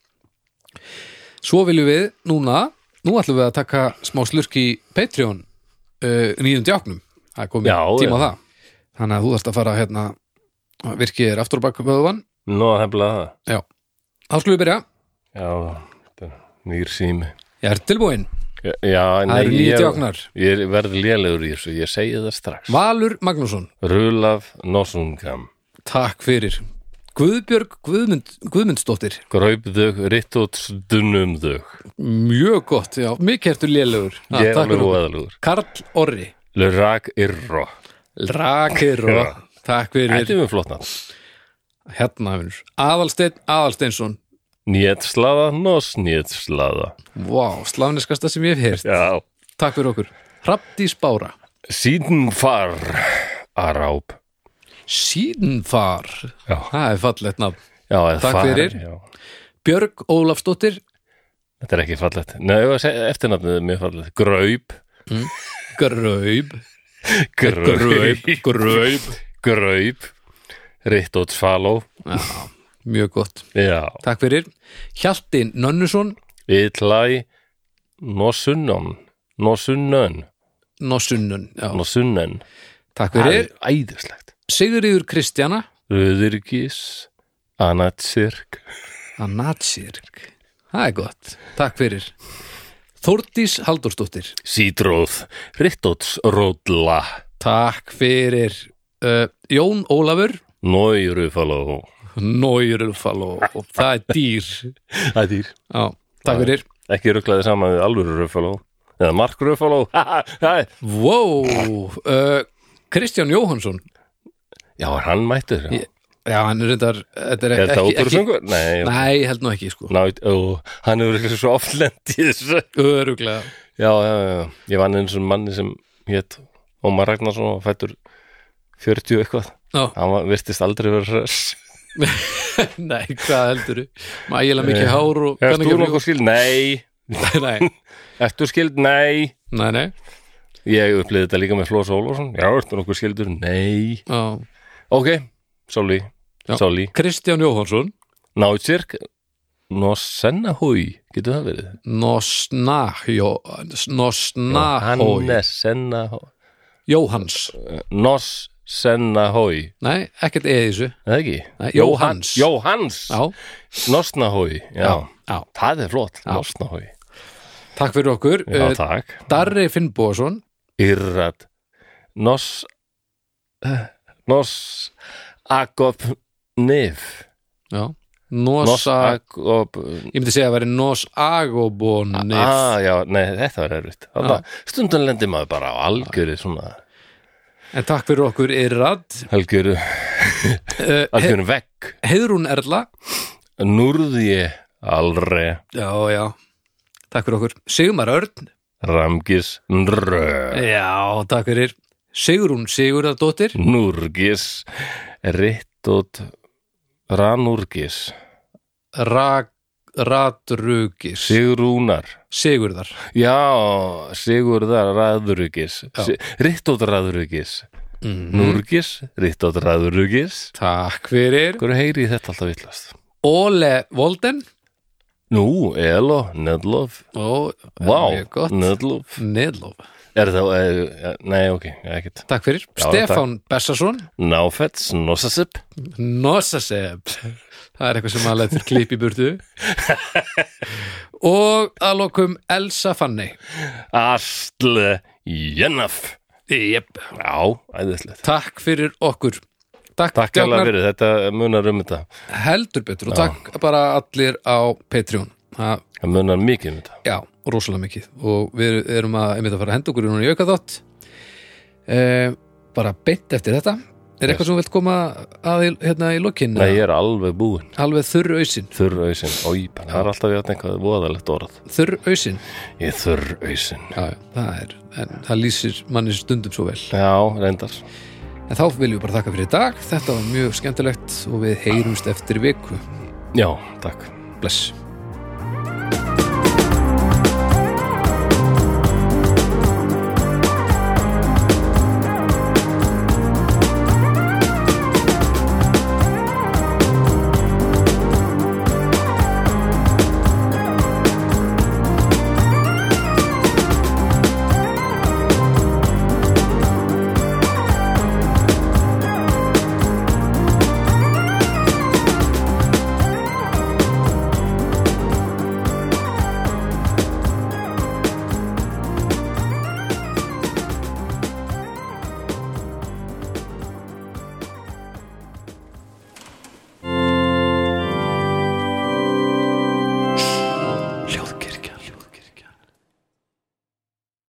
Svo viljum við núna, nú ætlum við að taka smá slurk í Patreon uh, nýjum djáknum, það er komið
Já,
tíma á
já.
það þannig að þú þarst að fara hérna virkið er aftur á bak vöðvan
nú að hefla það
Já, þá skulum við byrja
Já, þetta er nýr sími
Ég er tilbúin,
Já, Já,
það eru nýja
ég,
djáknar
ég verði lélegur í þessu, ég segi það strax
Valur Magnússon,
Rulaf Nossungam
takk fyrir Guðbjörg Guðmund, Guðmundsdóttir
Graupðug, rittótsdunumðug
Mjög gott, já, mikið ertu lélegur Já,
Ég er
takk
alveg
fyrir.
óðalugur
Karl Orri
Lurak Irro um
Rakir
Já.
Takk fyrir,
Þetta er mjög flott nafn
hérna finnur Aðalsteinn Aðalsteinsson
Njetslaða, Nossnjetslaða
Vá, slániskasta sem ég hef heyrt
Já
Takk fyrir okkur Hrafndís Bára
Sýnfar Aráp
Síðnfar
Já.
Það er fallegt nafn
Já, eða
Takk
far,
fyrir.
já.
Björg Ólafsdóttir
Þetta er ekki fallegt Nei, ég var að segja- eftirnafnið er mjög fallegt Graup
Gröib
Graup
Gröib
Graup Rittótsfaló
Mjög gott
Já
Takk fyrir. Hjaltin Nönnusson,
Itlæ Nosunnon Nosunnön
Nossunnun. Já,
Nosunnen
takk
Það
fyrir.
er æðislegt
Sigurður Kristjana,
Öðurgis Anatsirk
Anatsirk. það er gott, takk fyrir Þórdís Halldórsdóttir
Sítróð, Rittótsródla,
Takk fyrir uh, Jón Ólafur
Nójurufaló.
Nóirufaló og það er dýr
Það er dýr.
Já, takk fyrir
Ekki rugglaði saman við alvöru rufaló. Eða Mark Rufaló. Já,
Wow, uh, Kristján Jóhansson
er hann mættur?
Ég- Já, hann er reyndar Þetta er,
Er þetta
ekki,
óperu
ekki,
sungur? Nei, ok.
Nei, ég held nú ekki sko
Ná, ó, hann hefur eitthvað svo oft lent í þessu.
Öruglega
Já, já, já. Ég vann eins og manni sem hétt Ómar Ragnarsson og fættur 40 og eitthvað.
Já.
Hann var, virtist aldrei verið hress.
Nei, hvað heldur þú? Mægilega mikið hár og
Erst þú
mjög-
nokkuð skild? Nei.
Nei,
Erst þú skild? Nei.
nei, nei
Ég upplýði þetta líka með Flósa Ólafsson. Já, ertu nokkuð skildur? Nei.
Já.
Ok, sorry.
Já.
Sorry.
Kristján Jóhansson
Nátsirk Nossennahói, getur það verið?
Nosnahjó Nosnahói
Hannesennahói
Jóhans
Nossennahói,
Nei, ekkert eða þessu
er það ekki?
Nei, Jóhanns.
Jóhans,
Já,
Nossnahói, já.
já,
Það er flott,
Já.
Nossnahói
takk fyrir okkur
Já,
Eh,
takk
Darri Finnbóðsson
Yrrat Noss eh, Noss Agop Nif
Já,
Noss
Nosa
Agop
Ég myndi segja að veri Nosagobonif
Ah, já, nei, þetta var erfitt Þarna- Stundan lendir maður bara á algjöru svona
En takk fyrir okkur Irrad
Algjöru,
Eh, He-
algjöru vekk
Heiðrún Erla
Núrði alre
Já, já, takk fyrir okkur Sigmar Örn
Ramgis nrö
Já, takk fyrir Sigrún Sigurðardóttir
Núrgis Rittot Ranúrgis
Rag- Radrugis
Sigrúnar
Sigurðar
Já, Sigurðar Raðurugis Si- Rittot Raðurugis Mm. Núrgis, Rittot Raðurugis
Mm. Takk fyrir
Hverju heyri ég þetta alltaf villast?
Óle Volden
Nú, Elo, Nedlof
Ó,
Vá,
mjög gott
Nedlof
Nedlof
Er það, er, nei, ok, ekkert
Takk fyrir
Já,
Stefán Bessason
Náfets, Nossasip
Nossaseb Það er eitthvað sem maður letur klipp í burtu Og að lokum Elsa Fanny
Astle Jennaf
Jep
Já, æðislegt.
Takk fyrir okkur Takk,
Takk
djáknar,
alveg fyrir, þetta munar um þetta.
heldur betur og takk bara allir á Patreon Það
Það munar mikið um þetta.
Já, rosalega mikið og við erum að, einmitt að fara að henda okkur í núna í auka þátt e, bara beint eftir þetta er eitthvað sem þú vilt koma að í, hérna í lokin
Nei, ég er alveg búinn.
alveg þurr ausinn
Þurr ausinn. Ói, bara það er alltaf játn eitthvað voðalegt orð.
þurr ausinn,
Ég er þurr ausinn.
já, já, það er en það lýsir manni stundum svo vel
Já, reyndar.
en þá viljum við bara þakka fyrir í dag þetta var mjög skemmtilegt og við heyrumst eftir viku
Já, takk.
bless